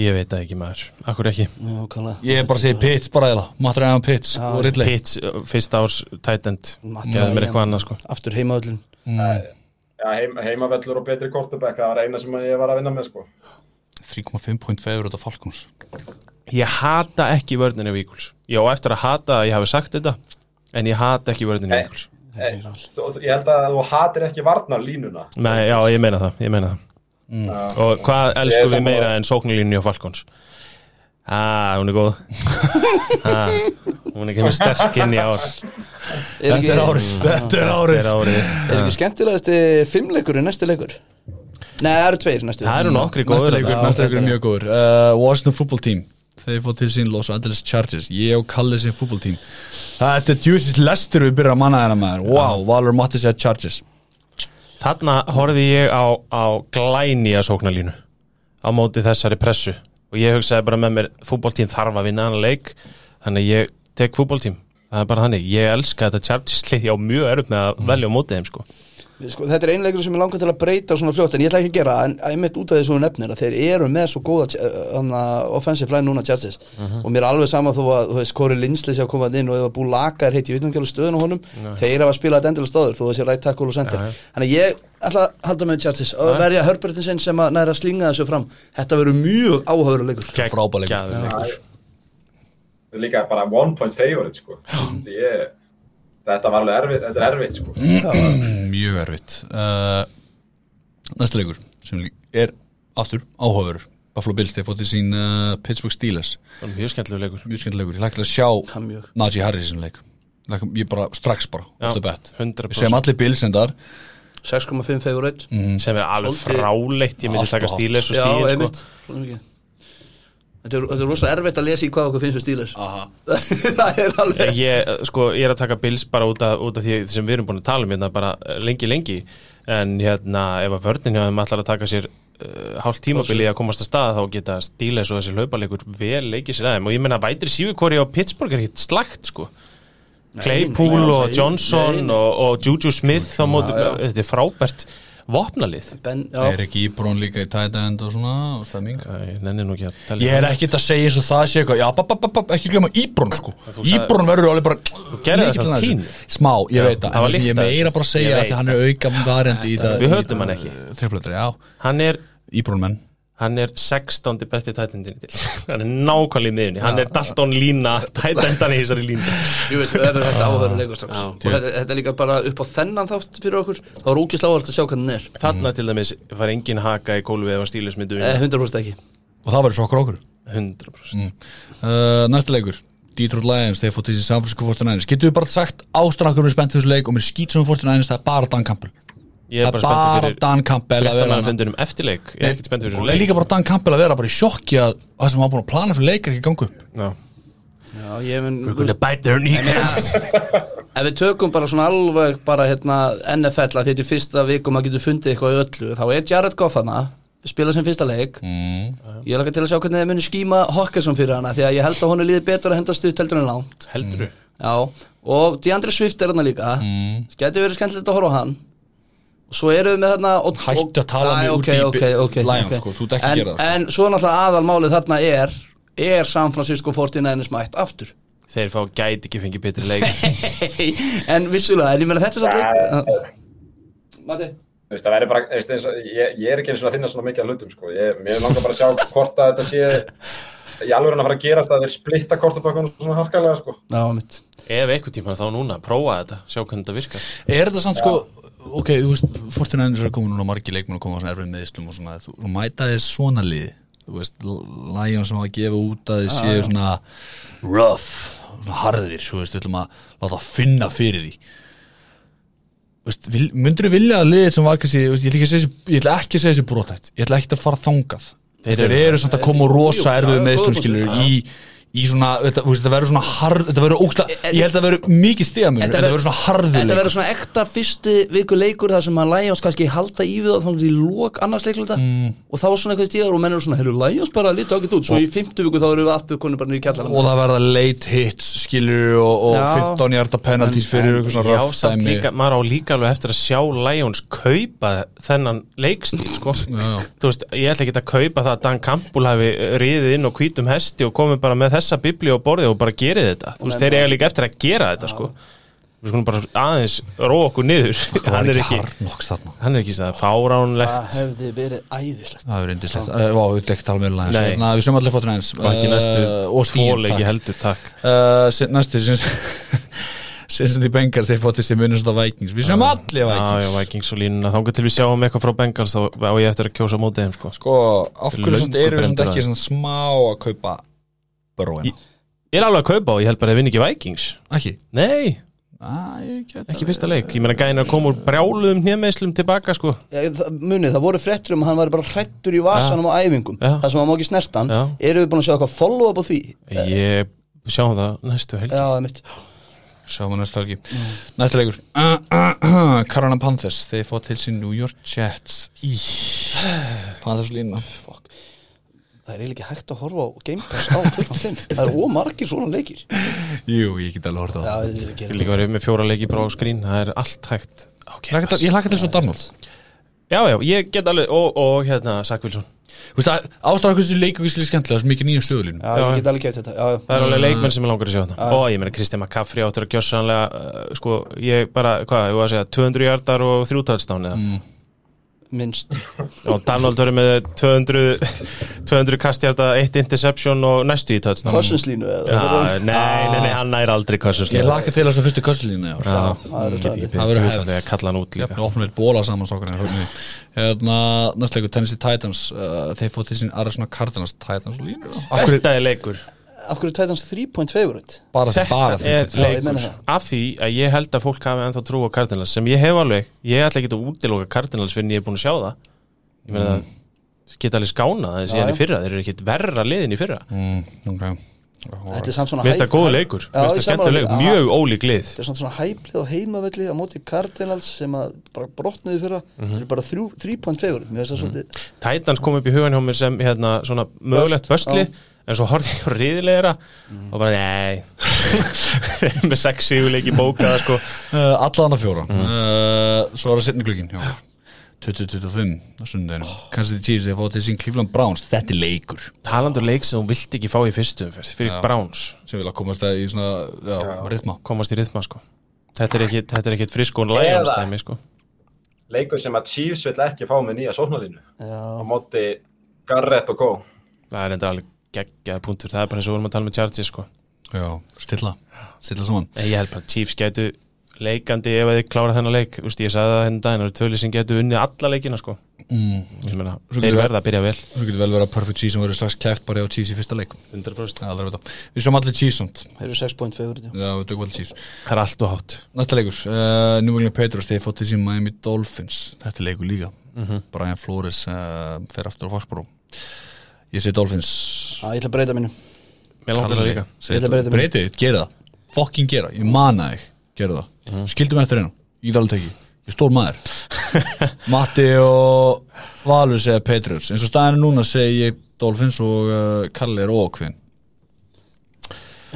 Ég veit það ekki maður, akkur ekki
Já, Kalla
Ég er bara að segja Pitts bara eða, Matt Ryan Pitts og Ridley
Pitts, uh, fyrsta árs tight end
Matt
Gæði mér
Ryan.
eitthvað annað sko
Aftur heimaðullin
Já, heim, heimavellur og betri kortebæk, það var eina sem ég var að vinna með sko
3,5 point favor þetta Falcons
Ég hata ekki vörðinni við Eagles Ég á eftir að hata að ég hafi sagt þetta En ég hata ekki vörðinni við
Nei.
Eagles
Hey, þú, þú- ég held að þú hatir ekki varnar línuna
Nei, já, ég meina það, ég meina það. Mm. Og hvað
Ég er
elskum við
sammála.
meira en sóknulínu á Falkons? Ah, hún er góð ah, Hún er kemur sterk inn í ár
Er ekki,
þetta er
Þeir ári
er ekki skemmtilegasti fimmleikurinn næsti leikur? Nei, það eru tveir næstu
Það eru nokkri
Næsta
góður
leikur,
þetta.
næsta leikur er mjög góður uh, Washington football team Þeir fótt til sín Los Angeles Chargers Ég og Kalli sín football team Þetta er djúsis lestur við byrja að manna þennan maður Wow, Valur Matti segja Chargers
Þarna horfði ég á, á glæni að sóknulínu á móti þessari pressu og ég hugsaði bara með mér fútboltím þarf að vinna annan leik þannig að ég tek fútboltím það er bara þannig, ég elska þetta Chargers-lið ég á mjög erup með
Mm.
að velja á móti þeim sko.
sko, Þetta er einleikur sem ég langar til að breyta svona fljótt en ég ætla ekki að gera, en einmitt út af því svona nefnir að þeir eru með svo góða hana, offensive line núna Chargers
Mhm.
og mér er alveg sama þó að, þú veist, Kori Linsley sé að koma þarna inn og ef að bú lakar heiti, ég veit nú ekki alveg stöðun á honum þeir hafa spilað þetta endilega stöður þó þessi right tackle og center
Já, já.
þannig að ég ætla að halda með Chargers og verja Herbertinsson sem að næra að slinga þessu fram þetta verður mjög áhauður leikur
Frábæleikur.
Geggjaður leikur.
Það er líka bara one point favorite sko Því ég, Þetta var alveg erfitt, þetta er erfitt sko
Mm.
Mjög erfitt uh, Næsta leikur sem lí- er aftur áhugaverur Buffalo Bills, þeir fótt til sín uh, Pittsburgh Steelers
Það er mjög skemmtilegur leikur
Mjög skemmt leikur, ég lakka til að sjá
Hann mjög.
Najee Harris í þessum leik Laka, Ég bara, strax bara, off the bat
100%
Við segjum allir Bills en þar
6,5 favorite
sem er alveg
Svolítið-
fráleitt ég myndi
Mm. Allt
taka
og
stílis og
Já,
stílin
einmitt
sko.
Svona mikið. Þetta er, þetta er rosa erfitt að lesa í hvað okkur finnst við stílus [LAUGHS] Það er alveg
Ég, sko, ég er að taka bils bara út af, út af því sem við erum búin að tala um hérna bara eh, lengi lengi en hérna ef að vörnin hjá þeim allar að taka sér uh, hálf tímabili að komast að stað þá geta stílis og þessi hlaupalegur vel leikið sér aðeim og ég menna vætri sívikori á Pittsburgh er ekkit slagt sko Claypool
nei,
og
nei,
Johnson
nei, nei.
Og, og Juju Smith á móti, þetta er frábært Vopnalið
Ben, já,
Er ekki íbrón líka í tight end og svona og stemming?
Æ, Ég nenni nú ekki að tella
Ég er ekkert að segja eins og það sé eitthvað Já, bap, bap, bap, bap, ekki glemma íbrón sko Íbrón verður alveg bara Þú
gerðir það samt pínu.
Smá, ég veit það,
það
en
var
það sem ég
lykt
meira
af þessu.
bara að segja af Því
Ég veit
hann er auka varjandi í það
Við höldum hann ekki.
Þrjöflöldri, já,
Hann er
íbrón menn
Hann er 16. besti tætendin til Hann er nákvæmlega í miðunni Hann er Dalton lína tætendan í þessari lína
Jú veist, það er þetta áhverju leikur strax
Já.
og þetta, þetta er líka bara upp á þennan þátt fyrir okkur þá er ógislega áhverjast að sjá hvernig hann er
Þarna til dæmis var engin haka í kólfið eða stílismyndu
Eh, 100% ekki
Og það verður svo okkur okkur
100%
Mm. Uh, Næsta leikur Detroit Lions, þeir fótt þessi samfélsku 49ers Getur við bara sagt ástrakkur með spennt þessu leik og mér skýt sem 49ers, það er bara Dan Campbell Það
Ég er
er
bara spenntur
bara
fyrir
Dan Campbell að vera
fréttamann
hann
fundunum eftirleik Ég er ekkert spenntur
og
fyrir sko.
líka bara Dan Campbell að vera bara í sjokki að það sem hann búin að plana fyrir leik er ekki gangu upp
Já.
Já, ég menn
bite their kneecaps
Ef við tökum bara svona alveg bara hérna NFL að þetta er fyrsta vik og maður getur fundið eitthvað í öllu þá er Jared Goff hana spila sem fyrsta leik
Mm.
Ég laka til að sjá hvernig þið munir skíma Hawkinson fyrir hana því að ég held að honum líði betur að henda stuðt heldur en langt
Heldur
Já, og DeAndre Swift er hana líka mm. Gæti verið skemmtilegt að horfa á hann og svo erum við með þarna og,
Hættu að tala mig
Æ,
úr
okay,
dýpi
okay, okay,
Lions,
okay.
sko, þú ert ekki að
en,
gera það, sko.
En svo náttúrulega aðalmálið þarna er er San Francisco 49ers mætt aftur
Þeir fá gæti ekki fengið betri leik
[LAUGHS]
En vissulega, en ég meina þetta er satt leik Mati
Þú veist, það verður bara, þú veist, eins og, ég, ég er ekki eins og að finna svona mikið að hlutum, sko. Ég, mér langar bara að sjá hvort að þetta sé í alveg að fara að gerast að þeir splitta kortabökkunum svona harkalega, sko.
Já, mitt
Ef einhvern tíma þá núna, prófa þetta Sjá hvernig þetta virkar
Er þetta samt sko Ok, þú veist, 49ers er að koma núna margir leikmenn og koma á svona erfið meðislum og svona þú þú mæta þess svona lið þú veist, Lions sem hafa að gefa út að þið séu svona rough svona harðir, þú veist, við ætlum að láta finna fyrir því Þú veist, vil, myndur þú vilja að liðið sem var kannski, þú veist, ég ætla ekki að segja þessi- ég ætla ekki að segja þessi brotætt, ég ætla ekki að fara þangað
Þeir
þeir, eru samt að koma og rosa erfið meðislum skilur í, í svona, þetta, þú veist, þetta verður svona harð, þetta verður ógsta, ég held að það verður mikið stigamunur,
Þetta
þetta verður svona harður
Þetta
leikur.
verður svona ekta fyrstu viku leikur þar sem að Lions kannski halda í við og þannig í lók annars leikluta og þá er svona eitthvað stíðar og menn eru svona herru Lions bara lítið ágætt út svo í fymtu viku þá eru við aftur konum bara niður í kjallara
og það verða late hits skilur og, og
Já.
15 hjarta penalties fyrir eitthvað svona
Já,
röft
samt
dæmi
líka, maður á líka alveg eftir að sjá Lions kaupa þennan leikstíl, sko
Já.
Þú veist, ég ætla ekki að kaupa það að Dan Campbell hafi riðið inn og hvítum hesti og komið bara með þessa biblíu á borðið og bara gerið þetta Þú veist, þeir eiga líka eftir að gera þetta, sko Við skulum bara aðeins róa okkur niður
það
[LAUGHS] Hann
var
er
ekki
ekki,
hard nokks þarna
hann er ekki Sko, það, fáránlegt
Það hefði verið æðislegt
það er indislegt, það var ekki tala um með Lions
Nei.
Þarna, Hérna, við sem allir fóttur eins
Eh, Og ekki næstu
og stíðum
tvoleiki heldur, takk
uh, næstu Sinsandi Bengals þeir fóttir sem munum svona Vikings við sem allir
Já, já,
Vikings
Vikings og línuna, þá til við sjáum eitthvað frá Bengals þá á ég eftir að kjósa á mótið þeim, sko
sko, af hverju
Löngu
samt erum við samt
brenndur
ekki
aðeins.
svona smá að kaupa bróina,
Ég er alveg að kaupa og ég held bara að vinna ekki Vikings
ekki
Nei,
ekki
ekki fyrsta leik Ég meina gæðin er að koma úr brjáluðum hnémeislum tilbaka sko
Já, það- Munið, það voru frettur um að hann var bara hrættur í vasanum á æfingum
Já.
Það sem hann má ekki snerta hann
Já.
Erum við búin að sjá eitthvað follow-up á því?
Eh. Ég sjáum það næstu helgi
Já, mitt
Sjáum við næsta helgi Næsta leikur [CLEARS THROAT] uh, uh, uh, Karana Panthers Þeir fá til sín New York Jets Í Panthers lína
Það er eiginlega ekki hægt að horfa á Game Pass á kvöldum fimm Það er ómargir svona leikir Já,
Jú, ég get alveg horta á
það er ekki
Ég líka verið með fjóra leiki bara á skrín Það er allt hægt okay,
það Ég laka til svo Darnold
Já, já, ég get alveg Og, og hérna, Sakvilsson
Þú veist að ástæða hversu leikur Við skilir skemmtilega Það er svo mikið nýjum sögulínu
Já, ég get alveg kæft þetta Já,
Það er
Mm.
alveg leikmenn sem er langar að sjá þarna
Ah.
Og ég meina Kristján McCaffrey áttur að gjössanlega uh, Sko, ég bara, hvað, ég var að segja 200 hjartar og þrjútalstán eða
Mm.
já, minnst
Mm. Og Darnold verið með 200 200 kastjarta, 1 interception Og næstu í touchdown
Kossinslínu eða
Já, nei, nei, nei, hann nær aldrei Cousins
Ég laka til að svo fyrstu kösslínu Það
Já,
það eru
ég get ekki
Það verður
betur út
hefð.
af því að kalla hann út líka
Við opnum við bóla saman strákarnir, hrópum við. Hérna, næst leikur Tennessee Titans uh, Þeir fótt til sín Arizona Cardinals Titans og línur
Af hverju þetta er leikur?
Af hverju Titans 3 point favorite?
Bara því, bara því
Er
Já, ég meina
leikur
það.
Af því að ég held að fólk hafi ennþá trú á Cardinals sem ég hef alveg, ég ætla ekki að útiloka Cardinals fyrir en ég er búin að sjá það Ég meina það geta alveg skánað það síðan
Mm. Já,
í
já.
fyrra, þeir eru ekkit verra liðin í fyrra
mm, okay.
Þetta er samt svona
Mér finnst það
hæp-
góð leikur,
Já,
mér finnst
ég
það skemmtileg leikur,
sammála því.
mjög ólík lið
Þetta er samt svona hæplið og heimavelli á móti Cardinals sem að bara brotnuði fyrra mm
Mhm.
-hmm. er bara 3 point favorite Mér finnst það svolítið
Titans kom upp í hugan hjá mér sem hérna svona mögulegt börsli en svo horfði ég á riðilegra og bara nei [LAUGHS] með sexi úleiki bókaða sko
Eh, uh, Allana fjóra mm. uh, Svo var það setni glukkin 2025 á sundinu kannski þið tíðis að fá til sín Cleveland Browns þetta er leikur
Talandur leik sem hún vilt ekki fá í fyrstu umferð fyrir Browns,
sem vil að komast að í svona já, ritma
komast í rithma sko Þetta er ekkit, þetta er ekkit frisk og Lions
Eða-
dæmi sko
leikur sem að Chiefs vill ekki fá með nýja sóknarlínu á
Já,
móti Garrett og Kó
Það er enda alveg geggjaði punktur Það er bara eins og við vorum að tala með Chargers sko
já, stilla, stilla saman
Nei, Ég held bara að Chiefs gætu leikandi ef að þið klára þennan leik Úst, Ég sagði það henni daginn, það eru tvöli sem gætu unnið alla leikina sko
mm.
Ég meina,
Svo
Þeir
getur-
verða að byrja vel
svo getur vel verið að Perfect Cheese sem verður strax kæft bara á Cheese í fyrsta leikum
100%
Það er alveg þetta. við sjáum allir Cheese samt
þeir eru 6 point
Mm.
favorite já.
já, við tökum allir Cheese
Það er allt og hátt
Næsta leikur, uh, New England Patriots þeir fótt til sín Miami Dolphins, þetta er leikur líka Brian Flores uh, fer aftur á Foxborough ég segi Dolphins
Já, Ég ætla að breyta mínu
Mér langar það líka
Segi
Ég ætla að breyta
Dol-
mér.
breyti, gera það, fucking gera ég mana þig, gera það mm
Mhm.
-hmm. skildum eftir einu, ég get alveg tekið ég er stór maður [LAUGHS] Matti og Valur segja Patriots eins og staðinu núna segi ég Dolphins og uh, Kallir og Kvinn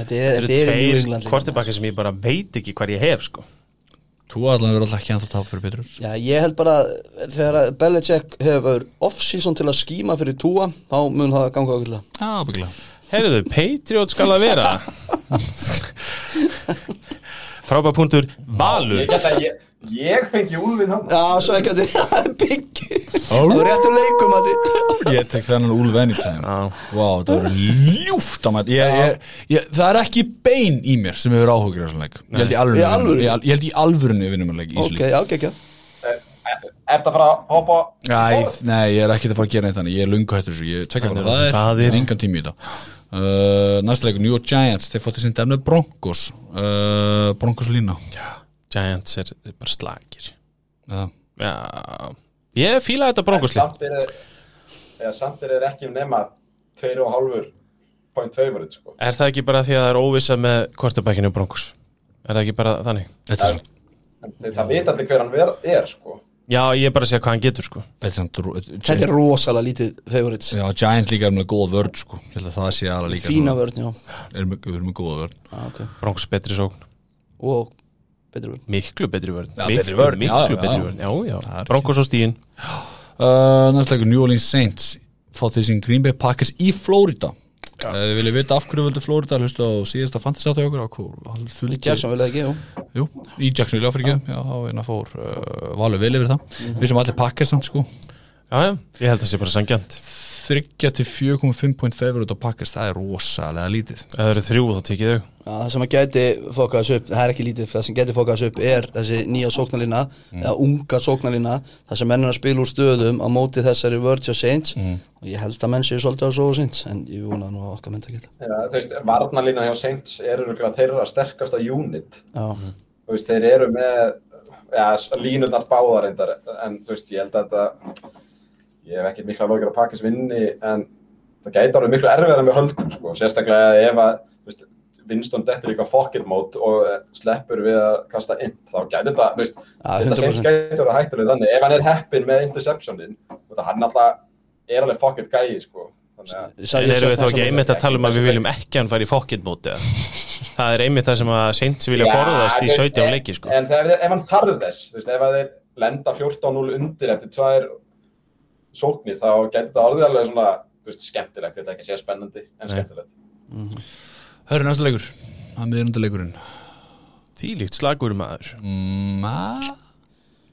Þetta er,
Þetta
þetta er New
eru
England
tveir
líka.
kvartibakki sem ég bara veit ekki hvað ég hef sko
þú allan verður alltaf ekki ennþá tap fyrir Patriots
Já, ég held bara að þegar að Belichick hefur off-season til að skíma fyrir túa þá mun það ganga okkurlega
já, byggilega
Herðu, Patriot skal það vera [LAUGHS] Frábær punktur Valur
ég, get að ég, ég fengi úlfinn hann
Já, svo ekki að þetta [LAUGHS] er byggi Það er réttur leikum að þið
Ég tek þennan Úlf Anytime Vá,
Já.
það er ljúft á maður. ég, ég, ég, Það er ekki bein í mér sem hefur áhugur á svona leik Ég held í alvörunni,
Í alvöru?
Ég, ég held í alvörunni vinnum að leik
Ok,
ísli
já, ekki ekki
Er það bara að hoppa
Æ, nei, ég er ekki að fara að gera neitt þannig Ég er lungu hættur þessu, ég tvekja bara það er
faðir.
Engan tími í þetta uh, Næsta leikur, New York Giants, þeir fóttu sinni demnið Broncos uh, Broncos lína
Giants er bara slagir
Já,
Já Ég fíla þetta brókuslið
samt er eða samt er þeir ekki nema 2,5 point favorite sko.
Er það ekki bara því að það er óvissa með kvartabækinu Broncos? Er það ekki bara þannig?
þetta er
En þeir, það vita allir hver hann ver- er sko.
Já, ég er bara að segja hvað hann getur sko
Þetta er samt rú-
Þetta er rosalega lítið favorites
Já, Giants líka er með góða vörd sko Ég held að það sé aðra líka
Fína vörn, já
Er með, er með góða vörd
ah, okay.
Broncos betri sókn,
Og betri vörn
miklu betri vörn
Já,
Miklu,
betri vörn, já,
miklu
já,
betri
já.
vörn, já, já,
Það er
Broncos og stíin
Uh, næsta leikur New Orleans Saints fá til sín Green Bay Packers í Flórida Ef þið viljið vita af hverju völdu Flórida hlustu á síðasta fantasy átti okkur á hvað
Í Jackson vilja ekki, já
Jú, í Jackson vilja áfyrir ekki Já, Mhm. þá eina fór uh, valið vel yfir það Við sem allir Packers samt sko
Já, já, ég held að það sé bara sangjant
3 til 4,5 point favorite á Packers það er rosalega lítið
Ef það eru þrjú þá tekið þau
Já, Það sem að gæti fokað þessu upp, það er ekki lítið Það sem gæti fokað þessu upp er þessi nýja sóknarlina
Mm.
Eða unga sóknarlina Það sem menn er að spila úr stöðum á móti þessari vörð og Saints
Mhm.
Og ég held að menn séu svolítið að sofa Saints En ég vona nú að okkar menn það geta
Já, þú veist, varnalína hjá Saints er örugglega þeirra sterkasta unit
Mm.
Já,
Þú veist, þeir eru með ja, línurnar báðar endar, en þú veist, ég held að þetta ég hef ekki mikla lókir að pakkis vinni en það gæti alveg miklu erfiðar en við höldum sko, sérstaklega ef að þú veist, Winston dettur líka fokkir mót og eh, sleppur við að kasta int þá gæti þetta, þú veist,
Ja,
þetta
100%.
sem gæti alveg hættulega þannig ef hann er heppin með interceptionin og það hann alltaf er alveg fokkir gæi sko, þannig að
En erum við þá ekki einmitt að
ekki
tala um að við
þessu leik.
viljum ekki að hann fari í fokkitmóti Það er einmitt það sem að Saints vilja
Já,
forðast í
þú veist,
17
en-
leiki sko
En þegar, ef hann þarð þess, þú veist, ef að þeir lenda 14-0 undir eftir tvær sóknir, þá getur það orðið alveg svona, þú veist, skemmtilegt, þetta ekki sé spennandi, en skemmtilegt.
Hörru næsta leikur, það með erindu leikurinn
Þvílíkt slagur maður
mm,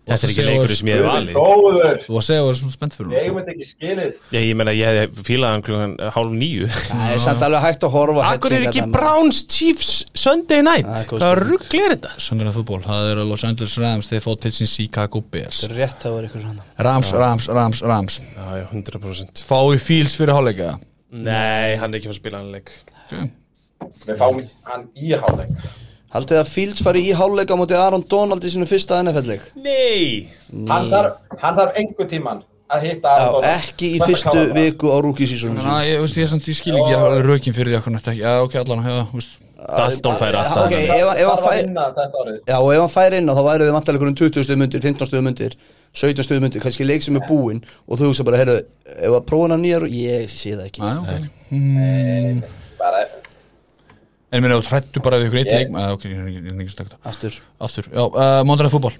Þetta er ekki leikur sem ég hef valið
Góður!
Þú að segja að það er svona spennt fyrir
Ég
hún
veit ekki skilið.
Ég, ég meina, ég hef fílaðan klukkan eh, hálf nýju
Það er samt alveg hægt að horfa hérna,
Akkur er
þetta
ekki
með-
Browns Chiefs Sunday night?
Ah, góð
Hvað
spurning.
rugl er þetta?
Söndurna fútból, það eru Los Angeles Rams þeir fá til sín Chicago Bears
Rétt að vera ykkur hérna. hann
Rams, Rams, Rams, Rams
Já, já, 100%
Fáðu fíls fyrir hálfleika
Nei, hann er ekki fyrir að spila hann leik
Við fáum hann í hálfleik.
Haldið að Fields fari í háluleika mútið Aron Donald í sinu fyrsta NFL-leik
Nei
Hann þarf, hann þarf einhver tíman að hitta Aron Donald.
Ekki í
Þetta
fyrstu
klárar það.
viku á rúkisísunum
Ná, ég, veist, ég, samt, ég skil ekki alveg rökin fyrir því að hvernig þetta ekki Já, ok, allan, já, veist
Dalton fær alltaf
Ah, Ok, eh,
okay.
ef ef hann
Þarf að
fær
vinna þetta árið.
Já, og ef hann fær inn á þá værið þið vantalega einhverjum 20 stuðum undir, 15 stuðum undir 17 stuðum undir, kannski leik sem er búinn og þú hugsa bara, heyrðu, ef að prófa hann nýjar ég sé það ekki
Æ, ok
Bara,
En ég meina, þú hrættu bara við ykkur eitt
Ég-
leik uh, Ok, ég er ekki- ég er ekki að snakka þetta
aftur
Aftur, já, uh, Mondrað fútbol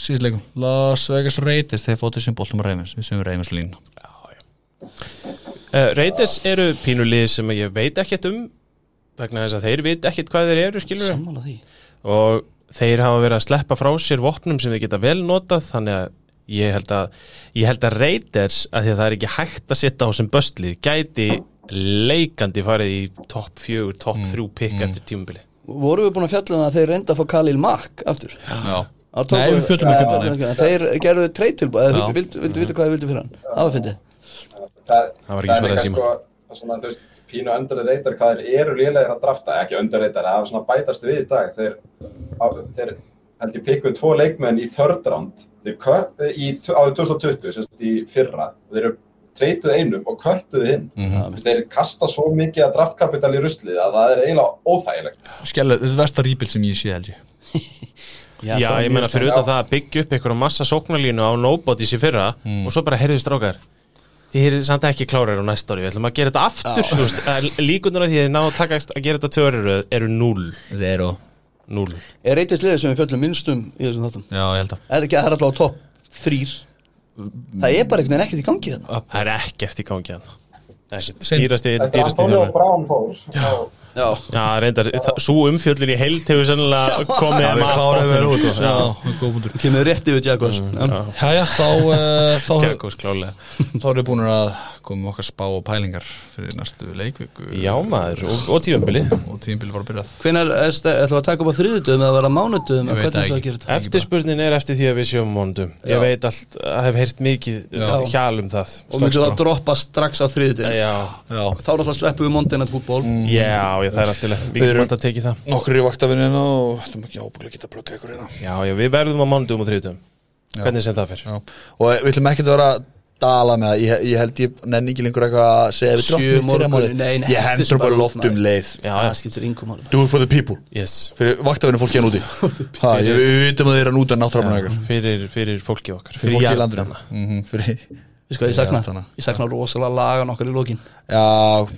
Síðast leikum Las Vegas Raiders Þeir fótið sem boltum að Ravens Við sem Ravens lín
Uh, Reytis eru pínulið sem ég veit ekkert um vegna þess að þeir veit ekkert hvað þeir eru skilur
sammála því
og þeir hafa verið að sleppa frá sér vopnum sem þeir geta vel notað þannig að ég held að ég held að Reytis að því að það er ekki hægt að setja á sem böstlið gæti leikandi farið í topp fjögur, topp þrjú pikk eftir tímubili
voru við búin að fjalla um að þeir reynda að fá Khalil Mack aftur
Já
Á tóku-
Nei, við fjöllum ekki um
Eh,
það, nei.
fjöllum það. þeir gerðu treyt tilbúið
Já.
vildu, vildu, vildu vita hvað þið vildu fyrir hann það var fyndið
það,
Það var ekki
er
svarað
líka,
síma.
sko, svona, þú veist, pínu underreitar hvað þeir eru lélegir að drafta, ekki underreitar það er svona bætast við í dag þeir, á, þeir held ég pikkuð tvo leikmenn í third round þeir, kö- í, tu- árið 2020, sérst í fyrra og þeir eru treytuð einum og körtuð hinn
Mm,
Þú veist, þeir kasta svo mikið að draftkapital í ruslið að það er eiginlega óþægilegt
Skellu, þetta er versta rýpil sem ég sé held ég
Já, ég meina fyrir utan það að byggja upp einhverja massa sóknarlínu á nobodies í fyrra og svo bara herðu strákar þið eru samt ekki klárar á næsta ári við ætlum að gera þetta aftur þú veist, að líkundur að því að þið ná að taka að gera þetta törur eru núl,
Zero
núl.
er reytist liðið sem við fjöllum minnstum í þessum þáttum
Já, ég held að
er ekki að það er alltaf á topp þrýr það er bara einhvern veginn ekkert í gangi hérna. þarna
það er ekkert í gangi hann
Seint.
dýrasti,
Þetta er
dýrasti
Antonio
þjálfari.
Brown fór og
já
Já, reyndar, svo umfjöllin í heild hefur sennilega komið um
Það er
að
klárað við
botninum,
erum
sko.
Já, góð punktur
kemur rétt yfir Jaguars mm,
Jæja, þá, uh, þá,
Jakobs klálega
þá erum við búin að koma með okkar spá og pælingar fyrir næstu leikviku
Já maður, og, og tíumbili
og tímbili bara byrjað
hvenær ætlum við að taka upp á þriðutöðum eða vera mánutöðum
Ég veit
hvernig
það
ætlum við
ekki.
að gera þetta
Eftirspurnin er eftir því að við sjöum mondum Ég
Já.
veit allt, hef heyrt mikið
Já.
hjal um það
og myndum við að droppa strax á þriðutöðum
Já,
Já,
þá er alltaf sleppum við mondinnat fútból
Mm. Já, já, það er alltaf leið. Við getum alltaf tekið það.
nokkur í vaktafinnina hérna og þetta er ekki ábúinlega geta að plugga ykkur hérna
Já, já, við verðum á mánudum og þriðutum. Hvernig sem það fyrir.
Já, og við ætlum ekki að vera að dala með það, ég, ég held ég nenni ekki lengur eitthvað að segja við
Sjö
droppum fyrra
morgun,
málið,
nei, nei,
ég
þetta er
hendur
bara
bara loft um
maður.
leið
Já,
Ah, það
já.
skiptir yngum áli
do it for the people,
Yes.
fyrir vaktafinnum fólki
[LAUGHS]
hann úti ha, ég, við vitum að þeir eru að núta náttúrulega ykkur
Fyrir, fyrir fólkið okkar.
fyrir fólki í
jarðarna.
landinu mm fyrir,
Við sko, ég
Ég held
sakna,
hana.
ég sakna rosalega lagan okkar í lokin
já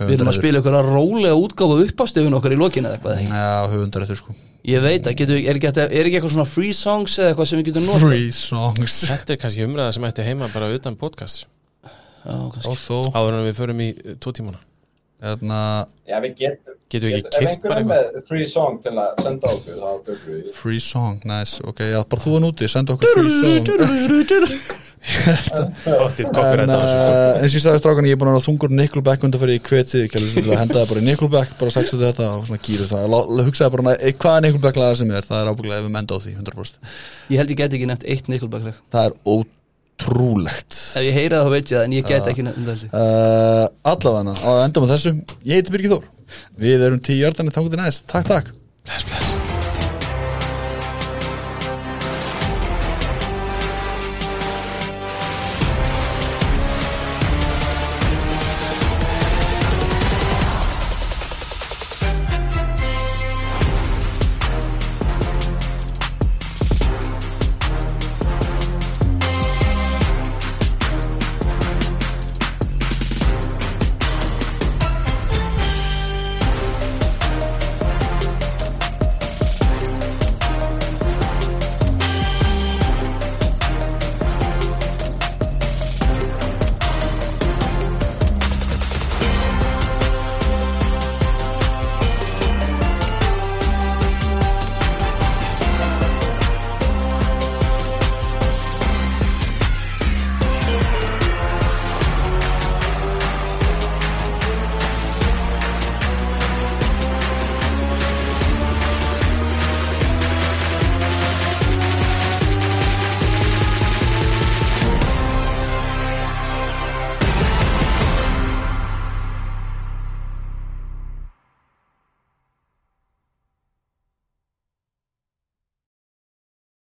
Við erum að spila ykkur að rólega útgáfa uppástefun okkar í lokin eða eitthvað ekki.
já, höfundar eftir sko
Ég veit að, getur, er, ekki, hægt að- er ekki eitthvað svona free songs eða eitthvað sem við getum notað
free songs [LAUGHS]
Þetta er kannski umræða sem ætti heima bara utan podcast.
Já, kannski.
og þó,
Áður en við förum í eh, tvo tímana.
hérna
já, við getum
Getum við ekki
getum-
keypt bara
Ef einhver er með free song til að senda okkur þá tökum við
free song, nice, ok, já, bara þú hann úti senda okkur free song
Óttið kokkur
En
þetta á þessu.
uh, eins og ég sagði strákan, ég er búin að vera þungur Nickelback undan fyrir ég hveti, ég kælu að henda það bara í Nickelback, bara sextu þetta og svona gýrist það, Lá- lá- hugsaði bara "Nei, hvað er Nickelback laga sem er, það er ábygglega ef við menda á því 100%,
Ég held ég get ekki nefnt eitt Nickelback lag
það er ótrúlegt
Ef ég heyra það þá veit ég það en ég get ekki nefnt þetta held ég.
uh, allavega, á endum á þessu ég heiti Birgir Þór, við erum tíu jörðan þá til næst, takk takk
Bless, bless.